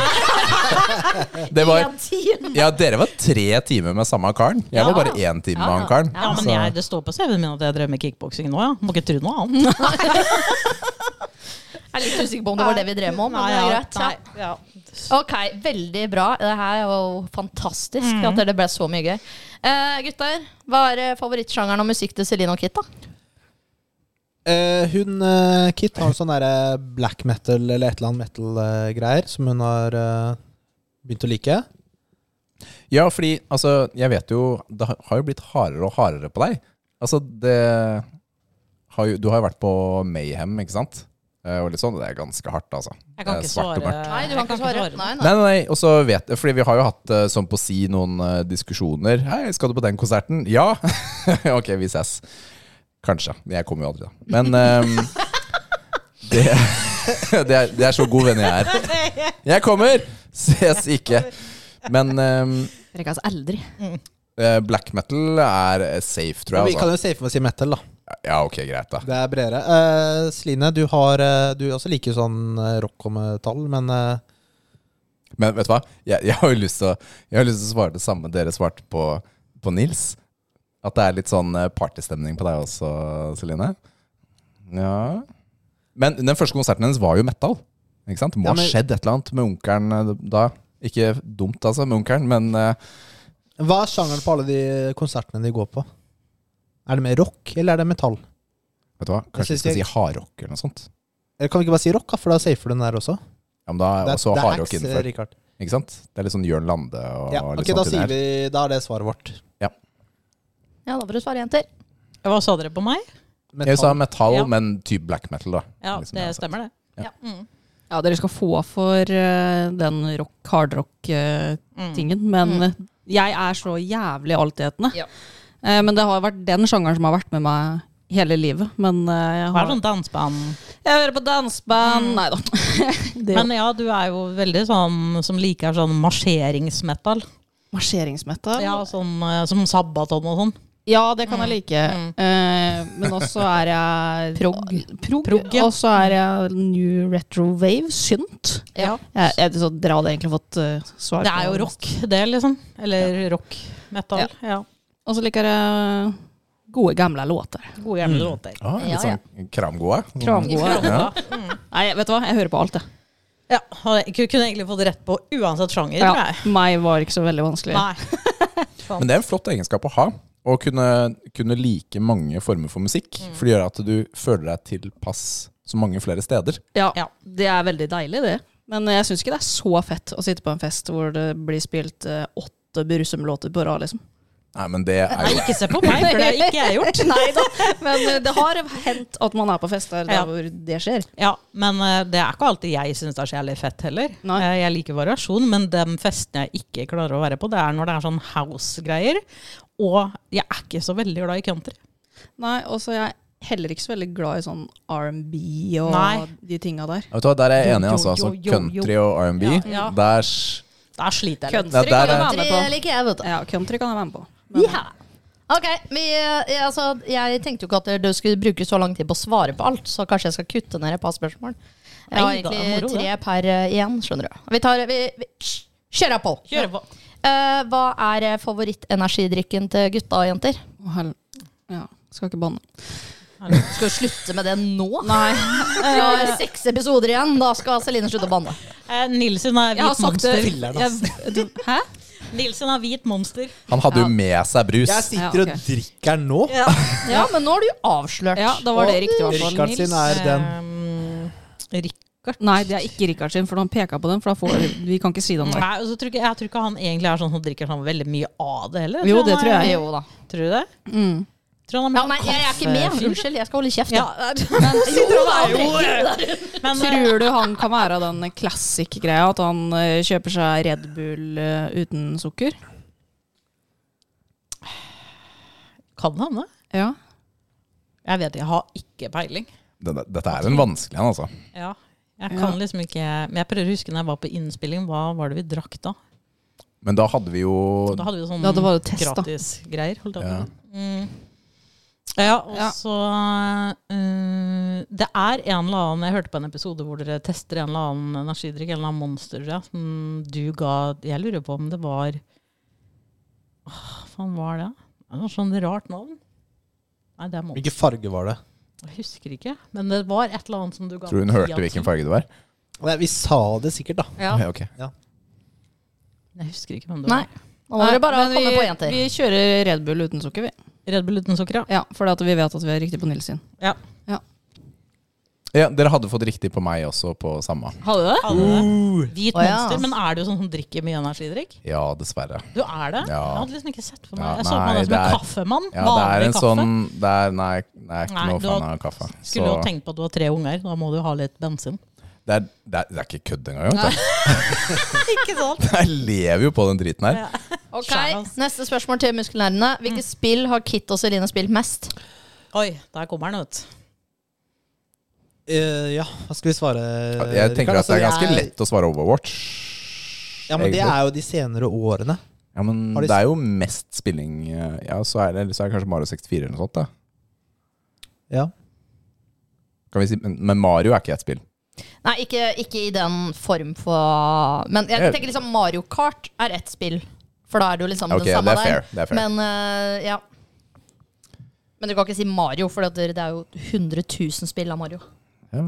S3: (laughs)
S2: (laughs)
S3: Det var
S6: Team.
S3: Ja, dere var tre timer med samme karen. Jeg var bare én time med han karen.
S2: Ja, men
S3: Så-
S2: jeg, Det står på CV-en min at jeg drev med kickboksing nå, ja. Må ikke tro noe annet.
S6: Jeg er litt usikker på om det var det vi drev med om, men
S2: Nei,
S6: det er
S2: ja,
S6: greit. Ja.
S2: nei, ja.
S6: Ok, veldig bra. Det her var jo fantastisk at det ble så mye gøy. Eh, gutter, hva er eh, favorittsjangeren og musikk til Celine og Kit, da?
S5: Eh, hun eh, Kit har sånn derre black metal eller et eller annet metal-greier som hun har eh, begynt å like.
S3: Ja, fordi altså, jeg vet jo Det har- har jo blitt hardere og hardere på deg. Altså, det har jo, Du har jo vært på Mayhem, ikke sant? Eh, Og litt sånn, Det er ganske hardt, altså.
S2: Jeg kan
S3: Det er
S2: ikke
S3: svart og
S2: svare.
S3: mørkt.
S6: Nei, du
S2: jeg
S6: kan ikke svare.
S2: Nei.
S6: Nei, nei.
S3: Nei, nei, nei. Og så vet Fordi vi har jo hatt eh, sånn på si noen eh, diskusjoner. Hei, skal du på den konserten? Ja! (laughs) ok, vi ses. Kanskje. Jeg kommer jo aldri, da. Men ehm, (laughs) det, (laughs) det, er, det er så god venn jeg er. Jeg kommer! Ses ikke. Men ehm,
S4: Rekas aldri.
S3: eh, black metal er eh,
S5: Men
S3: safe, tror
S5: vi
S3: jeg.
S5: kan
S3: Altså.
S5: jo safe med å si metal, da.
S3: Ja, ok, greit, da.
S5: Det er bredere. Eh, Sline, du, har, eh, du også liker jo sånn eh, rock og metall, men eh,
S3: Men vet du hva? Jeg, jeg har jo lyst til å Jeg har lyst til å svare det samme dere svarte på, på Nils. At det er litt sånn eh, partystemning på deg også, Celine. Ja Men den første konserten hennes var jo metal. Ikke sant? Det må
S5: Ja,
S3: ha
S5: men-
S3: skjedd et eller annet med onkelen eh, da. Ikke dumt, altså, med onkelen, men eh,
S5: hva er sjangeren på alle de konsertene de går på? Er det mer rock, eller er det metall?
S3: vet du hva?
S5: Jeg
S3: Kanskje vi
S5: synes
S3: skal
S5: jeg-
S3: si hardrock eller noe sånt.
S5: Eller kan vi ikke bare si rock, da, for da safer du den der også?
S3: Ja, men da er også
S5: det
S3: hardrock
S5: hacks, eh,
S3: innenfor.
S5: Richard.
S3: Ikke sant? Det er litt sånn Jørn Lande og
S5: Ja, ok,
S3: litt
S5: da,
S3: sånt.
S5: sier
S3: inni
S5: vi,
S3: der.
S5: da er det svaret vårt.
S6: Ja, da får du svare, (laughs) jenter.
S2: Hva sa dere på meg?
S3: Jeg sa metal,
S2: Ja.
S3: men type black metal, da.
S2: Ja,
S3: Liksom,
S2: det
S3: ja, sant.
S2: stemmer, det.
S4: Ja, dere skal få for eh, den rock, hardrock-tingen, men eh, jeg er så jævlig altetende.
S6: Ja.
S4: Eh, men det har vært den sjangeren som har vært med meg hele livet. Men eh, jeg
S2: Hva er
S4: har
S2: sånn danseband?
S4: Jeg hører på danseband Nei da. det
S2: Men ja, du er jo veldig sånn som liker sånn marsjeringsmetal.
S4: marsjeringsmetal.
S2: Ja, sånn, eh, som Sabaton og sånn.
S4: Ja, det kan jeg like. Eh, men også er jeg
S6: Prog.
S4: Prog,
S2: Mm. (laughs) Prog, ja.
S4: Og så er jeg new retro wave, synt.
S6: Ja.
S4: Jeg, jeg, så dere hadde egentlig fått eh, svar.
S2: Det er
S4: på
S2: jo rock, det, liksom. Eller rock metal. Ja.
S4: Og så liker jeg eh, gode, gamle låter.
S2: Gode gamle låter.
S3: Ah, litt
S6: Ja, ja.
S3: sånn kramgode.
S4: Kramgode.
S3: Ja.
S4: Nei, vet du hva? Jeg hører på alt, jeg.
S2: Ja, hadde- kunne egentlig fått rett på uansett sjanger,
S4: Ja,
S2: tror jeg.
S4: meg var ikke så veldig vanskelig.
S2: Nei.
S3: Men det er en flott egenskap å ha. Å kunne, kunne like mange former for musikk.
S2: Mm.
S3: For det gjør at du føler deg tilpass så mange flere steder.
S4: Ja,
S2: Ja.
S4: det er veldig deilig, det. Men jeg syns ikke det er så fett å sitte på en fest hvor det blir spilt eh, åtte Brusum-låter på rad, liksom.
S3: Nei, men det er jo
S2: Ikke se på meg, for det har ikke jeg gjort.
S4: Nei da, men eh, det har hendt at man er på fester der
S2: Ja.
S4: hvor det skjer.
S2: Ja, Men eh, det er ikke alltid jeg syns det er så jævlig fett heller.
S4: Nei.
S2: Eh, Jeg liker variasjon, men de festene jeg ikke klarer å være på, det er når det er sånn house-greier. Og jeg er ikke så veldig glad i country.
S4: Nei, og så er jeg heller ikke så veldig glad i sånn R&B og
S2: Nei.
S4: de tinga der.
S3: Vet du hva, Der er jeg enig. altså,
S2: Jo, jo,
S3: altså
S2: jo, jo.
S3: Country og R&B.
S2: Ja, ja.
S3: Der s-
S2: Der sliter jeg litt.
S4: Country
S3: Ja,
S4: kan
S3: der
S4: jeg
S3: er-
S4: være
S6: Tre
S4: med på.
S6: liker jeg, vet du.
S4: Ja, country kan jeg være med på.
S6: Ja. Ok, vi, eh, altså, Jeg tenkte jo ikke at du skulle bruke så lang tid på å svare på alt, så kanskje jeg skal kutte ned et par spørsmål. Jeg har
S2: Nei, da,
S6: egentlig
S2: moro,
S6: tre per eh, igjen, skjønner du. Vi tar vi, vi, Kjør på!
S2: Kjøre på.
S6: Eh, hva er eh, favorittenergidrikken til gutta og jenter?
S4: Å, hel- Ja, skal ikke banne.
S6: Skal du slutte med det nå? Nei. Vi har seks episoder igjen. Da skal Celine slutte å banne.
S2: Eh, Nilsen er hvit monster.
S4: Jeg- du- Hæ?
S2: Nilsen er hvit monster.
S3: Han hadde jo med seg brus.
S5: Jeg sitter
S4: Ja, ok.
S5: og drikker nå.
S6: Ja, men nå har du jo avslørt.
S4: Ja, da var det riktig, i hvert fall.
S5: Rikard sin er den.
S2: Um, Rikard.
S4: Nei, det er ikke Rikard sin, for han peker på den. For da får vi kan ikke si den der.
S2: Nei, og så tror ikke, jeg tror ikke han egentlig er sånn som drikker sånn veldig mye av det heller.
S4: Jo,
S2: han
S4: det tror
S2: er-
S4: jeg.
S6: Jo da.
S2: Tror du det?
S4: Mm.
S2: Tror han er
S6: Ja,
S2: mer
S6: nei, jeg er ikke med.
S2: kaffefyr?
S6: Unnskyld, jeg skal holde kjeft.
S2: Ja,
S6: Ja.
S2: men, eh,
S4: Tror du han kan være den classic-greia, at han eh, kjøper seg Red Bull eh, uten sukker?
S2: kan han det?
S4: Ja.
S2: Jeg vet, jeg har ikke peiling.
S3: Denne- Dette er en vanskelig en, altså.
S2: Ja, jeg kan liksom ikke Men jeg prøver å huske når jeg var på innspilling, hva var det vi drakk da?
S3: Men da hadde vi jo
S2: Da hadde vi jo sånn
S4: Ja, det var jo test, da.
S2: gratisgreier. holdt jeg på
S3: Ja.
S2: med. Mm. Ja, og
S4: Ja.
S2: så eh, Det er en eller annen Jeg hørte på en episode hvor dere tester en eller annen energidrikk, en eller annen monster, ja, som du ga Jeg lurer på om det var Hva faen var det? Det var sånn rart navn. Nei, det er monster.
S5: Hvilken farge var det?
S2: Jeg husker ikke. Men det var et eller annet som du ga
S3: Tror du hun
S2: ti
S3: hørte
S2: av ti.
S3: hvilken farge det var?
S5: Nei, vi sa det sikkert, da.
S6: Ja.
S3: Ok, ok.
S2: Jeg husker ikke hvem det
S6: Nei.
S2: var.
S6: Nå må dere bare
S4: Nei, men
S6: komme
S4: vi,
S6: på jenter.
S4: Vi kjører Red Bull uten sukker, vi.
S2: Red Bull uten sukker, ja.
S4: Ja, For at vi vet at vi er riktig på Nils sin.
S2: ja.
S3: Ja, dere hadde fått riktig på meg også på samme.
S4: Hadde du det?
S2: Alle. Uh. Hvit
S6: Å, ja.
S2: monster. Men er du sånn som drikker mye energidrikk?
S3: Ja, dessverre.
S2: Du er det?
S3: Ja.
S2: Jeg hadde liksom ikke sett for meg.
S3: Ja,
S2: jeg så på
S3: nei,
S2: deg som
S3: det
S2: en
S3: er-
S2: kaffemann.
S3: Ja, det er
S2: vanlig
S3: en
S2: kaffe.
S3: sånn det er, Nei, jeg er ikke
S2: Nei,
S3: noe
S2: du
S3: fan
S2: har-
S3: av kaffe.
S2: Skulle jo tenke på at du har tre unger. Da må du ha litt bensin.
S3: det er, det, er, det er ikke kødd engang. vet du. (laughs)
S2: ikke sant?
S3: Jeg lever jo på den driten her.
S2: Ja.
S6: Ok,
S2: Skjæras.
S6: Neste spørsmål til muskelnerdene. Hvilke spill har Kit og Celine spilt mest?
S2: Oi, der kommer den ut.
S5: Eh, ja, hva skal vi svare?
S3: Jeg tenker
S5: Rikard?
S3: at det er
S5: Altså,
S3: ganske
S5: jeg-
S3: lett å svare Overwatch.
S5: Ja, men Det
S3: egentlig.
S5: er jo de senere årene.
S3: ja, men
S5: Har de-
S3: det er jo mest spilling eh, Ja, så er det, eller så er det kanskje Mario 64 eller noe sånt. da
S5: Ja.
S3: kan vi si, men, men Mario er ikke et spill.
S6: Nei, ikke, ikke i den form for Men jeg tenker liksom Mario Kart er ett spill. For da er det jo liksom
S3: Ok, det
S6: den
S3: er
S6: samme
S3: fair.
S6: der.
S3: Det er fair.
S6: Men eh, ja. Men du kan ikke si Mario, for det det er jo 100 000 spill av Mario.
S3: Ja.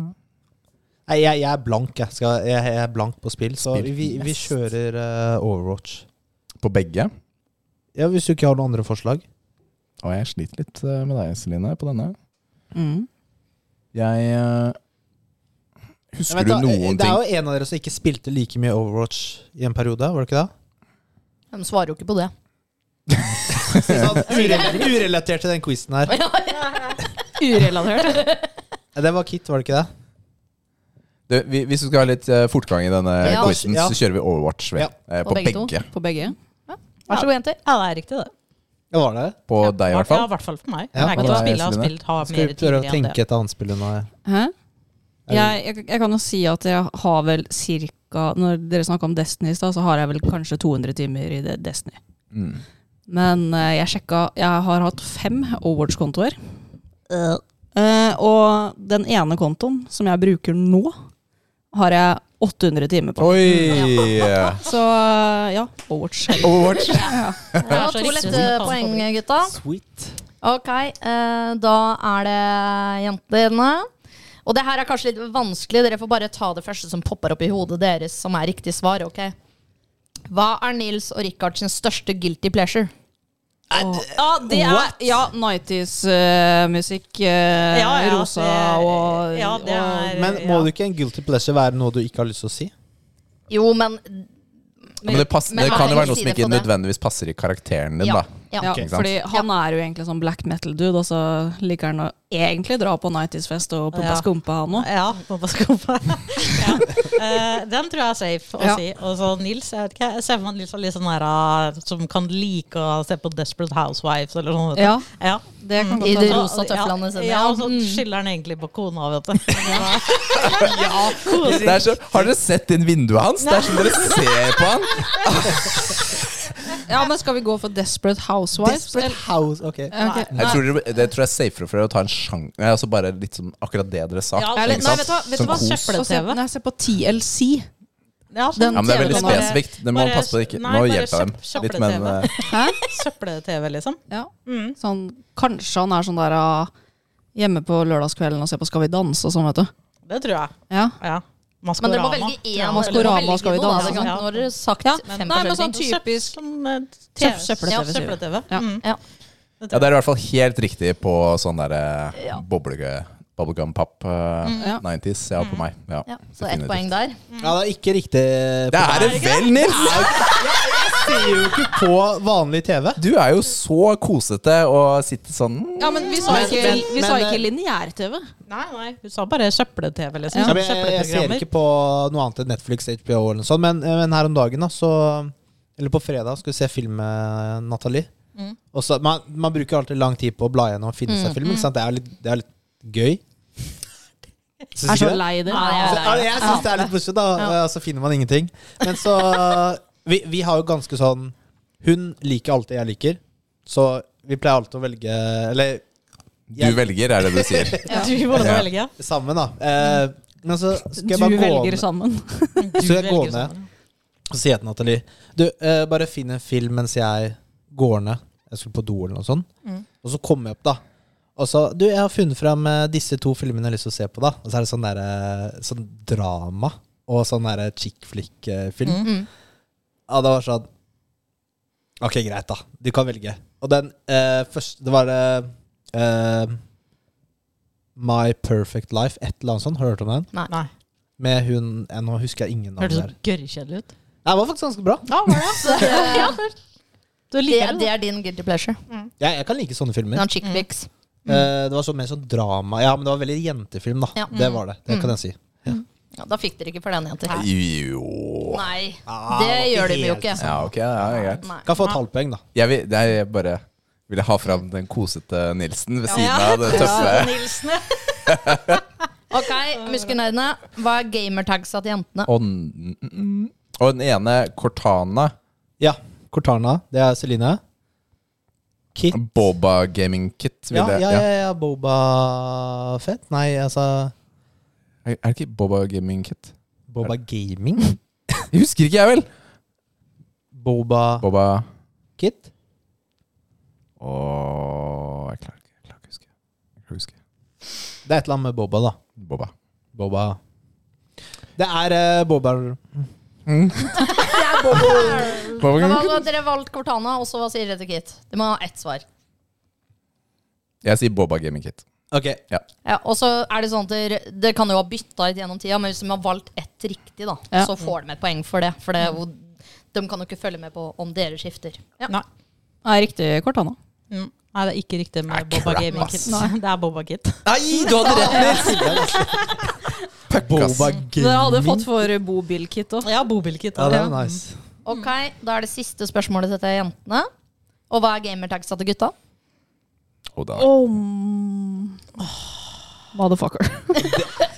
S5: Nei, jeg, jeg er blank, jeg. Skal, jeg. Jeg er blank på spill, så
S3: Spill
S5: vi, vi
S3: mest.
S5: kjører eh, Overwatch.
S3: På begge.
S5: Ja, Hvis du ikke har noen andre forslag.
S3: Og jeg sliter litt eh, med deg, Celine, på denne.
S4: Mm.
S3: Jeg eh,
S5: Jeg
S3: Husker
S5: vet
S3: du
S5: da, eh,
S3: noen
S5: det er
S3: ting
S5: jo en av dere som ikke spilte like mye Overwatch i en periode, var det ikke det?
S6: De svarer jo ikke på (laughs) det.
S5: (laughs) (laughs) Sånn, urel- Urelatert til den quizen her.
S4: Urelatert.
S5: Det var Kit, var det ikke det?
S3: du, vi- Hvis du skal ha litt eh, fortgang i denne
S6: Ja.
S3: quizen,
S5: Ja.
S3: så kjører vi Overwatch vi.
S5: Ja.
S3: Eh,
S6: På
S3: på
S6: begge
S3: begge.
S6: to.
S4: På begge.
S6: Vær så god, jenter.
S2: Ja, det er riktig, det.
S5: Ja, var det?
S3: På deg, i hvert
S2: Ja,
S3: fall.
S2: i hvert fall for meg. det
S5: Ja,
S2: er
S3: og
S2: ikke noe
S3: deg,
S2: spill jeg har
S3: Celine.
S2: spilt har
S5: Skal
S2: mer
S5: vi prøve å
S2: tidligere enn
S5: tenke
S2: det.
S5: et annet spill enn det?
S4: Hæ?
S5: Er det-
S4: Jeg, jeg, jeg kan jo si at jeg har vel cirka Når dere snakka om Destiny i stad, så har jeg vel kanskje 200 timer i det- Destiny.
S3: Mm.
S4: Men eh, jeg sjekka Jeg har hatt fem Overwatch-kontoer. Eh, og den ene kontoen som jeg bruker nå, har jeg 800 timer på.
S3: Oi!
S4: Så eh, ja, Overwatch.
S3: Overwatch.
S6: Det var
S2: så
S6: to
S2: riktig
S6: lette
S2: som
S6: poeng,
S2: kan
S6: gutta.
S5: Sweet.
S6: Ok, eh, da er det jentene. Og det her er kanskje litt vanskelig. Dere får bare ta det første som popper opp i hodet deres, som er riktig svar. ok? Hva er Nils og Richard sin største guilty pleasure?
S4: Ja, det er
S2: What?
S4: ja, 90s-musikk.
S2: Ja, ja,
S4: eh, rosa
S2: det-
S4: og
S2: ja, det
S4: og-
S2: er-
S5: Men må du ikke en guilty pleasure være noe du ikke har lyst til å si?
S6: Jo, men
S3: Men det, passer,
S6: men
S3: det kan jo
S6: her
S3: være noe
S6: sier
S3: som
S6: det
S3: ikke
S6: på det.
S3: nødvendigvis passer i karakteren din,
S6: ja,
S3: da.
S6: ja.
S4: Ja,
S3: Ikke sant?
S4: fordi han er jo egentlig sånn black metal-dude, og så liker han å egentlig dra på 90s-fest og pumpe
S2: Ja.
S4: skumpe, han òg. (laughs)
S2: Ja, pappa skuffa. (laughs) ja. Eh, den tror jeg er safe å
S4: Ja.
S2: si. Og så Nils, jeg vet ikke, jeg ser for meg at Nils er litt sånn her ah, som kan like å se på Desperate Housewives eller sånn. vet du.
S4: Ja,
S2: Ja. Mm.
S4: det kan
S6: I
S4: godt
S6: det
S4: hende.
S6: rosa tøflene sine.
S2: Ja,
S6: Ja,
S2: og så
S4: Mm.
S2: skylder han egentlig på kona,
S4: (laughs)
S2: vet du.
S3: Det er så, har dere sett inn vinduet hans? Det er som dere ser på han.
S4: Ja, men skal vi gå for Desperate Housewives?
S5: Desperate House, ok.
S4: eller- Ok.
S3: Jeg tror det, det tror jeg er safere for dere å ta en sjang... Nei, altså bare litt som akkurat det dere sa.
S2: Ja,
S4: Eller-
S3: ikke
S4: Nei,
S3: sant?
S4: vet du hva, vet du
S3: Som
S4: hva
S3: kos.
S2: søppel-
S4: Så se-
S2: TV.
S4: Nei, se på TLC.
S2: Ja,
S4: Den-
S3: Ja, men det er veldig
S4: Bare-
S3: spesifikt. Det må man
S2: bare
S3: passe på. Ikke.
S2: nei,
S3: Nå
S2: bare
S3: hjelper
S2: kjapp-
S3: jeg dem litt, men
S2: kjappere
S3: eh,
S4: Hæ?
S2: søppel-TV, liksom.
S4: Ja.
S2: Mm.
S4: Sånn, kanskje han er sånn der ah, hjemme på lørdagskvelden og ser på Skal vi danse og sånn, vet du.
S2: Det tror jeg.
S4: Ja.
S2: Ja.
S6: Men dere
S2: Maskorama.
S6: må velge én.
S4: Ja,
S6: dere må
S4: Maskorama
S6: velge
S4: skal vi
S6: noe, da.
S4: danse.
S6: Ikke sant?
S2: Ja.
S6: Nå har dere sagt
S4: Ja,
S6: fem
S4: nei, men
S6: forskjellige
S4: sånn
S6: ting.
S4: typisk-
S2: Som, eh,
S4: Søp-
S2: TV.
S4: søppel-TV,
S2: Ja,
S4: sier vi.
S2: søppel-TV.
S4: Ja.
S2: Mm.
S6: Ja.
S3: ja, Det er i hvert fall helt riktig på sånn derre ja. bubblegum-pop. eh,
S4: Ja.
S3: 90s. Ja, på meg. Ja.
S6: Ja, så ett poeng
S4: (laughs)
S6: der.
S5: Ja, det er ikke riktig. eh,
S3: Det er det vel, Nils!
S5: ser jo ikke på vanlig TV.
S3: Du er jo så kosete og sitter sånn mm.
S4: ja, men vi sa
S5: Men-
S4: ikke,
S5: men-
S4: vi sa
S5: men- eh,
S4: ikke lineær-TV.
S2: Nei, nei, hun sa bare søppel-TV, liksom.
S5: Ja, men jeg, jeg ser ikke på noe annet enn Netflix, HBO eller noe sånt, men, eh, men her om dagen, da, så Eller på fredag skulle vi se film med Nathalie.
S4: Mm.
S5: Og så, man, man bruker jo alltid lang tid på å bla gjennom og finne seg film. Ikke sant? Det, er litt, det er litt gøy. Syns
S4: Er
S5: ikke
S4: så
S5: det?
S4: lei det.
S6: Nei,
S5: Så, ja, jeg syns det er litt morsomt, da. eh, Så finner man ingenting. Men så (laughs) vi, vi har jo ganske sånn Hun liker alltid jeg liker, så vi pleier alltid å velge Eller
S3: Du velger, er det du sier.
S2: Du må også
S3: Ja.
S2: velge.
S5: sammen, da. Eh, men så skal jeg
S4: Du
S5: bare gå
S4: velger
S5: ned,
S4: sammen.
S2: Du
S5: Så jeg går
S2: velger
S5: ned.
S2: sammen.
S5: og sier jeg til Nathalie Du, eh, bare finn en film mens jeg går ned. Jeg skulle på do eller noe sånt. Og så kommer jeg opp, da. Og så Du, jeg har funnet fram eh, disse to filmene jeg har lyst til å se på, da. Og så er det sånn derre Sånn drama og sånn derre chick flick-film. Ja, det var sånn Ok, greit, da. Du kan velge. Og den eh, første Det var eh, eh, My Perfect Life, et eller annet sånt. Har du hørt om den?
S2: Nei.
S5: Med hun eh, Nå husker jeg ingen navn
S2: Hørtes så
S5: der.
S2: gørrkjedelig ut.
S5: Nei, det var faktisk ganske bra.
S2: Ja, var det?
S6: Ja,
S2: (laughs) Du
S6: det,
S2: liker
S6: det
S2: det,
S6: er din guilty pleasure.
S4: Mm.
S5: Jeg, jeg kan like sånne filmer.
S6: Den har chick flicks.
S5: Eh, det var så mer sånn drama. Ja, men det var veldig jentefilm, da.
S6: Ja.
S5: Det var det. Det kan jeg si.
S6: Ja, da fikk dere ikke for den, jenter.
S3: Jo
S6: Nei,
S5: Ah,
S6: det
S5: det var
S6: gjør
S5: ikke
S6: de jo
S5: helt
S6: ikke.
S3: Ja, ok. Ja, det er greit.
S6: Nei.
S5: Kan få et halvt poeng, da.
S3: Jeg, vil, nei, jeg bare ville ha fram den kosete Nilsen ved siden av det
S2: da.
S3: tøffe.
S2: Nilsen,
S6: Ok, muskernerdene. Hva er gamertagsa til jentene?
S3: Og, n- n- og den ene, Cortana,
S5: Ja. Cortana. Det er Celine. Kit.
S3: Boba Gaming Kit.
S5: Ja,
S3: Ville,
S5: ja,
S3: ja.
S5: ja, ja. Boba Fett. Nei, altså
S3: Er er det ikke Boba Gaming Kit?
S5: Boba Gaming?
S3: Jeg husker ikke, jeg vel!
S5: Boba
S3: Boba
S5: Kit?
S3: Åh, jeg klarer ikke jeg klarer ikke å huske. Jeg klarer ikke å huske.
S5: Det er et eller annet med Boba, da.
S3: Boba.
S5: Boba Det er eh, Boba
S3: Boba
S6: Hva
S3: Gaming Kit?
S6: hadde dere valgt Cortana, og så hva sier dere til Kit? Du må ha ett svar.
S3: Jeg sier Boba Gaming Kit.
S5: Ok.
S6: Ja, og så er Det sånn at dere, dere kan jo ha bytta ut gjennom tida, men hvis de har valgt ett riktig, da,
S4: Ja.
S6: så får de et poeng for det. For det, er jo- de kan jo ikke følge med på om dere skifter. Ja.
S2: (laughs) Nei.
S4: Nei, riktig Cortana.
S2: Mm. Nei, det er ikke riktig med
S3: Ah,
S2: Boba
S3: crap,
S2: Gaming Kit.
S3: ass.
S2: Nei, (laughs) Det er Boba Kit.
S3: Nei, du hadde rett, Nils!
S5: Boba
S4: Det hadde
S5: Gaming.
S4: jeg fått for bobilkit òg.
S2: Ja, Bobil-Kit.
S5: Ja, det er nice.
S6: Ok, Da er det siste spørsmålet til dette jentene. Og hva er gamertagsa til gutta?
S3: Oh, da.
S4: Motherfucker.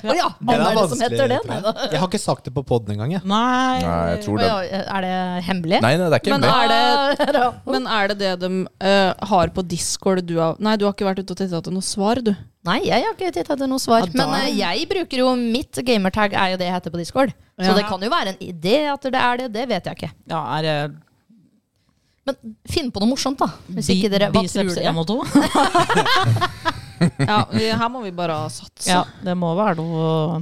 S6: Å ja,
S5: Det
S6: hva
S5: er
S6: er det som
S5: vanskelig,
S6: heter det?
S5: tror
S6: Nei,
S5: jeg.
S6: da.
S5: Jeg har ikke sagt det på poden engang, jeg.
S2: Nei,
S3: Nei, jeg tror
S6: Å
S3: det.
S6: ja, er det hemmelig?
S3: Nei, nei, det er ikke
S4: Men
S3: hemmelig.
S4: er det
S6: Er (laughs) det-
S4: Men er det det de eh, har på Discord du har Nei, du har ikke vært ute og titta etter noe svar, du.
S6: Nei, jeg har ikke titta til noe svar.
S4: Ja, da-
S6: Men eh, jeg bruker jo mitt gamertag, er jo det jeg heter på Discord. Så
S4: Ja.
S6: det kan jo være en idé at det er det. Det vet jeg ikke.
S2: Ja, er det
S6: Men finn på noe morsomt, da. Hvis
S2: bi-
S6: ikke dere Hva tror
S2: biceps
S6: dere?
S2: 1 og 2?
S4: Ja, vi, Her må vi bare satse.
S2: Ja, det må være noe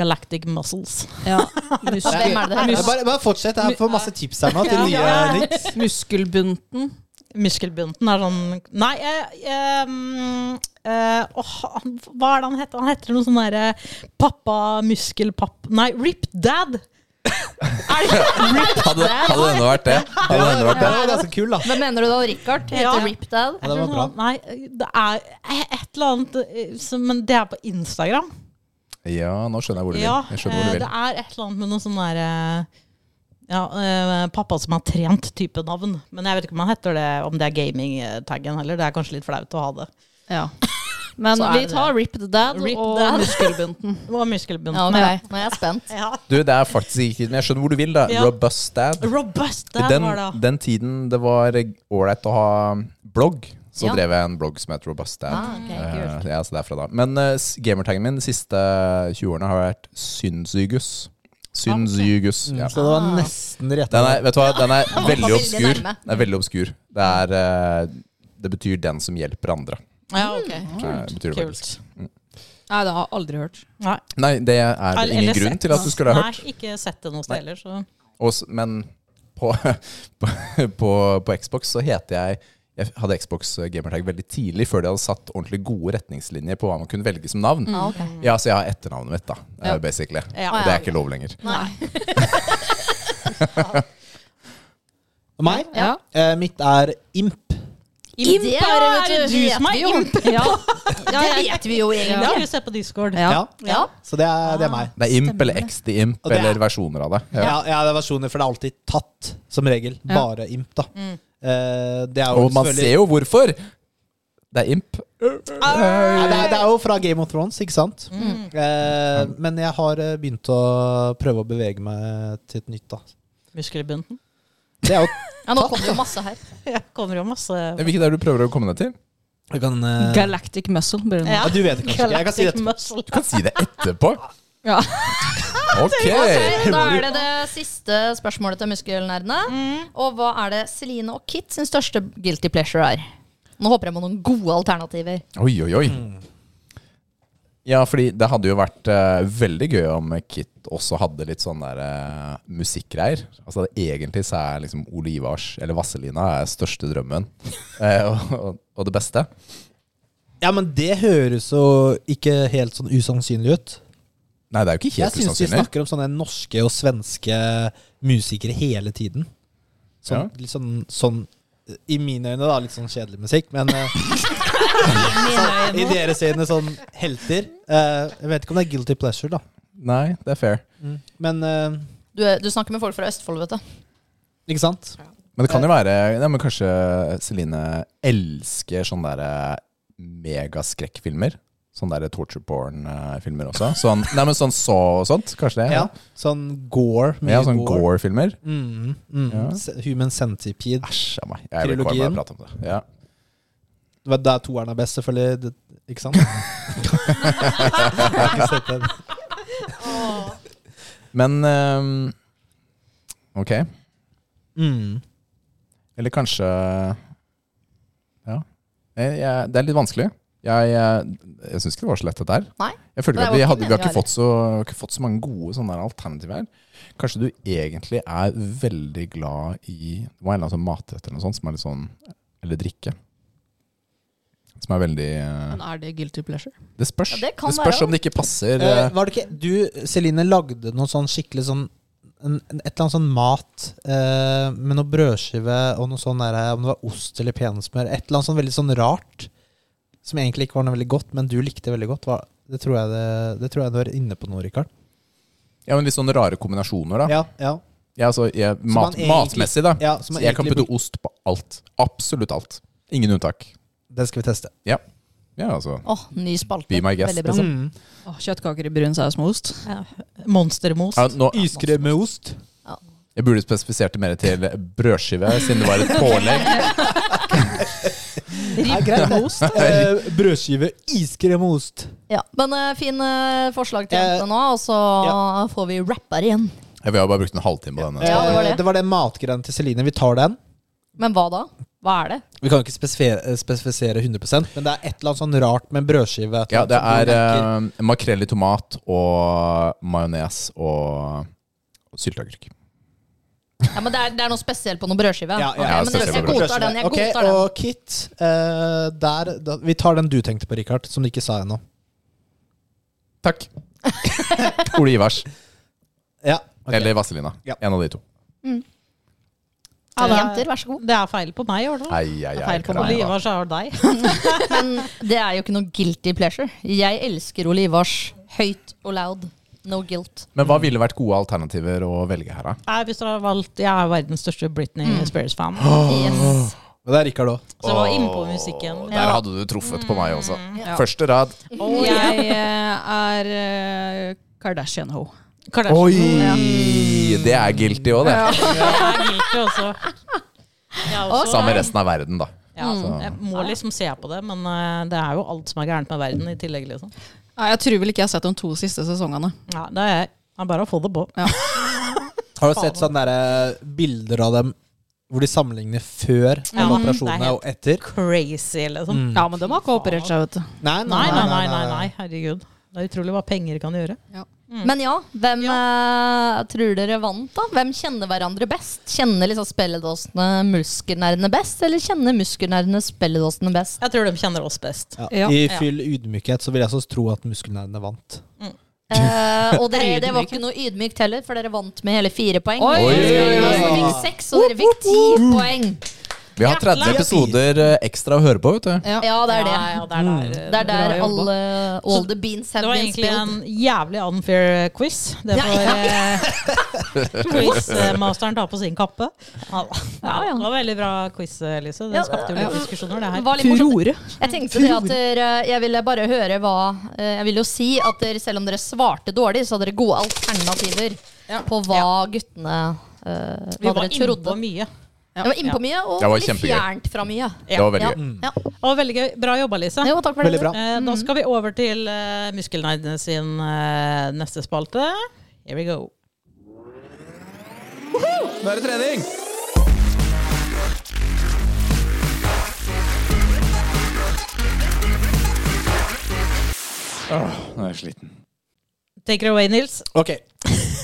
S2: Galactic Muscles.
S4: (laughs) Ja.
S6: Hvem er det det
S5: Ja,
S6: heter?
S5: Bare, bare fortsett. Jeg får masse tips her nå til nye
S2: Ja.
S5: niks.
S4: Muskelbunten.
S2: Muskelbunten er sånn Nei, eh, eh, mm, eh, åh, han- hva er det han heter? Han heter noe sånn derre pappa muskelpapp... Nei, Rip Dad! er det
S3: Hadde, hadde det ennå vært det? Hadde det ennå vært det?
S5: var ganske kul, da.
S6: Hvem mener du da, Richard? Heter
S2: Ja.
S6: Rip Dad?
S5: Ja, det var bra.
S2: Nei, det er et eller annet eh, som- Men det er på Instagram.
S3: Ja, nå skjønner jeg hvor du vil.
S2: Ja,
S3: Jeg skjønner hvor
S2: eh,
S3: du
S2: det
S3: vil.
S2: er et eller annet med noe sånn der eh, ja, eh, pappa som har trent type navn. Men jeg vet ikke om han heter det Om det er gaming-taggen heller. Det er kanskje litt flaut å ha det.
S4: Ja. Men
S6: Så er
S4: vi
S6: det
S4: tar Rip the Dad
S2: Rip
S4: og
S2: Dad.
S4: muskelbunten.
S2: Og muskelbunden.
S6: Ja, ok. Nå er jeg spent.
S2: Ja.
S3: Du, det er faktisk ikke Men jeg skjønner hvor du vil, da.
S2: Ja.
S3: Robust dad.
S2: Robust,
S3: I
S2: det
S3: den,
S2: var det.
S3: den tiden det var ålreit å ha blogg, så
S6: Ja.
S3: drev jeg en blogg som het Robust Dad.
S6: Ah, ok, kult.
S3: Eh, ja, så det er fra da. Men eh, s- gamertaggen min de siste 20 årene har vært Synzygus. Synzygus. Ja.
S5: Ah, Mm, Så det var nesten rett.
S3: Den er, vet du hva, den er veldig
S6: veldig
S3: obskur.
S6: nærme.
S3: Den er veldig obskur. Det, er, eh, det betyr 'den som hjelper andre'.
S2: Ja,
S6: Ah,
S2: ok.
S3: Det betyr det faktisk.
S2: Kult.
S4: (laughs) Nei, det har jeg aldri hørt.
S2: Nei,
S3: Nei, det er det ingen
S2: eller
S3: grunn
S2: sett.
S3: til at du skulle ha hørt.
S2: Nei, ikke sett det noe sted heller, så
S3: Og s- men på, (laughs) på, på, på Xbox så heter jeg jeg hadde Xbox gamertag veldig tidlig, før de hadde satt ordentlig gode retningslinjer på hva man kunne velge som navn.
S6: Ah, ok.
S3: Ja, Så jeg har etternavnet mitt, da, eh, basically.
S2: Ja.
S3: Og det er ikke lov lenger.
S6: Nei.
S5: Meg?
S4: Ja.
S5: Eh, mitt er Imp.
S6: Imp
S2: Det
S6: er-
S2: er du som er imp!
S4: Ja.
S6: Det vet vi jo egentlig.
S2: (laughs) Ja, vi ser på Discord.
S4: Ja.
S5: Ja.
S6: Ja.
S5: Så det er, det er meg.
S3: Det er Imp eller XD Imp,
S5: Og det er-
S3: eller versjoner av det. Ja.
S5: Ja, ja, det er versjoner, for det er alltid tatt, som regel. Bare Imp, da. Eh, det er jo
S3: Og man ser
S5: selvfølgelig
S3: jo hvorfor! Det er Imp.
S5: Nei, det, er, det er jo fra Game of Thrones, ikke sant? Eh, men jeg har eh, begynt å prøve å bevege meg til et nytt, da.
S2: Muskelbunden.
S5: Det (laughs) er jo
S6: Ja, nå kom det jo masse her.
S2: Ja, kommer jo masse
S3: Hvilket er det du prøver å komme deg til?
S5: jeg kan, eh,
S4: (laughs) Galactic muscle. blir det nå.
S5: ja, Du vet det kanskje ikke. Jeg kan si det
S2: Galactic
S5: etterpå.
S2: muscle.
S3: Du kan si det etterpå.
S4: Ja.
S3: Ok.
S6: Ok, Da er det det siste spørsmålet til muskelnerdene.
S4: Mm.
S6: Og hva er det Celine og Kit sin største guilty pleasure er? Nå håper jeg på noen gode alternativer.
S3: Oi, oi, oi.
S5: Mm.
S3: Ja, fordi det hadde jo vært eh, veldig gøy om Kit også hadde litt sånn der eh, musikkgreier. Altså det, egentlig så er liksom Ole Ivars, eller Vazelina, er største
S5: (laughs)
S3: drømmen. Eh, og, og, og det beste.
S5: Ja, men det høres jo ikke helt sånn usannsynlig ut.
S3: Nei, det er jo ikke
S5: Jeg
S3: helt
S5: syns de
S3: usannsynlig.
S5: snakker om sånne norske og svenske musikere hele tiden. Sånn, litt sånn, sånn I mine øyne, da, litt sånn kjedelig musikk, men (laughs) eh, sånn, I deres øyne sånn helter. Eh, jeg vet ikke om det er guilty pleasure, da.
S3: Nei, det er fair.
S5: Men eh,
S6: Du, er- du snakker med folk fra Østfold, vet du.
S5: ikke sant?
S3: Men det kan
S5: Eh.
S3: jo være ja, men Kanskje Celine elsker sånne der eh, megaskrekkfilmer. Sånne der torture porn-filmer også. Sånn, nei, men sånn så og sånt. Kanskje det?
S5: Ja. Sånn gore. mye
S3: ja sånn gore-filmer.
S5: Mm, mm,
S3: Ja.
S5: Se- Human Centipede.
S3: Æsj av meg. Jeg vil ikke bare
S5: Trilogien.
S3: prate om det. Ja.
S5: Det var der toeren er best, selvfølgelig. Det, ikke sant? Jeg har ikke sett den.
S3: Men ehm, Ok.
S5: Mm.
S3: Eller kanskje Ja. Jeg, jeg, det er litt vanskelig. Jeg, jeg, jeg syns ikke det var så lett, dette her.
S6: Nei.
S3: Jeg føler
S6: Nei,
S3: ikke
S6: det
S3: at Vi,
S6: var ikke
S3: hadde, vi har
S6: meningen
S3: ikke fått, så, ikke fått så mange gode sånne der alternativer her. Kanskje du egentlig er veldig glad i Det var en eller annen sånn matrett eller noe sånt som er litt sånn Eller drikke. Som er veldig eh,
S4: Men er det guilty pleasure?
S3: Det spørs.
S6: Ja, det
S3: det,
S6: kan
S3: spørs
S6: være.
S3: om det ikke passer.
S5: Eh,
S3: eh,
S5: var det ikke Du, Celine, lagde noe sånn skikkelig sånn en, en, Et eller annet sånn mat eh, med noe brødskive og noe sånn der, om det var ost eller peanøttsmør. Et eller annet sånn veldig sånn rart. Som egentlig ikke var noe veldig godt, men du likte veldig godt. Hva- det, tror jeg det, det tror jeg du er inne på nå, Rikard.
S3: Ja, men Litt sånne rare kombinasjoner, da.
S5: Ja, ja.
S3: Ja, altså, jeg, mat,
S5: egentlig-
S3: matmessig, da.
S5: ja, som
S3: Så
S5: man
S3: jeg kan
S5: egentlig
S3: putte ost på alt. Absolutt alt. Ingen unntak.
S5: Det skal vi teste.
S3: Ja, ja altså.
S6: Åh, ny spalte.
S3: Be my guest,
S6: Veldig bra.
S3: liksom.
S5: Mm.
S4: Åh, kjøttkaker i brun saus med ost.
S2: Monstermos.
S3: Ja, nå,
S5: Iskrem med ost.
S3: jeg burde spesifisert det mer til brødskive, siden det var et pålegg.
S5: Ribbeost. eh, (laughs) brødskive, iskrem og ost.
S6: Ja, men uh, fin eh, forslag til
S5: Eh,
S6: jentene nå, og så får vi rapper igjen.
S3: Jeg vil ha bare brukt en halvtime på denne.
S6: Ja, det var det.
S5: Eh, det var den matgreiene til Celine. Vi tar den.
S6: Men hva da?
S4: Hva er det?
S5: Vi kan jo ikke spesifisere, spesifisere 100 men det er et eller annet sånn rart med en brødskive. et
S3: Ja, det
S5: eller annet sånn
S3: er
S5: som du merker.
S3: eh, makrell i tomat og majones og sylteagurk.
S6: Ja, men det er, det er noe spesielt på noen brødskive.
S5: Ja, ja,
S6: Ok,
S3: ja,
S6: men jeg,
S3: spesielt
S6: jeg
S3: på
S6: godtar den. Jeg
S5: Ok,
S6: godtar den.
S5: Og Kit, eh, der, da, vi tar den du tenkte på, Richard, som du ikke sa ennå.
S3: Takk. Ole Ivars.
S5: Ja, ok.
S3: Eller Vazelina.
S5: Ja.
S3: En av de to.
S2: Ja, det er-
S6: Jenter, vær så god.
S2: Det er feil på meg, i hvert fall.
S3: Ei, ei, ei,
S2: Feil på
S3: Karamba.
S2: Ole Ivar, så er det deg.
S6: Men det er jo ikke noe guilty pleasure. Jeg elsker Ole Ivars høyt og loud. No guilt.
S3: Men hva ville vært gode alternativer å velge her, da?
S2: Nei, hvis dere har valgt Jeg er verdens største Britney Spears-fan.
S6: Yes.
S5: Og det er Richard òg.
S2: Så jeg var inne på musikken.
S3: Der hadde du truffet på meg også.
S2: Mm,
S3: Første rad.
S4: Og jeg eh, er eh, Kardashian-ho.
S2: Kardashian.
S3: Oi! Det er guilty òg, det.
S2: Jeg er guilty også. Jeg er også
S3: Sammen med resten av verden, da.
S2: Ja, jeg må liksom se på det, men eh, det er jo alt som er gærent med verden i tillegg, liksom.
S4: Ja, jeg tror vel ikke jeg har sett de to siste sesongene.
S2: Ja, det er jeg. Det er bare å få det på.
S5: Har du sett sånne der, eh, bilder av dem hvor de sammenligner før
S2: Ja, mm, det
S5: alle
S2: er
S5: operasjonene
S2: helt-
S5: og etter?
S2: Crazy, liksom.
S4: Ja, men de har ikke operert seg, vet du.
S5: Nei,
S2: Nei, nei, nei, nei, nei, herregud. Det er utrolig hva penger kan gjøre. Mm.
S6: Men ja, hvem eh, tror dere vant, da? Hvem kjenner hverandre best? Kjenner liksom spilledåsene muskelnervene best, eller kjenner muskelnervene spilledåsene
S4: (laughs)
S6: best?
S2: Jeg tror de kjenner oss best.
S5: Ja.
S4: Ja.
S5: I fyll ydmykhet så vil jeg også tro at muskelnervene vant.
S6: Eh, og dere, det var ikke noe ydmykt heller, for dere vant med hele fire poeng.
S4: Oi,
S6: Og
S4: oi, oi, oi.
S6: Dere fikk seks, og dere fikk ti poeng.
S3: Vi har 30 episoder eh, ekstra å høre på, vet du.
S6: Ja, det er det.
S2: Ja, ja, det er der. eh,
S6: Det er der
S4: Bra jobba.
S6: alle all the beans
S2: Det
S6: have
S2: var
S6: been
S2: egentlig en
S6: spilled.
S2: jævlig unfair quiz. Det
S6: Ja,
S2: får eh,
S6: (laughs)
S2: quizmasteren ta på sin kappe. Ja,
S6: ja.
S2: Det var veldig bra quiz, Lise.
S6: Ja,
S2: Det skapte jo litt diskusjoner, det
S6: Det
S2: her.
S6: var litt morsomt. Jeg tenkte det at dere, jeg ville bare høre hva eh, Jeg ville jo si at dere, selv om dere svarte dårlig, så hadde dere gode alternativer på hva guttene eh,
S2: Vi
S6: Hva
S2: var
S6: dere
S2: inne
S6: trodde.
S2: på mye.
S6: Jeg var inne på mye, og
S3: Det var
S6: litt
S3: kjempegøy.
S6: fjernt fra mye.
S3: Det var veldig
S6: Ja.
S3: gøy.
S6: Ja.
S2: Og veldig gøy. Bra jobba, Lise.
S6: Jo, takk for
S5: Veldig bra.
S6: det.
S2: Eh, Da skal vi over til uh, Muskelnerdene sin eh, neste spalte. Here we go.
S7: Nå er det trening!
S3: Nå er jeg sliten.
S2: Take it away, Nils.
S5: Ok.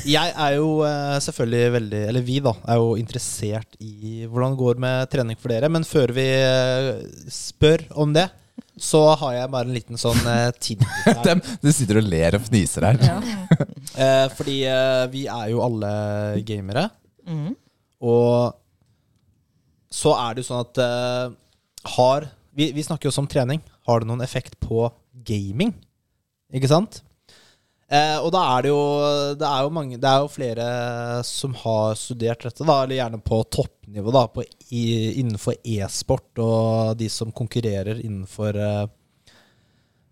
S5: Jeg er jo eh, selvfølgelig veldig Eller vi, da. Er jo interessert i hvordan det går med trening for dere. Men før vi eh, spør om det, så har jeg bare en liten sånn eh, tidbit her.
S3: Dem, du sitter og ler og fniser her.
S5: Eh, fordi eh, vi er jo alle gamere. Og så er det jo sånn at eh, har vi, vi snakker jo også om trening. Har det noen effekt på gaming? Ikke sant? Eh, og da er det jo Det er jo, mange, det er jo flere som har studert dette, da, eller gjerne på toppnivå, da, på, i, innenfor e-sport og de som konkurrerer innenfor eh,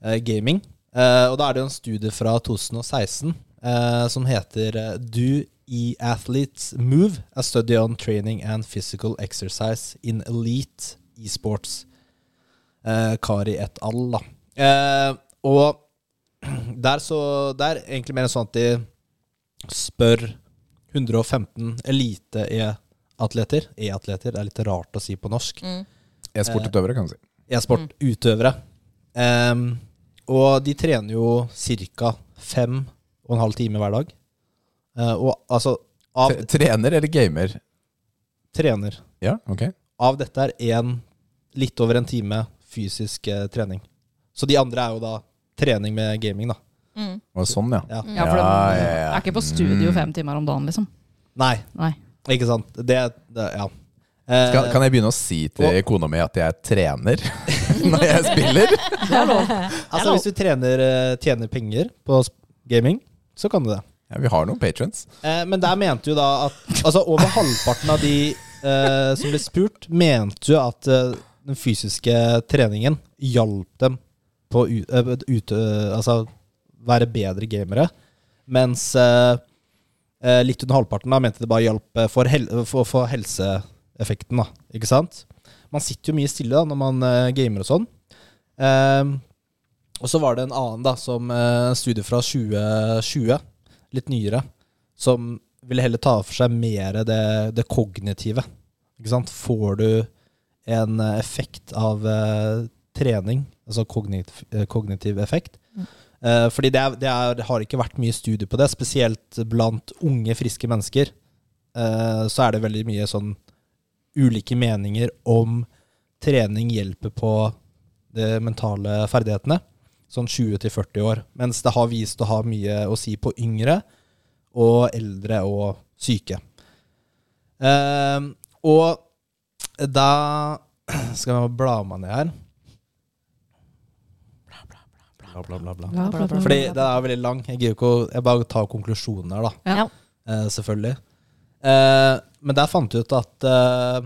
S5: eh, gaming. Eh, og da er det jo en studie fra 2016 eh, som heter eh, Do e-athletes move? A study on training and physical exercise in elite e-sports. Eh, Kari et al. da. Eh, og (clears throat) der så Det er egentlig mer sånn at de spør 115 elite-e-atleter E-atleter, det er litt rart å si på norsk
S3: E-sportutøvere, kan du si.
S5: e-sportutøvere. Ehm, og de trener jo ca. fem og en halv time hver dag. Eh, og altså av,
S3: Tre- Trener eller gamer?
S5: trener.
S3: Ja, ok.
S5: av dette er en, litt over en time fysisk eh, trening. Så de andre er jo da trening med gaming, da.
S3: Var det sånn, ja.
S5: Ja.
S4: Ja, for de
S3: Ja, ja, ja. Mm.
S4: er ikke på studio fem timer om dagen, liksom.
S5: Nei,
S4: Nei.
S5: ikke sant. Det, det Ja. Eh,
S3: Kan, kan jeg begynne å si til
S5: Og-
S3: kona mi at jeg trener (laughs) når jeg spiller?
S5: altså, hvis du trener, eh, tjener penger på sp- gaming, så kan du det.
S3: Ja, vi har noen patrons.
S5: Eh, men der mente jo da at altså, over halvparten av de eh, som ble spurt, mente jo at eh, den fysiske treningen hjalp dem på å ut, eh, ut, eh, altså, være bedre gamere. Mens eh, eh, litt under halvparten da mente det bare hjalp eh, for, hel for, for helseeffekten. da, ikke sant? Man sitter jo mye stille da når man eh, gamer og sånn. Eh, og så var det en annen da, som eh, studie fra 2020, litt nyere som ville heller ta for seg mer det, det kognitive. Ikke sant? Får du en eh, effekt av eh, trening, altså kognitiv, eh, kognitiv effekt. Eh, fordi det, er, det er, har ikke vært mye studier på det, spesielt blant unge, friske mennesker. eh, så er det veldig mye sånn ulike meninger om trening hjelper på de mentale ferdighetene. Sånn 20-40 år. Mens det har vist å ha mye å si på yngre og eldre og syke. Eh, og da skal jeg bla meg ned her. Bla, bla, bla, bla.
S6: Mm.
S5: Fordi den er veldig lang. Jeg gidder ikke å Jeg bare tar konklusjonen her, da.
S6: Ja.
S5: Eh, selvfølgelig. Eh, men der fant de ut at eh,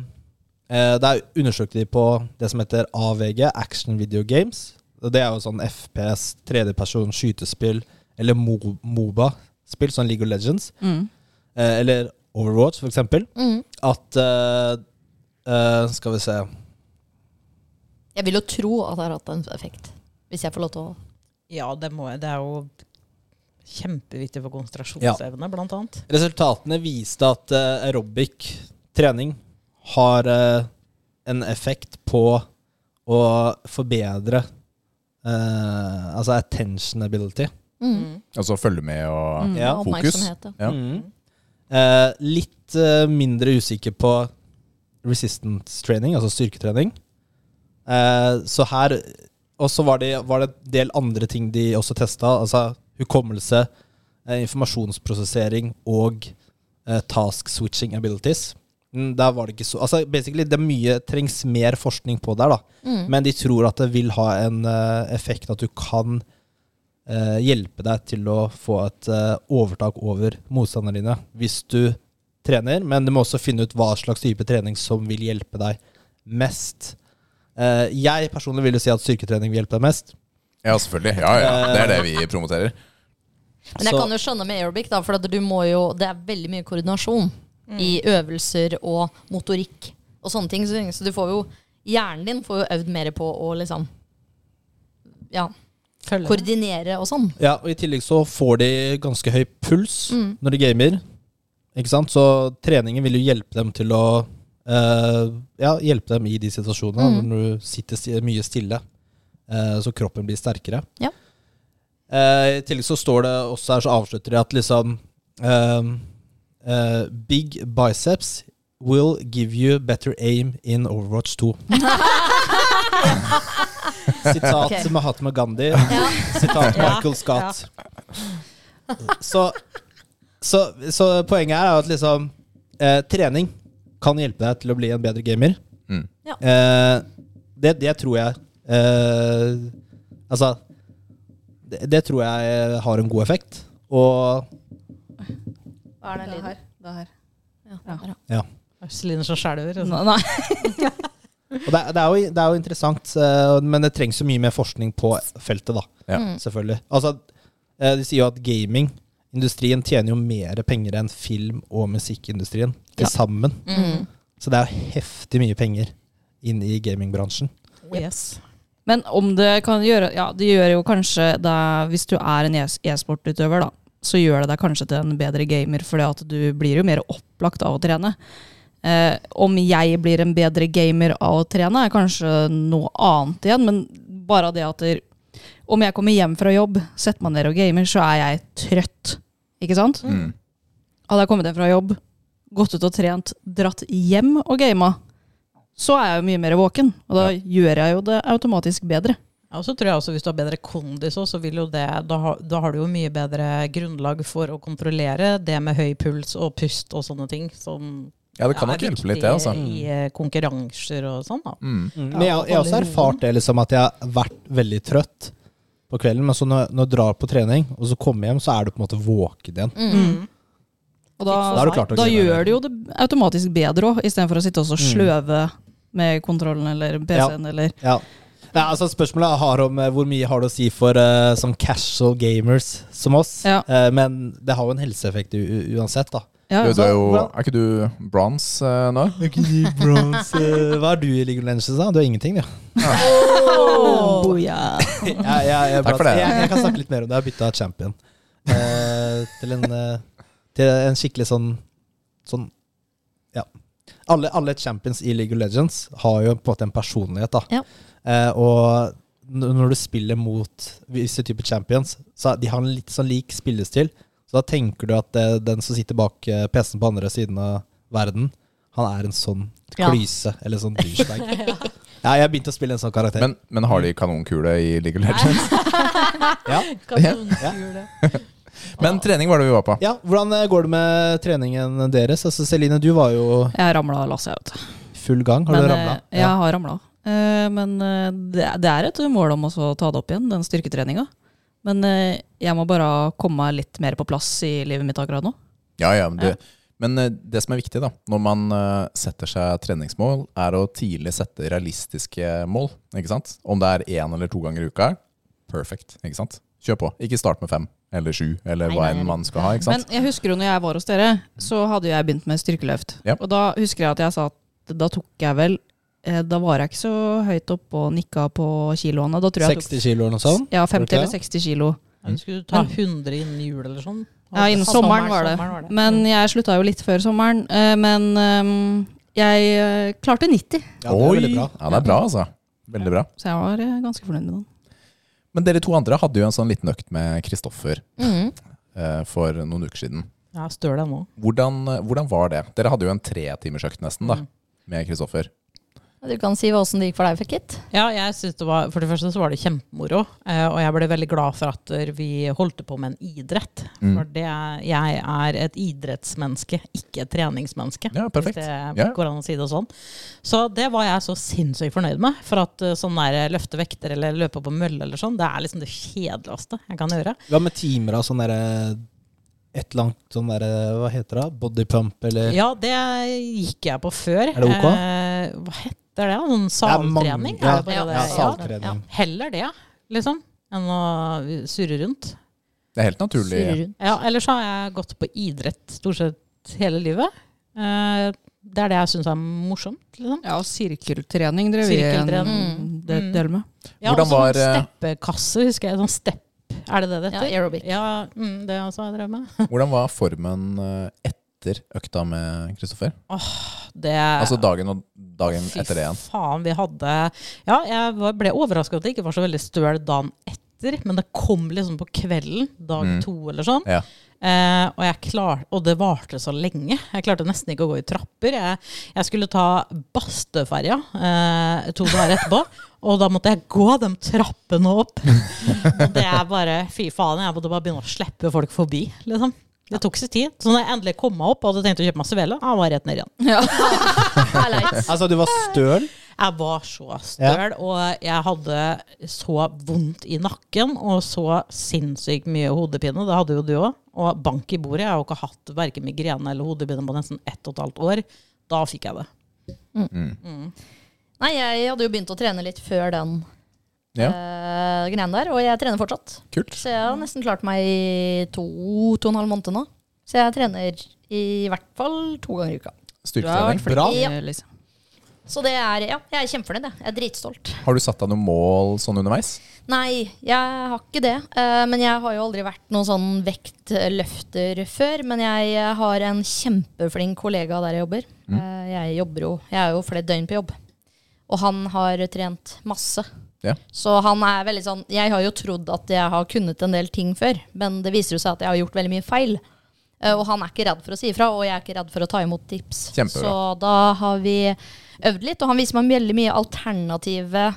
S5: eh, Der undersøkte de på det som heter AVG, Action Video Games. Og Det er jo sånn FPS, tredjeperson, skytespill eller Mo Moba-spill, sånn League of Legends.
S4: Mm.
S5: Eh, eller Overwatch, for eksempel.
S6: Mm.
S5: At eh, eh, Skal vi se
S6: Jeg vil jo tro at det har hatt en effekt. Hvis jeg får lov til å
S2: Ja, det, må, det er jo kjempeviktig for konsentrasjonsevne, blant annet.
S5: Resultatene viste at eh, aerobic trening har eh, en effekt på å forbedre eh, altså attention ability.
S6: mm.
S3: Altså følge med og
S5: Mm. Ja,
S6: ha
S3: fokus.
S6: oppmerksomhet. ja.
S3: Ja.
S5: Mm. Eh, litt eh, mindre usikker på resistance training, altså styrketrening. Eh, så her Og så var, det- var det en del andre ting de også testa. Altså hukommelse, eh, informasjonsprosessering og eh, task switching abilities. Mm, der var det ikke så Altså basically, det er mye trengs mer forskning på der, da.
S6: Mm.
S5: Men de tror at det vil ha en eh, effekt at du kan eh, hjelpe deg til å få et eh, overtak over motstanderne dine hvis du trener, men du må også finne ut hva slags type trening som vil hjelpe deg mest. Eh, jeg personlig vil jo si at styrketrening vil hjelpe deg mest.
S3: Ja, selvfølgelig. Ja, ja. Det er det vi promoterer.
S6: Men jeg
S5: Så-
S6: kan jo skjønne med aerobic, da, for at du må jo, det er veldig mye koordinasjon i øvelser og motorikk og sånne ting. Så, så du får jo Hjernen din får jo øvd mer på å liksom ja,
S2: Følge det.
S6: koordinere og sånn.
S5: Ja, og I tillegg så får de ganske høy puls
S6: Mm.
S5: når de gamer. Ikke sant? Så treningen vil jo hjelpe dem til å eh, Ja, hjelpe dem i de
S6: Mm.
S5: situasjonene. Når du sitter sti- mye stille, eh, så kroppen blir sterkere.
S6: Ja.
S5: Eh, I tillegg så står det også her, så avslutter de at liksom eh, eh, Big biceps will give you better aim in Overwatch
S6: (laughs)
S5: 2. Sitat
S6: Ok.
S5: Mahatma Gandhi. Sitat
S6: (laughs)
S5: Michael Scott. Så, så, så poenget her er at liksom eh, Trening kan hjelpe deg til å bli en bedre gamer.
S3: Mm.
S6: Ja.
S5: Eh, det, det tror jeg eh, Altså det, det tror jeg eh, har en god effekt. Og
S6: Hva er
S4: Det her. Det her.
S6: Ja.
S2: Celine som skjelver. og sånn.
S4: Nei.
S5: Og det, er- det, er jo, det er jo interessant, eh, men det trengs jo mye mer forskning på feltet, da.
S3: Ja.
S6: Mm.
S5: Selvfølgelig. Altså, eh, de sier jo at gamingindustrien tjener jo mer penger enn film- og musikkindustrien til
S6: Ja.
S5: sammen.
S6: Mm.
S5: Så det er jo heftig mye penger inn i gamingbransjen.
S2: Yes.
S4: Men om det kan gjøre Ja, det gjør jo kanskje deg Hvis du er en es- e-sportutøver, da, så gjør det deg kanskje til en bedre gamer, fordi at du blir jo mer opplagt av å trene. Eh, om jeg blir en bedre gamer av å trene, er kanskje noe annet igjen, men bare det at der, Om jeg kommer hjem fra jobb, setter meg ned og gamer, så er jeg trøtt. Ikke sant?
S3: Mm.
S4: Hadde jeg kommet hjem fra jobb, gått ut og trent, dratt hjem og gama, så er jeg jo mye mer våken. Og da gjør jeg jo det automatisk bedre.
S2: Ja, og så tror jeg også Hvis du har bedre kondis, også, så vil jo det, da, har- da har du jo mye bedre grunnlag for å kontrollere det med høy puls og pust og sånne ting. Som
S3: ja, det kan
S2: er
S3: nok hjelpe
S2: viktig
S3: litt, det. altså.
S2: I eh, konkurranser og sånn. da.
S3: Mm.
S5: Men jeg, jeg har også erfart det, liksom, at jeg har vært veldig trøtt på kvelden. Men så når, når jeg drar på trening, og så kommer hjem, så er du på en måte våken igjen.
S6: Mm.
S4: Og da,
S5: Da er du klar til å
S4: da
S5: grine, eller?
S4: gjør du jo det automatisk bedre òg, istedenfor å sitte og så sløve med kontrollen eller PC-en eller
S5: Ja. Nei, altså Spørsmålet har om eh, hvor mye har det å si for eh, sånn casual gamers som oss.
S4: Ja.
S5: Eh, men det har jo en helseeffekt u u- uansett, da.
S4: ja,
S3: Du, du er jo
S5: Hvordan-
S3: Er ikke du bronze eh, nå?
S5: (laughs) hva er du i League of Legends? da? Du er ingenting, du.
S4: oh, ja.
S5: Jeg, jeg, jeg,
S3: Takk for det.
S5: Jeg, jeg kan snakke litt mer om det. Jeg har bytta champion eh, til, en, eh, til en skikkelig sånn Sånn Ja. alle, alle champions i League of Legends har jo på en måte en personlighet. da.
S6: Ja.
S5: Eh, og n- når du spiller mot visse typer champions, så er- de har en litt sånn lik spillestil. Så da tenker du at eh, den som sitter bak eh, PC-en på andre siden av verden, han er en sånn
S6: Ja.
S5: klyse eller
S6: (laughs)
S5: sånn douchebag. ja, jeg begynte å spille en sånn karakter.
S3: Men, men har de kanonkule i League of Legends?
S5: (laughs) ja.
S3: (laughs) Men trening var det vi var på.
S5: ja, Hvordan eh, går det med treningen deres? Altså, Celine, du var jo
S4: Jeg ramla og la seg ut.
S5: i full gang. Har du
S4: Men,
S5: ramla?
S4: eh, Jeg har ramla. Eh, Men eh, det er- det er et mål om også å ta det opp igjen, den styrketreninga. Men eh, jeg må bare komme meg litt mer på plass i livet mitt akkurat nå.
S3: Ja, ja, men, det, men eh, det som er viktig da, når man eh, setter seg treningsmål, er å tidlig sette realistiske mål. Ikke sant? Om det er én eller to ganger i uka, perfect. Ikke sant? Kjør på. Ikke start med fem eller sju, eller
S6: Nei,
S3: hva
S6: nei,
S3: enn
S6: nei.
S3: man skal ha. Ikke
S4: Men
S3: sant?
S4: jeg husker jo når jeg var hos dere, så hadde jo jeg begynt med styrkeløft.
S3: Ja.
S4: Og da husker jeg at jeg sa at da tok jeg vel eh, Da var jeg ikke så høyt oppe og nikka på kiloene. Da tror jeg jeg
S5: 60 kilo eller noe sånt?
S4: tok ja, 50
S5: Tror du
S4: eller
S5: ikke
S4: 60 kilo.
S3: Mm.
S2: Skulle du ta 100 innen jul eller sånn?
S4: Ja, innen sommeren var det. Men jeg slutta jo litt før sommeren. eh, Men ehm, jeg eh, klarte 90,
S5: Ja, det er veldig bra.
S3: Ja, det er bra, altså. Veldig bra.
S4: så jeg var eh, ganske fornøyd med den.
S3: Men dere to andre hadde jo en sånn liten økt med Kristoffer
S6: Mm.
S3: eh, for noen uker siden.
S2: Ja, støl deg nå.
S3: Hvordan, eh, hvordan var det? Dere hadde jo en tretimersøkt nesten da,
S2: Mm.
S3: med Kristoffer.
S6: Du kan si åssen det gikk for deg, Fekit.
S2: Ja, jeg synes det var, For det første så var det kjempemoro, eh, og jeg ble veldig glad for at eh, vi holdt på med en idrett.
S3: Mm.
S2: For det, er- jeg er et idrettsmenneske, ikke et treningsmenneske.
S3: Ja, perfekt.
S6: eh,
S2: Hvis det
S3: Ja.
S2: går an å si det sånn. Så det var jeg så sinnssykt fornøyd med. For at eh, sånn der løfte vekter eller løpe på mølle eller sånn, det er liksom det kjedeligste jeg kan gjøre.
S5: Hva med timer av sånn derre Et langt sånn derre Hva heter det? Bodypump, eller
S2: Ja, det gikk jeg på før.
S5: Eh. Er det ok?
S2: Eh, hva heter det? Sånn saltrening?
S5: mange-
S2: Er
S5: ja.
S2: det bare
S6: Ja,
S2: det?
S5: ja,
S2: Ja.
S5: saltrening.
S6: ja.
S2: Heller det, liksom, enn å surre rundt.
S3: Det er helt naturlig.
S6: Surrer rundt.
S2: Ja, ellers så har jeg gått på idrett stort sett hele livet. Eh, det er det jeg syns er morsomt, liksom.
S4: Ja, og sirkeltrening Mm. drev vi eh, en
S2: Sirkeltrening.
S4: del- del med.
S2: Ja,
S3: Hvordan
S2: og sånn
S3: var, eh,
S2: steppekasse, husker jeg. Sånn stepp, er det det det
S6: Ja,
S2: heter?
S6: aerobic.
S2: Ja, mm, det også har jeg drevet med.
S3: Hvordan var formen eh, etter økta med Kristoffer?
S2: Det,
S3: Altså dagen og dagen
S2: Fy
S3: etter det igjen.
S2: faen, vi hadde Ja, jeg var- ble overraska at jeg ikke var så veldig støl dagen etter, men det kom liksom på kvelden, dag
S3: Mm.
S2: to eller sånn.
S3: Ja.
S2: Eh, og, jeg klar, og det varte så lenge. Jeg klarte nesten ikke å gå i trapper. Jeg, jeg skulle ta Bastøferja eh, to dager etterpå, og da måtte jeg gå de trappene
S3: (laughs)
S2: opp. Og det er bare Fy faen, jeg måtte bare begynne å slippe folk forbi, liksom. Det tok sin tid. Så når jeg endelig kom meg opp og hadde tenkt å kjøpe meg svele, ah, var jeg rett ned igjen.
S6: Highlights.
S5: Altså, du var støl?
S2: Jeg var så støl, og jeg hadde så vondt i nakken og så sinnssykt mye hodepine. Det hadde jo du òg. Og bank i bordet. Jeg har jo ikke hatt verken migrene eller hodepine på nesten ett og et halvt år. Da fikk jeg det.
S6: (laughs) Nei, jeg hadde jo begynt å trene litt før den
S3: Ja.
S6: eh, greien der, og jeg trener fortsatt.
S3: Kult.
S6: Så jeg har nesten klart meg i to, to og en halv måned nå. Så jeg trener i hvert fall to ganger i uka.
S3: Styrketrening.
S4: flink,
S5: Bra.
S4: eh,
S2: liksom.
S4: Lise.
S6: Så det er, ja, jeg er kjempefornøyd. Jeg Jeg er dritstolt.
S3: Har du satt deg noen mål sånn underveis?
S6: Nei, jeg har ikke det. Eh, Men jeg har jo aldri vært noen sånn vektløfter før. Men jeg eh, har en kjempeflink kollega der jeg jobber.
S3: Mm.
S6: Eh, Jeg jobber jo, jeg er jo flere døgn på jobb. Og han har trent masse.
S3: Ja.
S6: Så han er veldig sånn Jeg har jo trodd at jeg har kunnet en del ting før, men det viser jo seg at jeg har gjort veldig mye feil. Eh, Og han er ikke redd for å si ifra, og jeg er ikke redd for å ta imot tips.
S3: Kjempebra.
S6: Så da har vi øvd litt, og han viser meg veldig mye alternative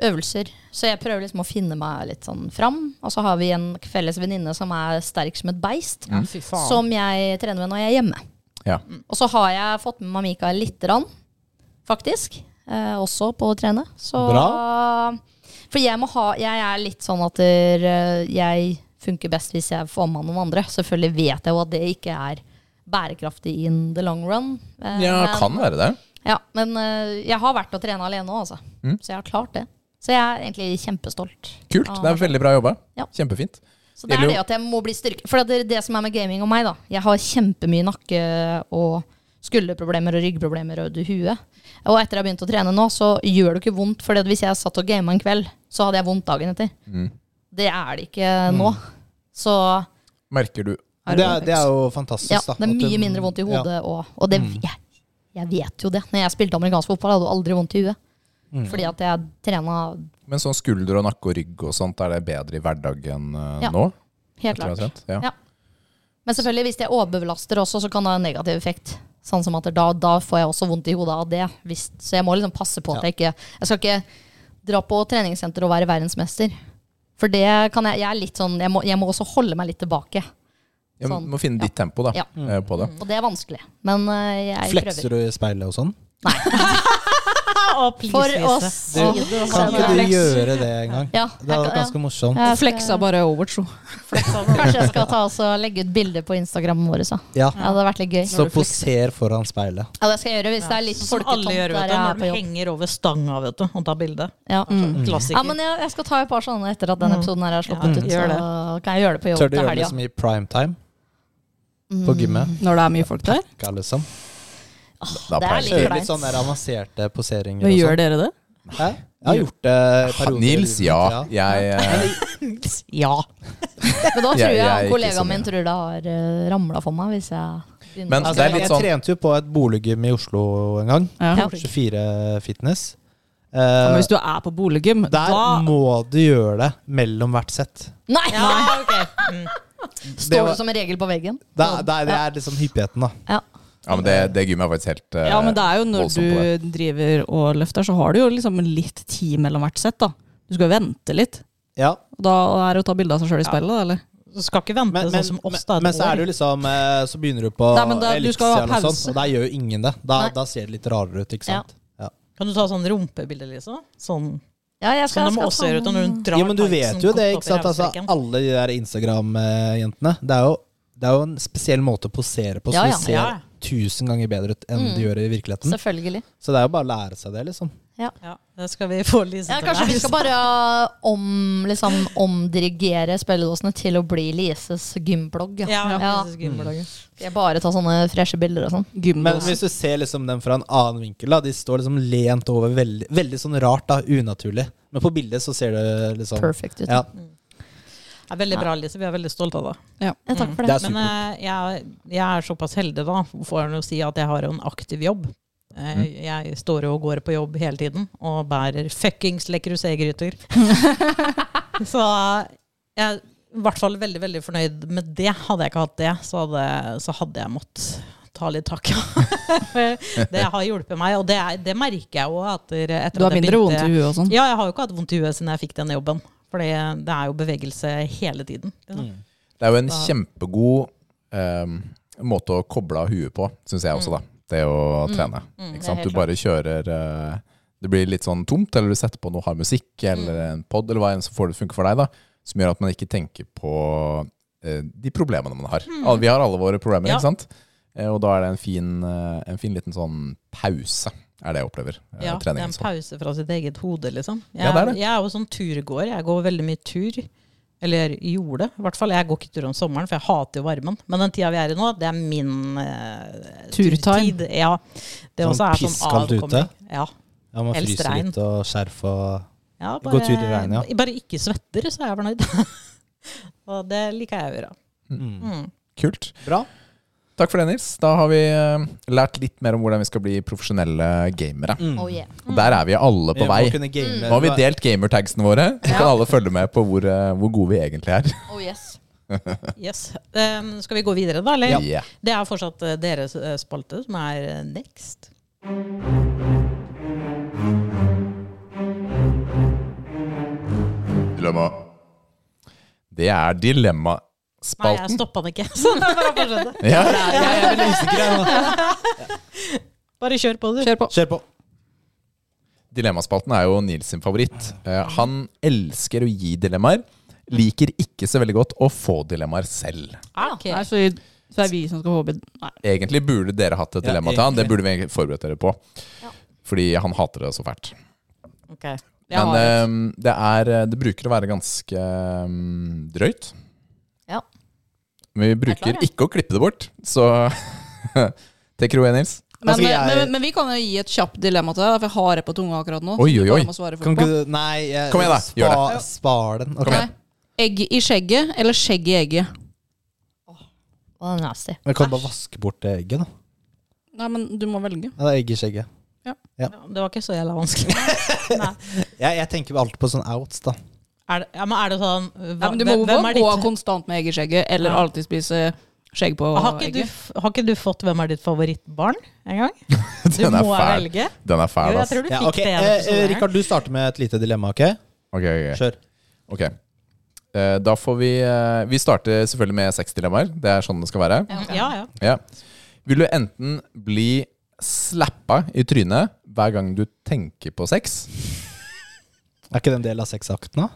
S6: øvelser. Så jeg prøver liksom å finne meg litt sånn fram. Og så har vi en felles venninne som er sterk som et beist,
S5: Mm.
S2: Ja, fy faen.
S6: som jeg trener med når jeg er hjemme.
S3: Ja.
S6: Og så har jeg fått med meg Mikael lite grann, faktisk. Eh, også på å trene. Så, For jeg, må ha, jeg er litt sånn at eh, jeg funker best hvis jeg får med meg noen andre. Selvfølgelig vet jeg jo at det ikke er bærekraftig in the long run. eh,
S3: Ja,
S6: men-
S3: kan være det.
S6: ja, men eh, jeg har vært og trene alene òg, altså. Så jeg har klart det. Så jeg er egentlig kjempestolt.
S3: Kult. Det er veldig bra jobba.
S6: Ah. Ja.
S3: Kjempefint.
S6: Så det er
S3: Eller-
S6: det at jeg må bli styrket. For det er det som er med gaming og meg, da. Jeg har kjempemye nakke og skulderproblemer og ryggproblemer og hue. Og etter jeg har begynt å trene nå, så gjør det ikke vondt. For hvis jeg satt og gama en kveld, så hadde jeg vondt dagen etter.
S3: Mm.
S6: Det er det ikke nå. Så
S3: Merker du
S5: Det er, det er jo fantastisk,
S6: ja,
S5: da.
S6: det er
S5: at du-
S6: mye mindre vondt i
S5: Ja.
S6: hodet og Og det jeg Jeg vet jo det. Når jeg spilte amerikansk fotball, hadde jeg aldri vondt i huet. Fordi at jeg trena
S3: Men sånn skulder og nakke og rygg og sånt, er det bedre i hverdagen eh,
S6: Ja,
S3: nå?
S6: helt
S3: etter å ha
S6: klart.
S3: trent? Ja.
S6: Ja. Men selvfølgelig, hvis jeg overbelaster også, så kan det ha en negativ effekt. Sånn som at da, da får jeg også vondt i hodet av det. Hvis, så jeg må liksom passe på at jeg ikke Jeg skal ikke dra på treningssenter og være verdensmester. For det kan jeg Jeg er litt sånn Jeg må, jeg må også holde meg litt tilbake.
S3: Jeg
S6: Sånn.
S3: må finne ditt tempo da,
S6: Ja. Mm.
S3: eh, på det.
S6: Og det er vanskelig. Men eh, jeg
S5: Flekser du i speilet og sånn?
S2: Og
S6: prøver. For
S2: please,
S6: oss.
S5: Du, Kan ikke du gjøre det en gang?
S6: Ja,
S5: Det hadde
S6: jeg
S5: vært
S6: kan-
S5: ganske morsomt.
S6: Jeg
S4: Fleksa bare over, tro.
S6: Kanskje jeg skal ta oss og legge ut bilder på Instagrammen vår. Så.
S5: Ja.
S6: Ja, det hadde vært litt gøy.
S5: Så poser foran speilet.
S6: Ja, det skal jeg gjøre hvis det er litt
S2: Sånn Som
S6: folketomt
S2: alle gjør,
S6: der
S2: vet du.
S6: jeg er
S2: Når
S6: på
S2: du
S6: jobb.
S2: henger over stanga vet du, og tar bilde.
S6: Ja. mm. ja,
S5: Mm.
S2: Klassiker.
S6: men jeg, jeg skal ta et par sånne etter at denne episoden her er
S2: Ja,
S6: sluppet ut.
S2: gjør
S6: Så kan jeg gjøre det på jobb
S5: Tør du
S6: til
S5: gjøre det
S6: helga. Mm.
S5: som i primetime? På gymmet?
S4: Når det er mye folk der.
S5: Ikke, liksom.
S6: Det
S3: Da
S6: er
S3: pleier
S6: litt
S5: Kjøre litt
S6: kleint.
S5: sånn der avanserte poseringer
S4: Men
S5: og
S4: gjør
S5: sånn.
S4: dere det?
S5: Hæ? Jeg har gjort det i perioder i
S3: Nils,
S5: livet mitt,
S3: ja. Jeg, eh,
S2: Ja.
S6: Men da
S3: Jeg-
S6: tror jeg,
S3: jeg er ikke så
S6: kollegaen
S3: mye.
S6: min tror det har uh, ramla for meg, hvis jeg begynner
S3: Men
S6: å-
S3: det er
S5: Altså,
S3: litt
S5: jeg
S3: sånn-
S5: trente jo på et boliggym i Oslo en gang.
S4: Ja.
S5: 24 Fitness. Eh,
S4: Men hvis du er på boliggym,
S5: der
S4: da
S5: må du gjøre det mellom hvert sett.
S6: Nei!
S2: ja ok. Mm.
S5: det
S6: (laughs) Står
S5: var-
S6: det som en regel på veggen?
S5: Det er, det er, det er liksom hyppigheten, da.
S6: Ja.
S3: ja, men det, det gymmet er faktisk helt eh,
S4: Ja, men det er jo når
S3: voldsomt på det.
S4: du driver og løfter, så har du jo liksom litt tid mellom hvert sett, da. Du skal jo vente litt.
S5: Ja.
S4: Og Da er det å ta bilde av seg sjøl i speilet, da, eller?
S2: Du skal ikke vente
S5: Men, men,
S2: sånn som
S5: men,
S2: oss, da. et
S5: men så
S2: år.
S5: er det jo liksom eh, Så begynner du på
S4: Nei, men da- du
S5: ellipse
S4: skal ha
S5: eller noe sånt,
S4: pause.
S5: og der gjør jo ingen det. Da,
S6: Nei.
S5: da ser det litt rarere ut, ikke
S6: Ja.
S5: sant. Ja.
S2: Kan du ta sånn rumpebilde, liksom? Sånn,
S6: Ja, jeg
S2: som
S6: skal,
S2: de
S6: skal
S2: også gjør ut
S6: ta-
S2: når du drar
S5: ja, men du vet
S2: tightsen
S5: jo
S2: godt
S5: det,
S2: opp
S5: ikke
S2: i
S5: sant? Altså,
S2: rævstrekken.
S5: alle de der Instagram-jentene. Det, er jo- det er jo en spesiell måte å posere på, så
S6: Ja, ja.
S5: det ser
S2: Ja. Mm.
S5: tusen ganger bedre ut enn de gjør i virkeligheten.
S6: Selvfølgelig.
S5: Så det er jo bare å lære seg det, liksom.
S3: Mm.
S2: Ja, det skal vi få Lise
S6: Ja,
S2: til
S6: kanskje
S2: å
S6: vi
S2: lære.
S6: skal bare eh, om, liksom, omdirigere spilledåsene til å bli Lises gymblogg.
S2: Ja,
S6: Ja.
S2: ja. Lises gymblogger.
S6: Jeg bare tar sånne freshe bilder og sånn.
S5: Men
S4: Gymbos.
S5: hvis du ser liksom dem fra en annen vinkel, da, de står liksom lent over veldig, veldig sånn rart, da, unaturlig. Men på bildet så ser det liksom
S6: Perfect ut.
S5: Ja,
S2: Det er veldig bra, Lise. Vi er veldig stolte av deg.
S4: Ja.
S6: Ja, takk for
S5: det
S6: det.
S5: er
S2: Men
S5: supert.
S2: eh, jeg, jeg er såpass heldig, da, får jeg nå si, at jeg har jo en aktiv jobb. Eh,
S4: Mm.
S2: Jeg står jo og går på jobb hele tiden og bærer fuckings Le
S4: (laughs)
S2: Creuset-gryter. så jeg er i hvert fall veldig veldig fornøyd med det. Hadde jeg ikke hatt det, så hadde, så hadde jeg måttet ta litt (laughs) tak. det har hjulpet meg, og det, er, det merker jeg jo. at etter at
S4: Du har
S2: jeg
S4: mindre vondt
S2: begynte-
S4: i huet og sånn.
S2: Ja, jeg har jo ikke hatt vondt i huet siden jeg fikk den jobben. For det er jo bevegelse hele tiden.
S5: Mm.
S2: Liksom.
S3: Det er jo en
S2: Da-
S3: kjempegod ehm, måte å koble av huet på, syns jeg også, da. Det å trene.
S6: det er
S3: Ikke sant?
S6: helt
S3: Du bare kjører eh, Det blir litt sånn tomt, eller du setter på noe hard musikk eller en pod, eller hva enn som får det funke for deg, da. Som gjør at man ikke tenker på eh, de problemene man har. Alle- Vi har alle våre problemer,
S2: Ja.
S3: ikke sant? Eh, og da er det en fin, eh, en fin liten sånn pause, er det jeg opplever. eh,
S2: Ja, det er
S3: treningen
S2: en
S3: som.
S2: pause fra sitt eget hode, liksom. Jeg,
S3: Ja, det er det.
S2: jeg er jo sånn turgåer. Jeg går veldig mye tur. Eller gjorde, i hvert fall. Jeg går ikke tur om sommeren, for jeg hater jo varmen. Men den tida vi er i nå, det er min eh,
S4: Turtime.
S2: turtid. Ja. Det
S5: Sånn
S2: også er sånn
S5: pisskaldt ute?
S2: avkomling. Ja.
S5: ja man
S2: Helst
S5: fryser
S2: regn.
S5: litt og skjerf og
S2: Ja,
S5: Gå tur i regnet, ja.
S2: bare ikke svetter, så er jeg fornøyd. (laughs) Og det liker jeg å gjøre. Mm.
S3: Kult.
S5: Bra.
S3: Takk for det, Nils. Da har vi eh, lært litt mer om hvordan vi skal bli profesjonelle gamere.
S5: sånn. Mm.
S6: Oh, yeah.
S3: Og der er vi alle på vei. Nå har vi delt gamertagsene våre. Så kan alle følge med på hvor, eh, hvor gode vi egentlig er.
S6: oh yes.
S2: Yes. Um, skal vi gå videre, da?
S3: (laughs)
S2: Eller?
S3: Ja.
S2: Det er fortsatt eh, deres eh, spalte, som er eh, next.
S3: Dilemma. Det er
S2: Nei, jeg
S3: dilemmaspalten.
S2: stoppa den ikke. (laughs) Så det er bare å fortsette.
S3: Ja.
S2: (laughs) Bare kjør på, du.
S4: Kjør på.
S5: Kjør på.
S3: (laughs) Dilemmaspalten er jo Nils sin favoritt. Eh, Han elsker å gi dilemmaer. Liker ikke så veldig godt å få dilemmaer selv.
S2: Ah, Ok.
S4: Nei, så, så er vi som skal håpe Nei.
S3: Egentlig burde dere hatt et
S5: Ja,
S3: dilemma til han. Det
S5: egentlig.
S3: burde vi egentlig forberedt dere på. Fordi han hater det så fælt.
S2: Ok.
S4: Jeg
S3: Men
S4: har et.
S3: ehm, det, er, det bruker å være ganske ehm, drøyt.
S6: Ja.
S3: Men vi bruker ikke å klippe det bort, så (laughs) Take it away, Nils.
S5: Da
S4: Men,
S5: skal
S4: men,
S5: jeg-
S4: men, men vi kan jo gi et kjapt dilemma til deg, for jeg har det på tunga akkurat nå.
S3: Oi,
S4: så du
S3: oi,
S4: bare
S3: oi.
S4: må svare fort
S5: Kan
S4: på.
S5: ikke du Nei, jeg,
S3: Kom igjen da, gjør
S5: Spa, spar den. Ok.
S3: Kom igjen.
S4: Nei. Egg i skjegget eller skjegg i egget?
S6: Oh, nasty.
S5: Men kan du bare vaske bort det egget, da?
S4: Nei, men du må velge.
S5: Ja, det er egg i skjegget.
S2: Ja, det var ikke så jævla vanskelig. (laughs)
S5: Jeg, jeg tenker alltid på sånn outs, da.
S2: Er det, ja, men er det sånn hva,
S4: Nei, men du må
S2: hvem er
S4: gå
S2: ditt-
S4: konstant med egg i skjegget, eller
S2: Ja.
S4: alltid spise skjegg på
S2: har, ikke du,
S4: egget.
S2: f- har ikke du fått 'Hvem er ditt favorittbarn' en gang? Du
S3: (laughs) Den er
S2: må
S3: fæl.
S2: velge.
S3: Den er
S2: Jo,
S3: fæl,
S2: jeg
S3: ass.
S2: tror du fikk
S5: Ja, ok.
S2: det. sånn i en
S5: Eh,
S2: episode
S5: eh,
S2: her.
S5: Rikard, du starter med et lite dilemma, OK?
S3: Ok, ok, ok.
S5: Kjør.
S3: Ok. Eh, Da får vi eh, Vi starter selvfølgelig med seks dilemmaer. Det er sånn det skal være.
S2: Ja, ja.
S3: Ja. Vil du enten bli slappa i trynet hver gang du tenker på sex,
S5: Er ikke det en del av sexakten, da?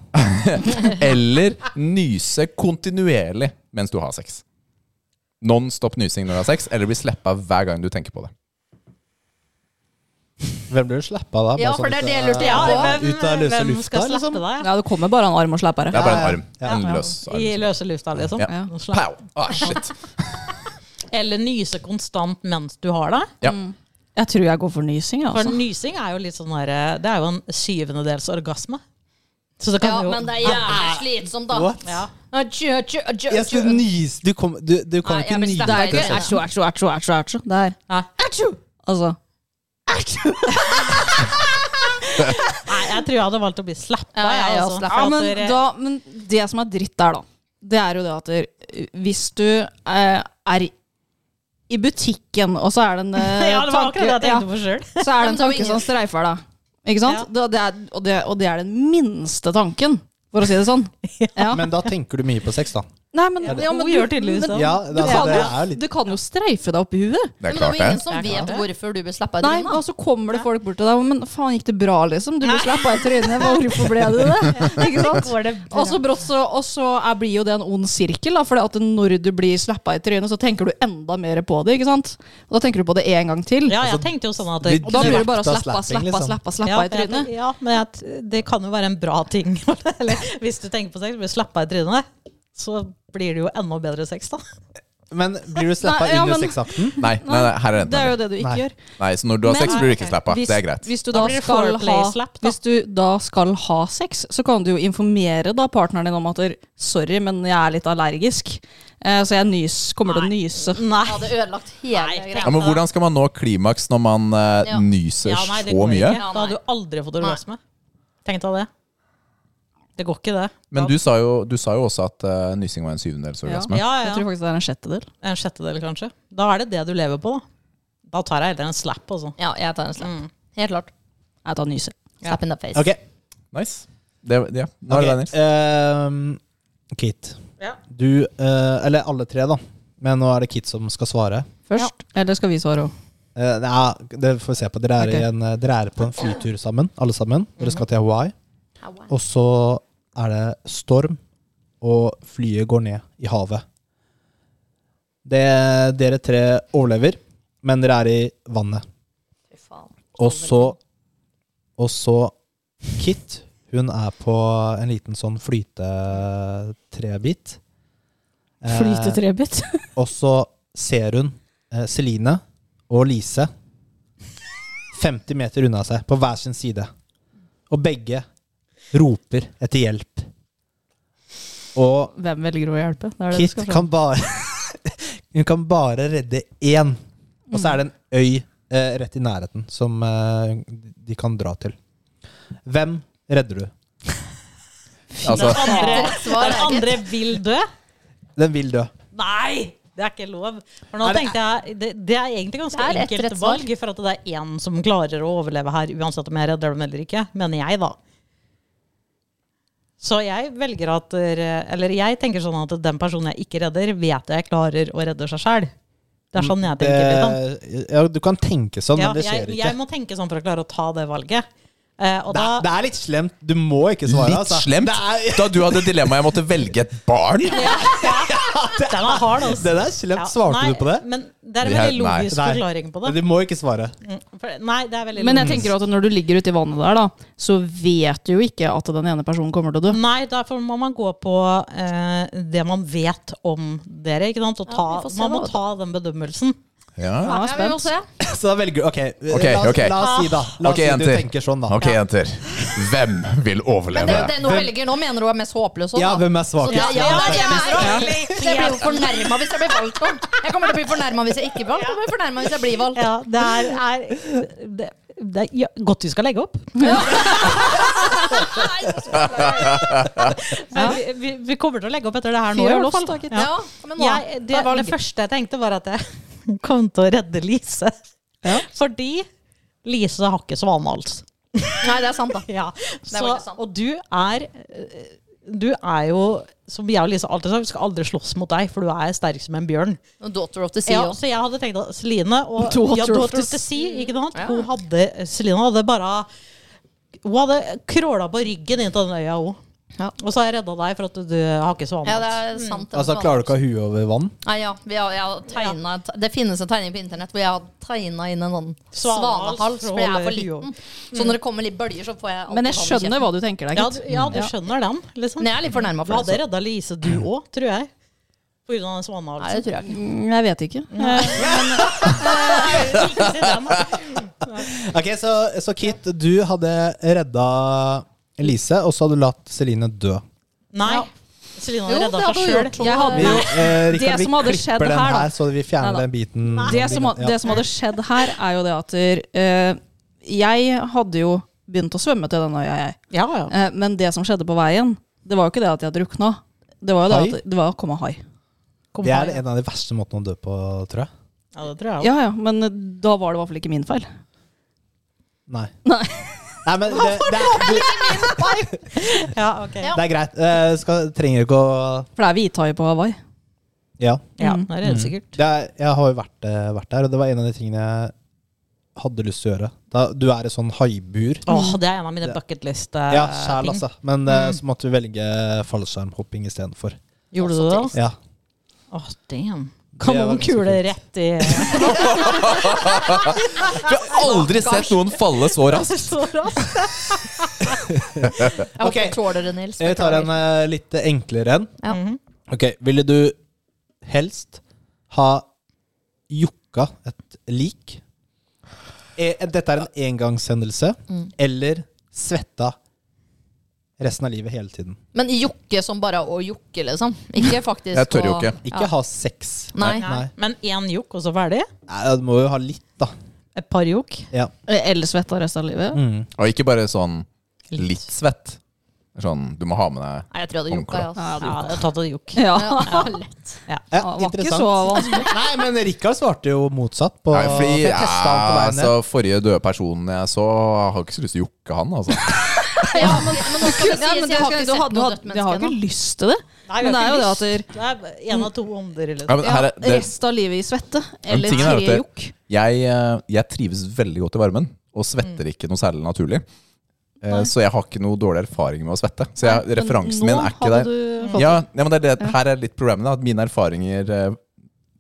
S3: eller nyse kontinuerlig mens du har sex? Non stop nysing når du har sex, eller bli slappa hver gang du tenker på det?
S5: Hvem blir du slappa da? Bare
S6: Ja,
S5: sånn
S6: for det er
S5: ut av-
S6: det jeg lurte
S2: ja
S6: jeg på.
S2: hvem,
S5: Ut av løse
S2: hvem
S5: lufta,
S2: skal
S5: liksom.
S2: slappe deg?
S4: Ja, det kommer bare en arm og slapper
S3: Det
S4: deg.
S3: er bare en arm.
S5: Ja.
S3: En løs
S2: I
S3: arm.
S2: løse lufta, liksom.
S3: Ja.
S4: Ja.
S2: Slapp.
S3: Pow! Ah, shit.
S2: Eller nyse konstant mens du har det.
S3: Ja.
S4: Jeg tror jeg går for nysing,
S2: For
S4: altså.
S2: nysing er jo litt sånn her, Det er jo en syvendedels orgasme. Så det
S6: Ja,
S2: kan jo
S6: men det er jævlig slitsomt, da.
S5: What?
S2: ja.
S6: Adjø, adjø, adjø,
S5: Jeg skal
S6: adjø.
S5: nys Du kommer du, du kom
S6: Nei,
S5: ikke
S6: jeg blir
S5: nyse.
S6: slappa i
S5: etter
S6: trynet.
S5: sex.
S4: Æsjo, æsjo, æsjo, æsjo, æsjo. Der.
S2: Nei.
S4: Altså.
S2: Nei, jeg tror jeg hadde valgt å bli slappa.
S6: Ja, jeg
S2: jeg,
S6: er
S2: altså.
S6: slapp.
S4: Ja,
S2: For at
S4: men,
S2: dere-
S4: da, men det som er dritt der, da, det er jo det at der, hvis du eh, er i butikken, og så er det en eh,
S2: ja, det var akkurat det jeg
S4: ja,
S2: tenkte på
S4: (laughs)
S2: sjøl.
S4: så er det
S6: Men
S4: en
S6: det er jo
S4: tanke som streifer deg. Ikke sant? Det, det er, og, det, og det er den minste tanken, for å si det sånn. Ja.
S5: Men da tenker du mye på sex, da.
S4: Nei, men,
S2: Ja,
S4: ja, men
S2: hun gjør tydeligvis det.
S5: Ja,
S4: du,
S5: altså,
S4: kan
S5: det
S4: jo,
S5: er jo litt
S4: du kan jo streife deg opp i huet.
S6: Men det er
S3: Det er klart,
S6: jo ingen
S3: det.
S6: som
S2: Det er klart
S6: vet
S2: det.
S6: hvorfor du ble slappa i
S4: Nei,
S6: trynet.
S4: og så kommer det folk bort til deg og, Men faen, gikk det bra, liksom? Du ble slappa i trynet. Hvorfor ble du (laughs) det? Ikke sant?
S2: Går det bra?
S4: Og så brått så, og så er, blir jo det en ond sirkel, da, for at når du blir slappa i trynet, så tenker du enda mer på det. ikke sant? Og da tenker du på det en gang til.
S2: ja, jeg tenkte jo sånn at
S5: vi-
S4: Og da blir du bare
S5: Drepte av
S4: slappa,
S5: slapping,
S4: slappa,
S5: liksom.
S2: ja,
S4: slappa, slappa i
S2: jeg
S4: trynet.
S2: tenk- ja, men jeg, t- det kan jo være en bra ting. (laughs) Eller, hvis du tenker på sex, blir slappa i trynet, så blir det jo enda bedre sex, da.
S5: Men blir du slappa
S4: Nei, ja,
S5: inn i
S4: men-
S5: sexakten?
S3: Nei, nei, nei, her er
S4: Det er
S3: enten.
S4: jo det du ikke
S5: Nei.
S4: gjør.
S3: Nei, så når du har
S4: Men-
S3: sex, blir du ikke slappa. Det er greit.
S4: Hvis du,
S2: Da
S4: da
S2: blir det
S4: skal ha,
S2: foreplay-slapp, da.
S4: hvis du da skal ha sex, så kan du jo informere da partneren din om at Sorry, men jeg er litt allergisk, eh, så jeg nys, kommer til å nyse.
S2: Nei.
S6: Jeg hadde ødelagt hele
S2: Nei,
S6: greia.
S3: Ja, men hvordan skal man nå klimaks når man eh,
S6: Ja.
S3: nyser
S2: Ja, nei, det
S3: så
S2: går
S3: mye?
S2: Ikke. Da hadde du aldri fått orgasme. Tenk deg det. Det går ikke, det.
S3: Men du sa jo, du sa jo også at eh, nysing var en syvendedels orgasme.
S2: ja,
S4: Jeg
S2: ja.
S4: tror faktisk det er en sjettedel.
S2: En sjettedel, kanskje. Da er det det du lever på, da. Da tar jeg heller en slap, altså.
S6: Ja, jeg tar en slapp.
S4: Mm.
S6: Helt klart.
S4: Jeg tar nyse.
S6: Slap in the face.
S5: Ok.
S3: Nice. Det, ja. Nå er det deg,
S5: ok.
S3: Nils.
S5: Ehm, Kit,
S2: Ja.
S5: du eh, Eller alle tre, da. Men nå er det Kit som skal svare.
S4: Først. Eller skal vi svare òg?
S5: Eh, nei, det får vi se på. Dere er,
S4: Ok.
S5: i en, eh, dere er på en flytur sammen, alle sammen. Dere skal til Hawaii. Og så er det storm, og flyet går ned i havet. Det, dere tre overlever, men dere er i vannet.
S6: Fy faen.
S5: Og så Og så Kit, hun er på en liten sånn flytetrebit. Eh,
S4: Flytetrebit.
S5: og så ser hun eh, Celine og Lise 50 meter unna seg, på hver sin side. Og begge roper etter hjelp. Og
S4: (laughs) Hvem velger å hjelpe? Det er det du
S5: Kit
S4: skal
S5: kan bare (laughs) Hun kan bare redde én. Og så er det en øy eh, rett i nærheten som eh, de kan dra til. Hvem redder du?
S3: Altså,
S2: Den andre,
S6: Faen, svar er
S2: den andre vil dø?
S5: Den vil dø.
S2: Nei! Det er ikke lov. For nå
S5: Er det-
S2: tenkte jeg, det, det er egentlig ganske
S6: Det er ett rett
S2: enkelt
S6: svar.
S2: valg, for at det er én som klarer å overleve her, uansett om jeg redder dem eller ikke, mener jeg, da. Så jeg velger at dere- Eller jeg tenker sånn at den personen jeg ikke redder, vet jeg klarer å redde seg sjæl. Det er sånn jeg tenker. litt, da.
S5: Mm, Det- Eh, ja, du kan tenke sånn,
S2: Ja,
S5: men det skjer
S2: jeg,
S5: ikke.
S2: jeg må tenke sånn for å klare å ta det valget. Eh, og
S5: det,
S2: da,
S5: er, det er litt slemt. Du må ikke svare.
S3: Litt
S5: altså.
S3: slemt. Da du hadde dilemmaet jeg måtte velge et barn.
S2: Den er hard, altså.
S5: Det der er slemt.
S2: Ja,
S5: (laughs) Svarte
S2: nei,
S5: du på det?
S2: Men det er en
S3: Det er-
S2: veldig logisk
S5: nei.
S2: forklaring på det.
S5: Men du må ikke svare. (laughs)
S2: For, nei, det er veldig
S4: Men jeg
S2: logisk.
S4: tenker at når du ligger ute i vannet der, da, så vet du jo ikke at den ene personen kommer til å dø.
S2: Nei, derfor må man gå på eh, det man vet om dere, ikke sant? Og ta,
S6: vi får se
S2: man må
S6: da, vet du.
S2: ta den bedømmelsen.
S3: Ja.
S4: Ja, jeg er
S6: Ja, men
S4: spent.
S6: også, ja.
S5: Så da velger du Ok,
S3: Ok,
S5: la, oss-
S3: ok.
S5: la oss si da La oss
S3: Ok,
S5: si du
S3: jenter.
S5: tenker sånn, da.
S3: Ok, jenter. Hvem vil
S6: Men det er jo
S3: overleve?
S6: den hun velger nå, mener hun er mest håpløs. også,
S5: Ja,
S6: sånn da.
S5: hvem er
S6: Så det,
S5: svakest?
S6: ja, det er det jeg mener også.
S2: Ja.
S6: Så Jeg blir jo fornærma hvis jeg blir valgt på. Jeg kommer til å bli fornærma hvis jeg ikke blir valgt. Jeg blir fornærmet hvis jeg blir valgt.
S2: Ja, det er, er det, det er ja, godt du skal legge opp. Ja. Vi, vi, vi kommer til å legge opp etter det her nå.
S4: Fyr
S2: i
S4: og
S2: hvert fall.
S4: loss, da, gitt.
S2: Ja.
S6: Ja, men nå,
S2: Jeg, det,
S6: da var
S2: det
S6: det
S2: første jeg tenkte, var at jeg (laughs) kom til å redde Lise. Fordi Lise har ikke altså. svanehals.
S6: Nei, det er sant, da.
S2: (laughs) Ja. Så,
S6: veldig sant.
S2: og du er eh, du er jo, som jeg og Lise alltid har sagt, vi skal aldri slåss mot deg, for du er sterk som en bjørn.
S6: Og Daughter of the Sea
S2: Ja, så
S6: også.
S2: jeg hadde tenkt at Celine og
S6: Daughter
S2: ja,
S6: of the
S2: Daughter of the Sea, ikke sant? Hun hadde, Celine hadde bare Hun hadde kråla på ryggen inn til den øya òg.
S6: Ja.
S2: Og så har jeg redda deg for at du har ikke
S6: Ja,
S2: svanehatt.
S6: det er sant. det er
S5: Altså,
S6: sant.
S5: klarer du ikke å ha huet over vann?
S6: Nei, ja, vi har, jeg har tegnet, Det finnes en tegning på internett hvor jeg har tegna inn en sånn
S2: Svanehals
S6: svanehals,
S2: for å
S6: for jeg er
S2: holde
S6: for
S2: huet
S6: liten. Så når det kommer litt bølger, så får jeg alltid
S4: Men jeg
S6: vann i
S4: skjønner
S6: kjeften.
S4: hva du tenker deg,
S2: Ja,
S4: gitt.
S2: du, ja, du skjønner den, liksom.
S6: Men jeg er litt
S2: Du
S6: fornærma for
S2: hadde
S6: det.
S2: redda Lise, du òg, tror jeg. På grunn av den altså.
S6: Nei,
S2: svanehalsen.
S6: det tror jeg ikke.
S4: Mm, Jeg vet ikke.
S2: Ikke si den, da.
S5: Ok, Så, så Kit, du hadde redda Elise, og så hadde du latt Celine dø.
S2: Nei. Celine hadde
S6: Jo, det
S2: redda
S6: hadde
S2: seg
S6: hun
S2: sjøl.
S6: gjort.
S4: Jeg hadde-
S5: Vi, eh, Rikard, vi
S4: som hadde
S5: klipper
S4: skjedd
S5: den
S4: her,
S5: her,
S4: da.
S5: så vi fjerner
S4: Nei, da.
S5: den biten.
S4: Det som,
S5: Ja.
S4: det som hadde skjedd her, er jo det at eh, jeg hadde jo begynt å svømme til den øya, jeg.
S2: Ja, ja.
S4: Eh, men det som skjedde på veien, det var jo ikke det at jeg drukna. Det var jo det
S5: Hai?
S4: at det var å komme hai.
S2: Kom
S5: Det er
S2: her.
S5: en av de verste måtene å dø på, tror jeg.
S2: Ja, det tror jeg også.
S4: Ja ja, men eh, da var det i hvert fall ikke min feil.
S5: Nei.
S4: Nei.
S5: Nei, men det, det, er, du,
S2: Ja, ok.
S6: Ja.
S5: det er greit. Eh, skal, trenger ikke å
S4: For det er hvithai på Hawaii.
S5: Ja.
S2: Ja,
S4: Mm.
S2: det er helt sikkert.
S5: Det er, jeg har jo vært, eh, vært der, og det var en av de tingene jeg hadde lyst til å gjøre. Da, du er i sånn haibur.
S3: Mm.
S2: Åh, det er en av mine bucketlist-ting.
S5: Ja, sjæl, altså. Men eh, så måtte vi velge fallskjermhopping istedenfor.
S2: Gjorde du det? da?
S5: Ja.
S2: Åh, damn.
S5: Kanonkule
S2: Kanonkule rett
S3: (laughs)
S2: i
S3: Jeg har aldri sett noen falle så
S2: Altså,
S3: raskt.
S6: Jeg håper
S5: Ok.
S6: du tåler det, Nils.
S5: Jeg tar en
S6: Beklager.
S5: eh, litt enklere en.
S6: Ja.
S3: Mhm.
S5: Ok, Ville du helst ha jukka et lik? E- Dette er en engangshendelse. Eller svetta resten av livet hele tiden.
S6: Men jokke som bare å jokke, liksom.
S5: (laughs)
S6: Ikke faktisk
S3: Jeg tør jo
S6: å-
S3: ikke.
S5: Ikke ha sex.
S6: Nei.
S5: Nei.
S2: Men én jokk, og så ferdig?
S5: Nei, Du må jo ha litt, da.
S2: Et par jokk?
S5: Ja.
S4: Eller svetta resten av livet.
S3: Og ikke bare sånn litt svett. Sånn, du må ha med deg
S6: Nei, jeg tror jeg hadde jokka, jeg. altså.
S2: Ja, jeg har tatt et jokk.
S4: Ja.
S6: Ja, lett.
S5: Ja,
S4: Det var ikke
S5: interessant.
S4: så
S5: (laughs)
S4: vanskelig.
S5: Nei, men Rikard svarte jo motsatt. På,
S3: Nei, fordi
S5: for jeg
S3: ja,
S5: testet han på veien ned.
S3: altså, Forrige døde personen jeg så, har ikke så lyst til å jukke han,
S6: (laughs)
S3: altså.
S6: Ja, men, men nå skal
S4: Ja,
S6: det sies,
S4: men du
S6: jeg
S4: har ikke,
S6: skal ikke
S4: du
S6: sett
S4: hadde, du
S6: noe
S4: hadde,
S6: dødt
S4: du har
S6: menneske
S4: ikke
S6: ennå.
S4: lyst til det.
S2: Nei,
S4: Men det er jo det at
S2: Det er en av to ånder,
S3: Ja,
S2: liksom.
S3: men her, er- det,
S4: Resten av livet i svette.
S3: Men
S4: Eller
S3: tingen er at
S4: tre
S3: det-
S4: jokk.
S3: jeg, eh, jeg trives veldig godt i varmen, og svetter
S6: Mm.
S3: ikke noe særlig naturlig. Eh, Så jeg har ikke noe dårlig erfaring med å svette. Så jeg, referansen min er ikke der.
S4: Ja.
S3: Ja, ja, men det er det, her er litt problemet. da at Mine erfaringer eh,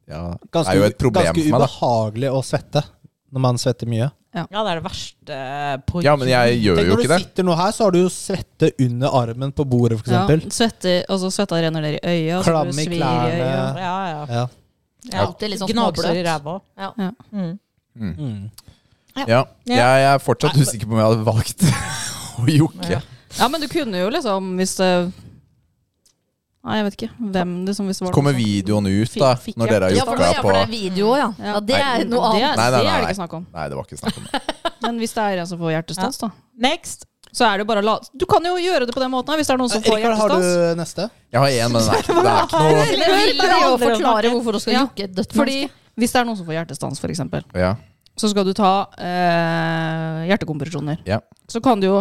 S3: ja,
S5: ganske,
S3: er jo et problem
S5: ganske
S3: for meg. da
S5: ubehagelig å svette når man svetter mye.
S2: Ja, det er det verste eh, på
S3: Ja, men jeg gjør
S5: Tenk
S3: jo
S5: Når du
S3: ikke det.
S5: sitter nå her, så har du jo svette under armen på bordet, f.eks.
S4: Ja,
S5: eksempel
S4: svette, altså, svetta renner ned i øya. så
S5: Klam
S4: det
S5: i
S4: svir i
S5: klærne.
S4: øya.
S2: Ja, ja.
S5: Ja.
S2: ja.
S6: Alltid litt sånn
S2: Gnagsår i
S6: småbløt.
S2: ræva.
S3: Ja, jeg er fortsatt usikker på om jeg hadde valgt (laughs) å jokke.
S4: Ja, men du kunne jo liksom, hvis det Nei, jeg vet ikke. Hvem liksom, hvis det
S3: Så
S4: var
S3: kommer
S4: noe sånt.
S3: videoen ut, da,
S4: Fikk- fikk
S3: når dere har
S6: Ja, for, det-
S3: jokka
S6: ja, for
S3: på
S6: det er video, ja. ja det er noe
S4: Det,
S6: annet.
S4: er-
S3: Nei, nei,
S4: det er
S3: nei,
S4: det ikke
S3: nei.
S4: snakk om.
S3: Nei, det var ikke snakk om det.
S4: Men hvis det er en som får hjertestans, da.
S2: Next!
S4: Så er det jo bare å la Du kan jo gjøre det på den måten her, hvis det er noen
S3: Eh,
S4: som får
S5: Eh, Rikard, har
S4: hjertestans.
S5: du neste?
S3: Jeg har én, men det er ikke, det er ikke noe
S6: Det
S4: (laughs)
S6: vil
S4: Hør på
S6: jeg jo
S4: det andre
S6: forklare
S4: snakket.
S6: hvorfor du skal
S4: Ja,
S6: jokke et dødt
S4: Fordi
S6: menneske.
S4: hvis det er noen som får hjertestans, for eksempel
S3: ja.
S4: så skal du ta eh, hjertekompresjoner.
S3: Ja.
S4: Så kan du jo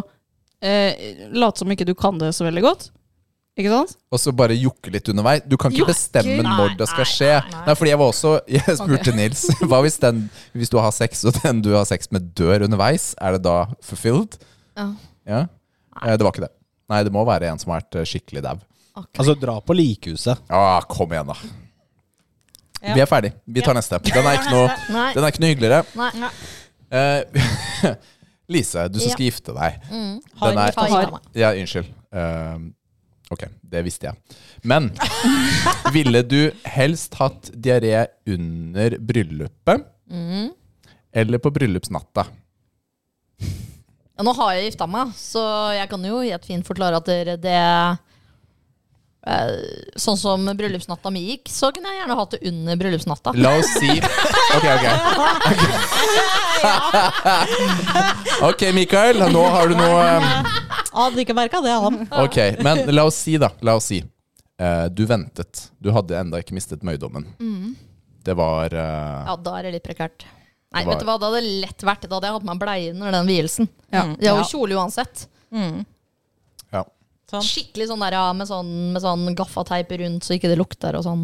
S4: eh, late som ikke du kan det så veldig godt. Ikke sant?
S3: Og så bare jokke litt underveis. Du kan ikke
S2: Nei,
S3: bestemme når det skal
S2: nei,
S3: skje. Nei, fordi jeg var også (laughs) Jeg spurte Nils Hva hvis, den, hvis du har sex, og den du har sex med, dør underveis? Er det da fulfilled?
S6: Ja.
S3: Ja. Eh, Det var ikke det. Nei, det må være en som har vært eh, skikkelig dau.
S5: Altså, dra på likhuset.
S3: Ah, kom igjen, da.
S2: Ja.
S3: Vi er ferdig. Vi tar neste. Den er ikke noe,
S6: Nei.
S3: den er ikke noe hyggeligere.
S6: Nei.
S3: Eh, (laughs) Lise, du som skal gifte deg.
S6: Mm.
S3: Den er,
S6: Har.
S3: ja, unnskyld. Eh, Ok, det visste jeg. (laughs) Men ville du helst hatt diaré under bryllupet Mhm. eller på bryllupsnatta?
S6: Ja, nå har jeg gifta meg, så jeg kan jo helt fint forklare at dere det eh, Sånn som bryllupsnatta mi gikk, så kunne jeg gjerne hatt det under bryllupsnatta.
S3: La oss si Ok, ok. Ok, Mikael, nå har du noe um,
S2: (laughs) Hadde ikke merka det, han.
S3: Ok, men la oss si, da. La oss si. eh, Du ventet. Du hadde enda ikke mistet møydommen. Det var eh,
S6: Ja, da er det litt prekært. Nei,
S3: Det var-
S6: vet du hva, det hadde lett vært det. Da hadde jeg hatt meg bleie under den vielsen.
S4: Ja.
S6: Det var jo kjole uansett.
S3: ja.
S2: Sånn.
S6: Skikkelig sånn der, ja, med sånn, med sånn gaffateip rundt så ikke det lukter og sånn.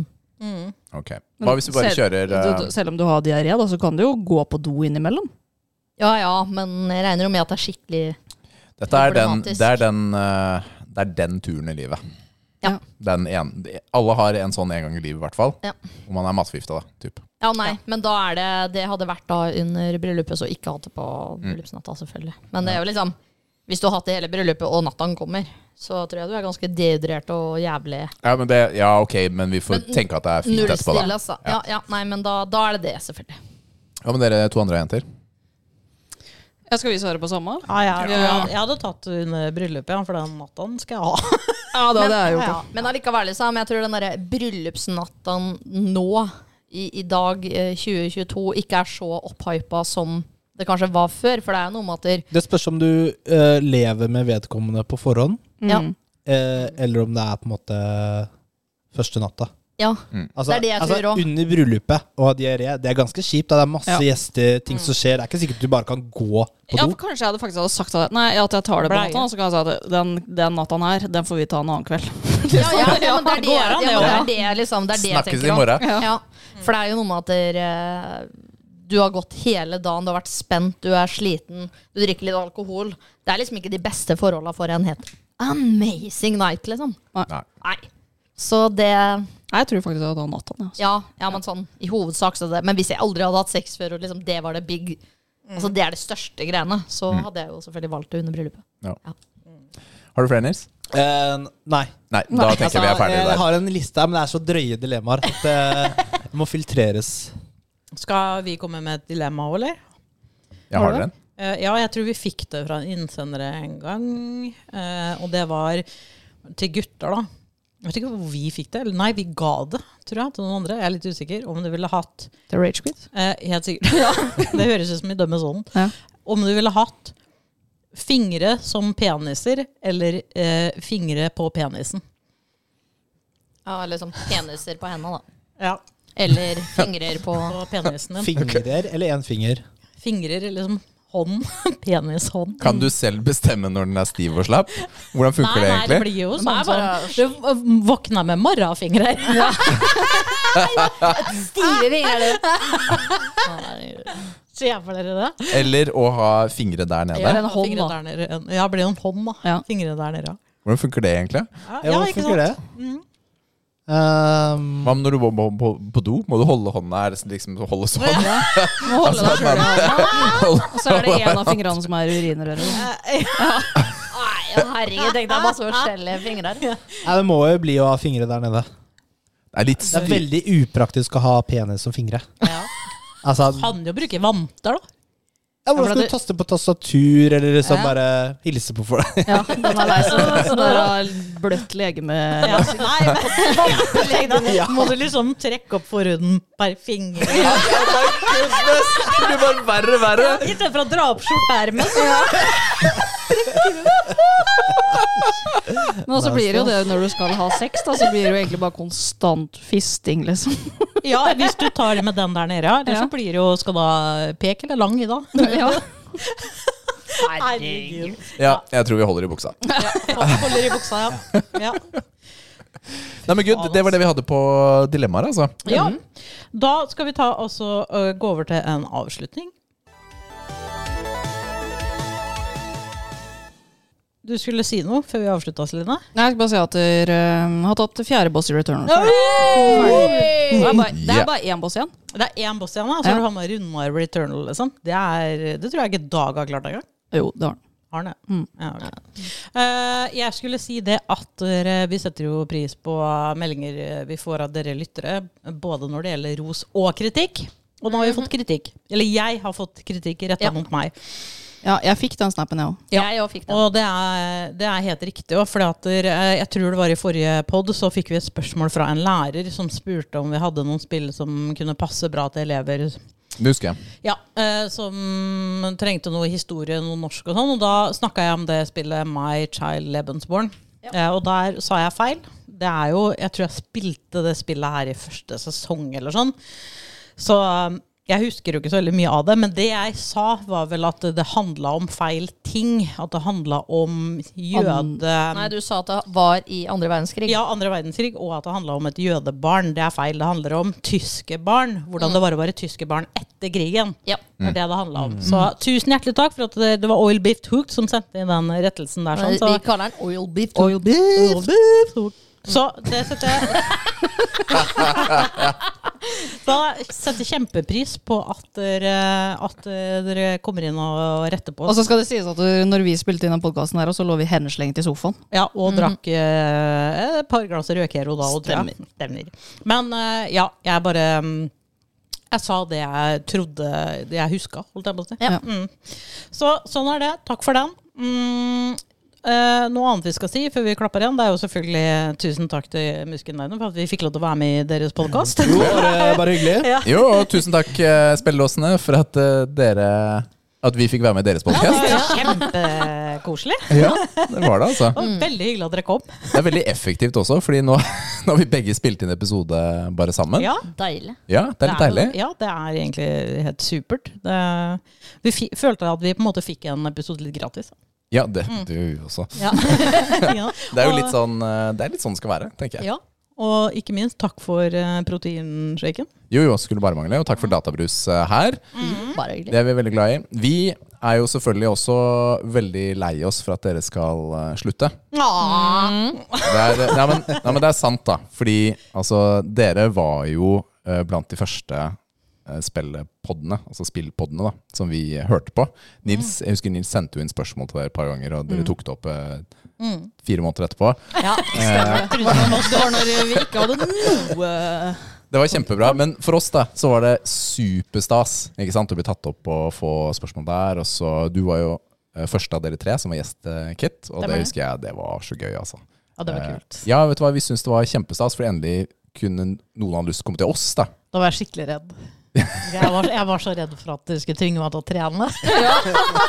S3: Ok. Hva hvis vi bare
S4: Selv-
S3: kjører
S4: du- du-
S3: eh,
S4: Selv om du har diaré, da, så kan du jo gå på do innimellom.
S6: Ja ja, men jeg regner jo med at det er skikkelig
S3: Dette er den,
S6: problematisk.
S3: det er den eh, Det er den turen i livet.
S6: Ja.
S3: Den en, de- alle har en sånn en gang i livet, i hvert fall.
S6: Ja.
S3: Om man er matforgifta, da. Typ.
S6: Ja, nei, men da er det Det hadde vært da under bryllupet, så ikke hatt det på bryllupsnatta, selvfølgelig. Men det er jo liksom Hvis du har hatt det hele bryllupet, og nattaen kommer, så tror jeg du er ganske dehydrert og jævlig
S3: Ja, men det, ja, ok, men vi får
S6: Men
S3: tenke at det er fint etterpå,
S6: nullstille,
S3: da.
S6: altså. Ja, ja, nei, men da, da er det det, selvfølgelig.
S3: Ja, men dere to andre jenter?
S4: Jeg skal vi svare på samme?
S2: Ja, jeg, hadde- jeg hadde tatt det under bryllupet, ja, for den natten skal jeg ha.
S4: Ja, da, det er jo
S6: Ja, ja. Men allikevel, liksom, jeg tror den derre bryllupsnattaen nå, i, i dag, eh, 2022, ikke er så opphypa som det kanskje var før, for det er jo noe med at
S5: Det spørs om du eh, lever med vedkommende på forhånd,
S4: Mm.
S6: Ja.
S5: eh, eller om det er på en måte første natta.
S6: Ja.
S5: Altså,
S6: Det er det jeg tror også.
S5: Under bryllupet og ha diaré, det er ganske kjipt. da. Det er masse
S4: Ja.
S5: gjester, ting som skjer. Det er ikke sikkert du bare kan gå på
S4: Ja,
S5: do.
S4: for kanskje jeg hadde faktisk hadde sagt at, nei, at jeg tar det på
S2: Bleie.
S4: natta, og så kan jeg si at den, den natta her, den får vi ta en annen kveld.
S6: (laughs) Ja, ja, ja, men (laughs) det er det,
S4: Går an, det
S6: ja, men
S4: også.
S6: det, er det, liksom, det, er det jeg
S3: Snakkes
S6: tenker
S3: i
S6: om.
S3: morgen.
S6: Ja. Mm. For det er jo noe med at dere, du har gått hele dagen, du har vært spent, du er sliten, du drikker litt alkohol. Det er liksom ikke de beste forholda for en helt amazing night, liksom.
S3: Nei.
S6: Nei. Så det
S4: Nei, Jeg tror faktisk jeg hadde tatt natta. Ja.
S6: Ja, ja men sånn i hovedsak så det Men hvis jeg aldri hadde hatt sex før, og liksom det var det big Altså det er det største greiene, så hadde jeg jo selvfølgelig valgt det under bryllupet.
S3: Har du flere, Nils?
S5: Eh, nei.
S3: Nei, da tenker
S5: Altså,
S3: vi er ferdige
S5: jeg
S3: der.
S5: har en liste her, men det er så drøye dilemmaer at eh, (laughs) det må filtreres.
S2: Skal vi komme med et dilemma òg, eller?
S3: Jeg har den.
S2: Eh, ja, jeg tror vi fikk det fra en innsender en gang. eh, og det var til gutter, da. Jeg vet ikke hvor vi fikk det. Eller nei, vi ga det, tror jeg, til noen andre. Jeg er litt usikker om du ville hatt
S4: The Rage Quit.
S2: eh, Helt sikkert. (laughs) det høres ut som vi dømmer sånn.
S4: Ja.
S2: Om du ville hatt fingre som peniser, eller eh, fingre på penisen.
S6: Ja, eller sånn peniser på henda, da.
S2: Ja.
S6: Eller fingrer på
S2: På penisen din.
S5: Fingrer eller én finger?
S2: Fingrer, liksom hånd. (laughs) Penishånd.
S3: Kan du selv bestemme når den er stiv og slapp? Hvordan funker det
S2: Nei, det
S3: egentlig?
S2: blir jo
S6: Nei,
S2: sånn
S6: bare-
S2: som Du våkna med morgenfingre. (laughs)
S6: Stive fingre!
S2: Ser for dere det?
S3: Eller å ha fingre der nede?
S4: en hånd,
S2: Fingre
S4: da.
S2: der nede. En- Ja, det blir jo en hånd, da.
S4: Ja.
S2: Fingre der nede, ja.
S3: Hvordan funker det egentlig?
S2: Ja,
S5: Ja, Mm. hvordan funker det? Um,
S3: Hva om når du må på, på, på do? Må du holde hånda her? Liksom holde sånn?
S4: Må
S3: (laughs)
S4: holde
S3: Altså,
S4: deg selv i hånda.
S3: Holde-
S4: Og så er det en av fingrene som er i urinrøret.
S2: Eh,
S6: Nei, ja, herregud, tenk deg masse forskjellige fingre her.
S5: Nei, det må jo bli å ha fingre der nede.
S3: (laughs) Det er litt
S5: Det er
S3: styr.
S5: veldig upraktisk å ha penis som fingre. Altså,
S2: Kan jo bruke vanter, da.
S5: ja, hvordan skal du taste på tastatur, eller liksom
S4: Ja.
S5: bare hilse på folk?
S4: Ja, den er lei seg. (laughs) Så det er bløtt legeme.
S2: Ja. (laughs) Nei, men vanter, da. Må du liksom trekke opp forhuden per finger?
S3: Det blir bare verre og verre.
S2: (laughs) I stedet for å dra opp skjorteermet. (laughs) så-
S4: Men også blir det jo det når du skal ha sex, da, så blir det jo egentlig bare konstant fisting, (laughs) liksom.
S2: Ja, hvis du tar det med den der nede, ja. Eller så blir det jo Skal du ha pek eller lang i dag?
S4: Ja.
S2: Herregud.
S3: Ja, jeg tror vi holder i buksa.
S2: Holder i buksa, ja.
S5: (laughs)
S2: ja.
S3: Nei, men gud, Det var det vi hadde på dilemmaer, altså.
S2: Ja. Mm. Da skal vi ta også, ø, gå over til en avslutning. Du skulle si noe før vi avslutta, Celine.
S4: Nei, Jeg skal bare si at dere eh, har tatt fjerde boss i Return. Det er bare- det er bare én boss igjen.
S2: Det er én boss igjen, da, så
S4: Ja.
S2: har du havna runda i Returnal. Liksom. Det, er, det tror jeg ikke Dag har klart engang.
S4: Jo, det har den.
S2: Har den det? Ja, ok. Eh, jeg skulle si det at eh, vi setter jo pris på meldinger eh, vi får av dere lyttere, både når det gjelder ros og kritikk. Og nå har vi fått kritikk. Eller jeg har fått kritikk retta
S6: Ja.
S2: mot meg.
S4: Ja, jeg fikk den snappen, jeg òg.
S6: Jeg òg fikk den.
S2: Og det er, det er helt riktig. Og fordi at der, eh, jeg tror det var i forrige pod, så fikk vi et spørsmål fra en lærer som spurte om vi hadde noen spill som kunne passe bra til elever
S3: Det husker jeg.
S2: ja, eh, som trengte noe historie, noe norsk og sånn. Og da snakka jeg om det spillet My Child Lebensborn. Eh, og der sa jeg feil. Det er jo, Jeg tror jeg spilte det spillet her i første sesong eller sånn. Så eh, jeg husker jo ikke så veldig mye av det. Men det jeg sa, var vel at det handla om feil ting. At det handla om jøde...
S6: Nei, du sa at det var i andre
S2: Um,
S6: verdenskrig.
S2: Ja, andre verdenskrig, og at det handla om et jødebarn. Det er feil. Det handler om tyske barn.
S6: Mm.
S2: Hvordan det var å være tyske barn etter krigen.
S6: Ja.
S2: Det er det det handla om. Så tusen hjertelig takk for at det, det var Oil Beef Hooked som sendte inn den rettelsen der. Sånn, så.
S6: Vi kaller den oil beef.
S2: Oil beef. Hooked. Så det setter jeg (laughs) Så jeg setter kjempepris på at dere, at dere kommer inn og retter på
S4: Og
S2: oss.
S4: så skal det sies at uh, når vi spilte inn den podkasten her, og så lå vi henslengt i sofaen.
S2: Ja, og drakk eh, et par glass rødkero da. Og tror jeg. Stemmer. Men eh, ja, jeg bare mm, Jeg sa det jeg trodde det jeg huska, holdt jeg på å si.
S6: Ja.
S2: Mm. Så sånn er det. Takk for den. Mm. eh, noe annet vi skal si før vi klapper igjen, det er jo selvfølgelig tusen takk til Muskelnerdene for at vi fikk lov til å være med i deres podkast.
S5: Jo, (laughs) eh, bare, bare hyggelig.
S3: Jo, og tusen takk, eh, spelledåsene, for at eh, dere At vi fikk være med i deres podkast.
S2: Kjempekoselig.
S3: Ja, det var det, altså.
S2: Og veldig hyggelig at dere kom.
S3: Det er veldig effektivt også, fordi nå, (laughs) nå har vi begge spilt inn episode bare sammen.
S2: Ja.
S6: Deilig.
S3: Ja, det er litt deilig.
S2: jo- Ja, det er egentlig helt supert. Det, vi fi, følte at vi på en måte fikk en episode litt
S3: (laughs)
S2: gratis.
S3: Ja, det du også.
S2: Ja.
S3: Det er jo
S2: Og-
S3: litt sånn eh, det er litt sånn det skal være, tenker jeg.
S2: Ja, og ikke minst takk for eh, proteinshaken.
S3: Jo, jo, skulle bare mangle. Og takk for databrus eh, her.
S4: Mhm.
S6: Bare hyggelig.
S3: Det er vi veldig glad i. Vi er jo selvfølgelig også veldig lei oss for at dere skal eh, slutte.
S6: Mm.
S3: Det er, nei, men, nei, men det er sant, da. Fordi altså, dere var jo eh, blant de første eh, spillpoddene, altså spillpoddene, da, som vi eh, hørte på. Nils, jeg husker Nils sendte jo inn spørsmål til dere et par ganger, og dere tok det opp eh, fire måneder etterpå.
S6: Ja, stemmer. Det var når vi ikke hadde
S3: Det var kjempebra, men for oss da, så var det superstas ikke sant? å bli tatt opp og få spørsmål der. Og så, du var jo eh, første av dere tre som var gjest, eh, Kit, og det,
S2: Stemmer det.
S3: husker jeg det var så gøy. altså.
S2: Ja, det var
S3: Eh,
S2: kult.
S3: Ja, vet du hva, vi syntes det var kjempestas, for endelig kunne noen ha lyst til å komme til oss. da.
S2: Da var jeg skikkelig redd. Jeg var, jeg var så redd for at du skulle tvinge meg til å
S3: (laughs)
S2: trene.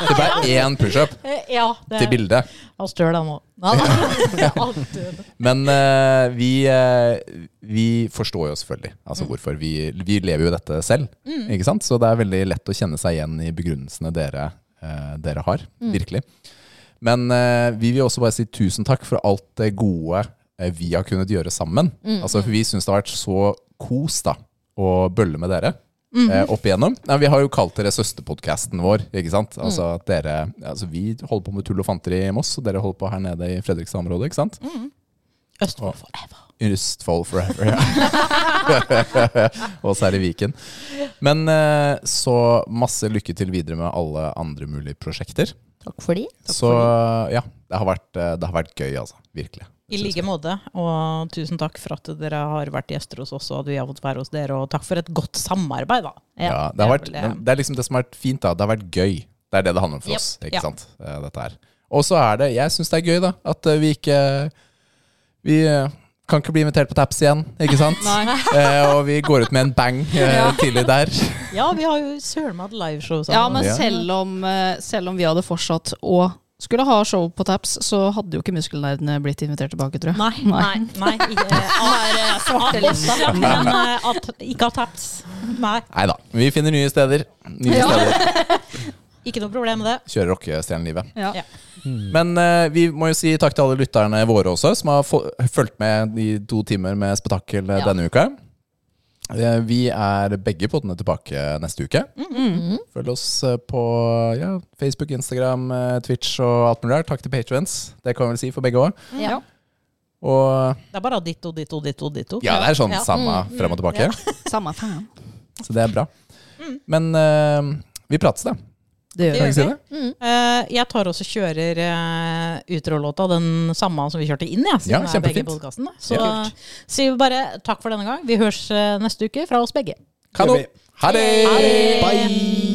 S3: Det ble én pushup
S2: Eh, Ja,
S3: til
S2: det
S3: bildet.
S2: Jeg stør deg nå.
S3: (laughs) Men eh, vi, eh, vi forstår jo selvfølgelig altså hvorfor. Vi, vi lever jo dette selv, ikke sant? Så det er veldig lett å kjenne seg igjen i begrunnelsene dere, eh, dere har. Virkelig. Men eh, vi vil også bare si tusen takk for alt det gode eh, vi har kunnet gjøre sammen. Altså, for vi syns det har vært så kos da, å bølle med dere. eh, Opp igjennom Nei, Vi har jo kalt dere søsterpodkasten vår. Ikke sant? Altså at dere Altså Vi holder på med tull og fanteri i Moss, og dere holder på her nede i Fredrikstad-området. Ikke sant?
S2: Østfold forever.
S3: Østfold forever, ja. (laughs) og så er det Viken. Men eh, så masse lykke til videre med alle andre mulige prosjekter.
S6: Takk for de.
S3: så ja, det har, vært, eh, det har vært gøy, altså. Virkelig.
S2: I like måte, og tusen takk for at dere har vært gjester hos oss, og at vi har fått være hos dere, og takk for et godt samarbeid, da.
S3: Ja, det, har
S2: det
S3: vært,
S2: er vel det.
S3: men det er liksom det som har vært fint, da. Det har vært gøy. Det er det det handler om for
S6: Yep,
S3: oss. ikke
S2: ja.
S3: sant? Eh, Dette her. Og så er det Jeg syns det er gøy, da. At eh, vi ikke Vi eh, kan ikke bli invitert på Taps igjen, ikke
S2: (laughs)
S3: sant? Eh, og vi går ut med en bang eh, tidlig der.
S2: Ja, vi har jo søren meg hatt liveshow sammen.
S4: Ja, men
S3: Ja.
S4: selv om, eh, selv om vi hadde fortsatt å skulle ha show på Taps, så hadde jo ikke muskelnerdene blitt invitert tilbake, tror jeg.
S2: Nei. Nei. Nei.
S3: (laughs)
S2: Svarte lista. Men eh, at, ikke av taps. Nei.
S3: Nei da. Vi finner nye steder. Nye steder.
S2: Ikke noe problem med det.
S3: kjøre rockestjernelivet.
S4: Ja.
S2: Ja.
S3: Men eh, vi må jo si takk til alle lytterne våre også, som har fo- fulgt med i to timer med spetakkel eh, denne uka. Eh, Vi er begge poddene tilbake neste uke. Følg oss eh, på ja, Facebook, Instagram, eh, Twitch og alt mulig der. Takk til patrients. Det kan vi vel si for begge òg.
S6: Ja.
S3: Og
S2: Det er bare ditto, ditto, ditto, ditto.
S3: ja, det er sånn
S2: Ja.
S3: samme frem og tilbake.
S4: Samme faen.
S3: Så det er bra. Men eh, Mm. vi prates, da.
S2: Det
S3: Kan
S2: gjør
S3: jeg si det?
S2: Eh, jeg tar også kjører uh, utrolåta, den samme som vi kjørte inn, jeg, siden
S3: Ja,
S2: det er begge i
S3: kjempefint.
S2: podcasten, da. Så
S3: Ja. Kult.
S2: sier vi bare eh, takk for denne gang. Vi høres eh, neste uke fra oss begge.
S3: Kanon. Ha det!
S2: Ha det!
S3: Bye!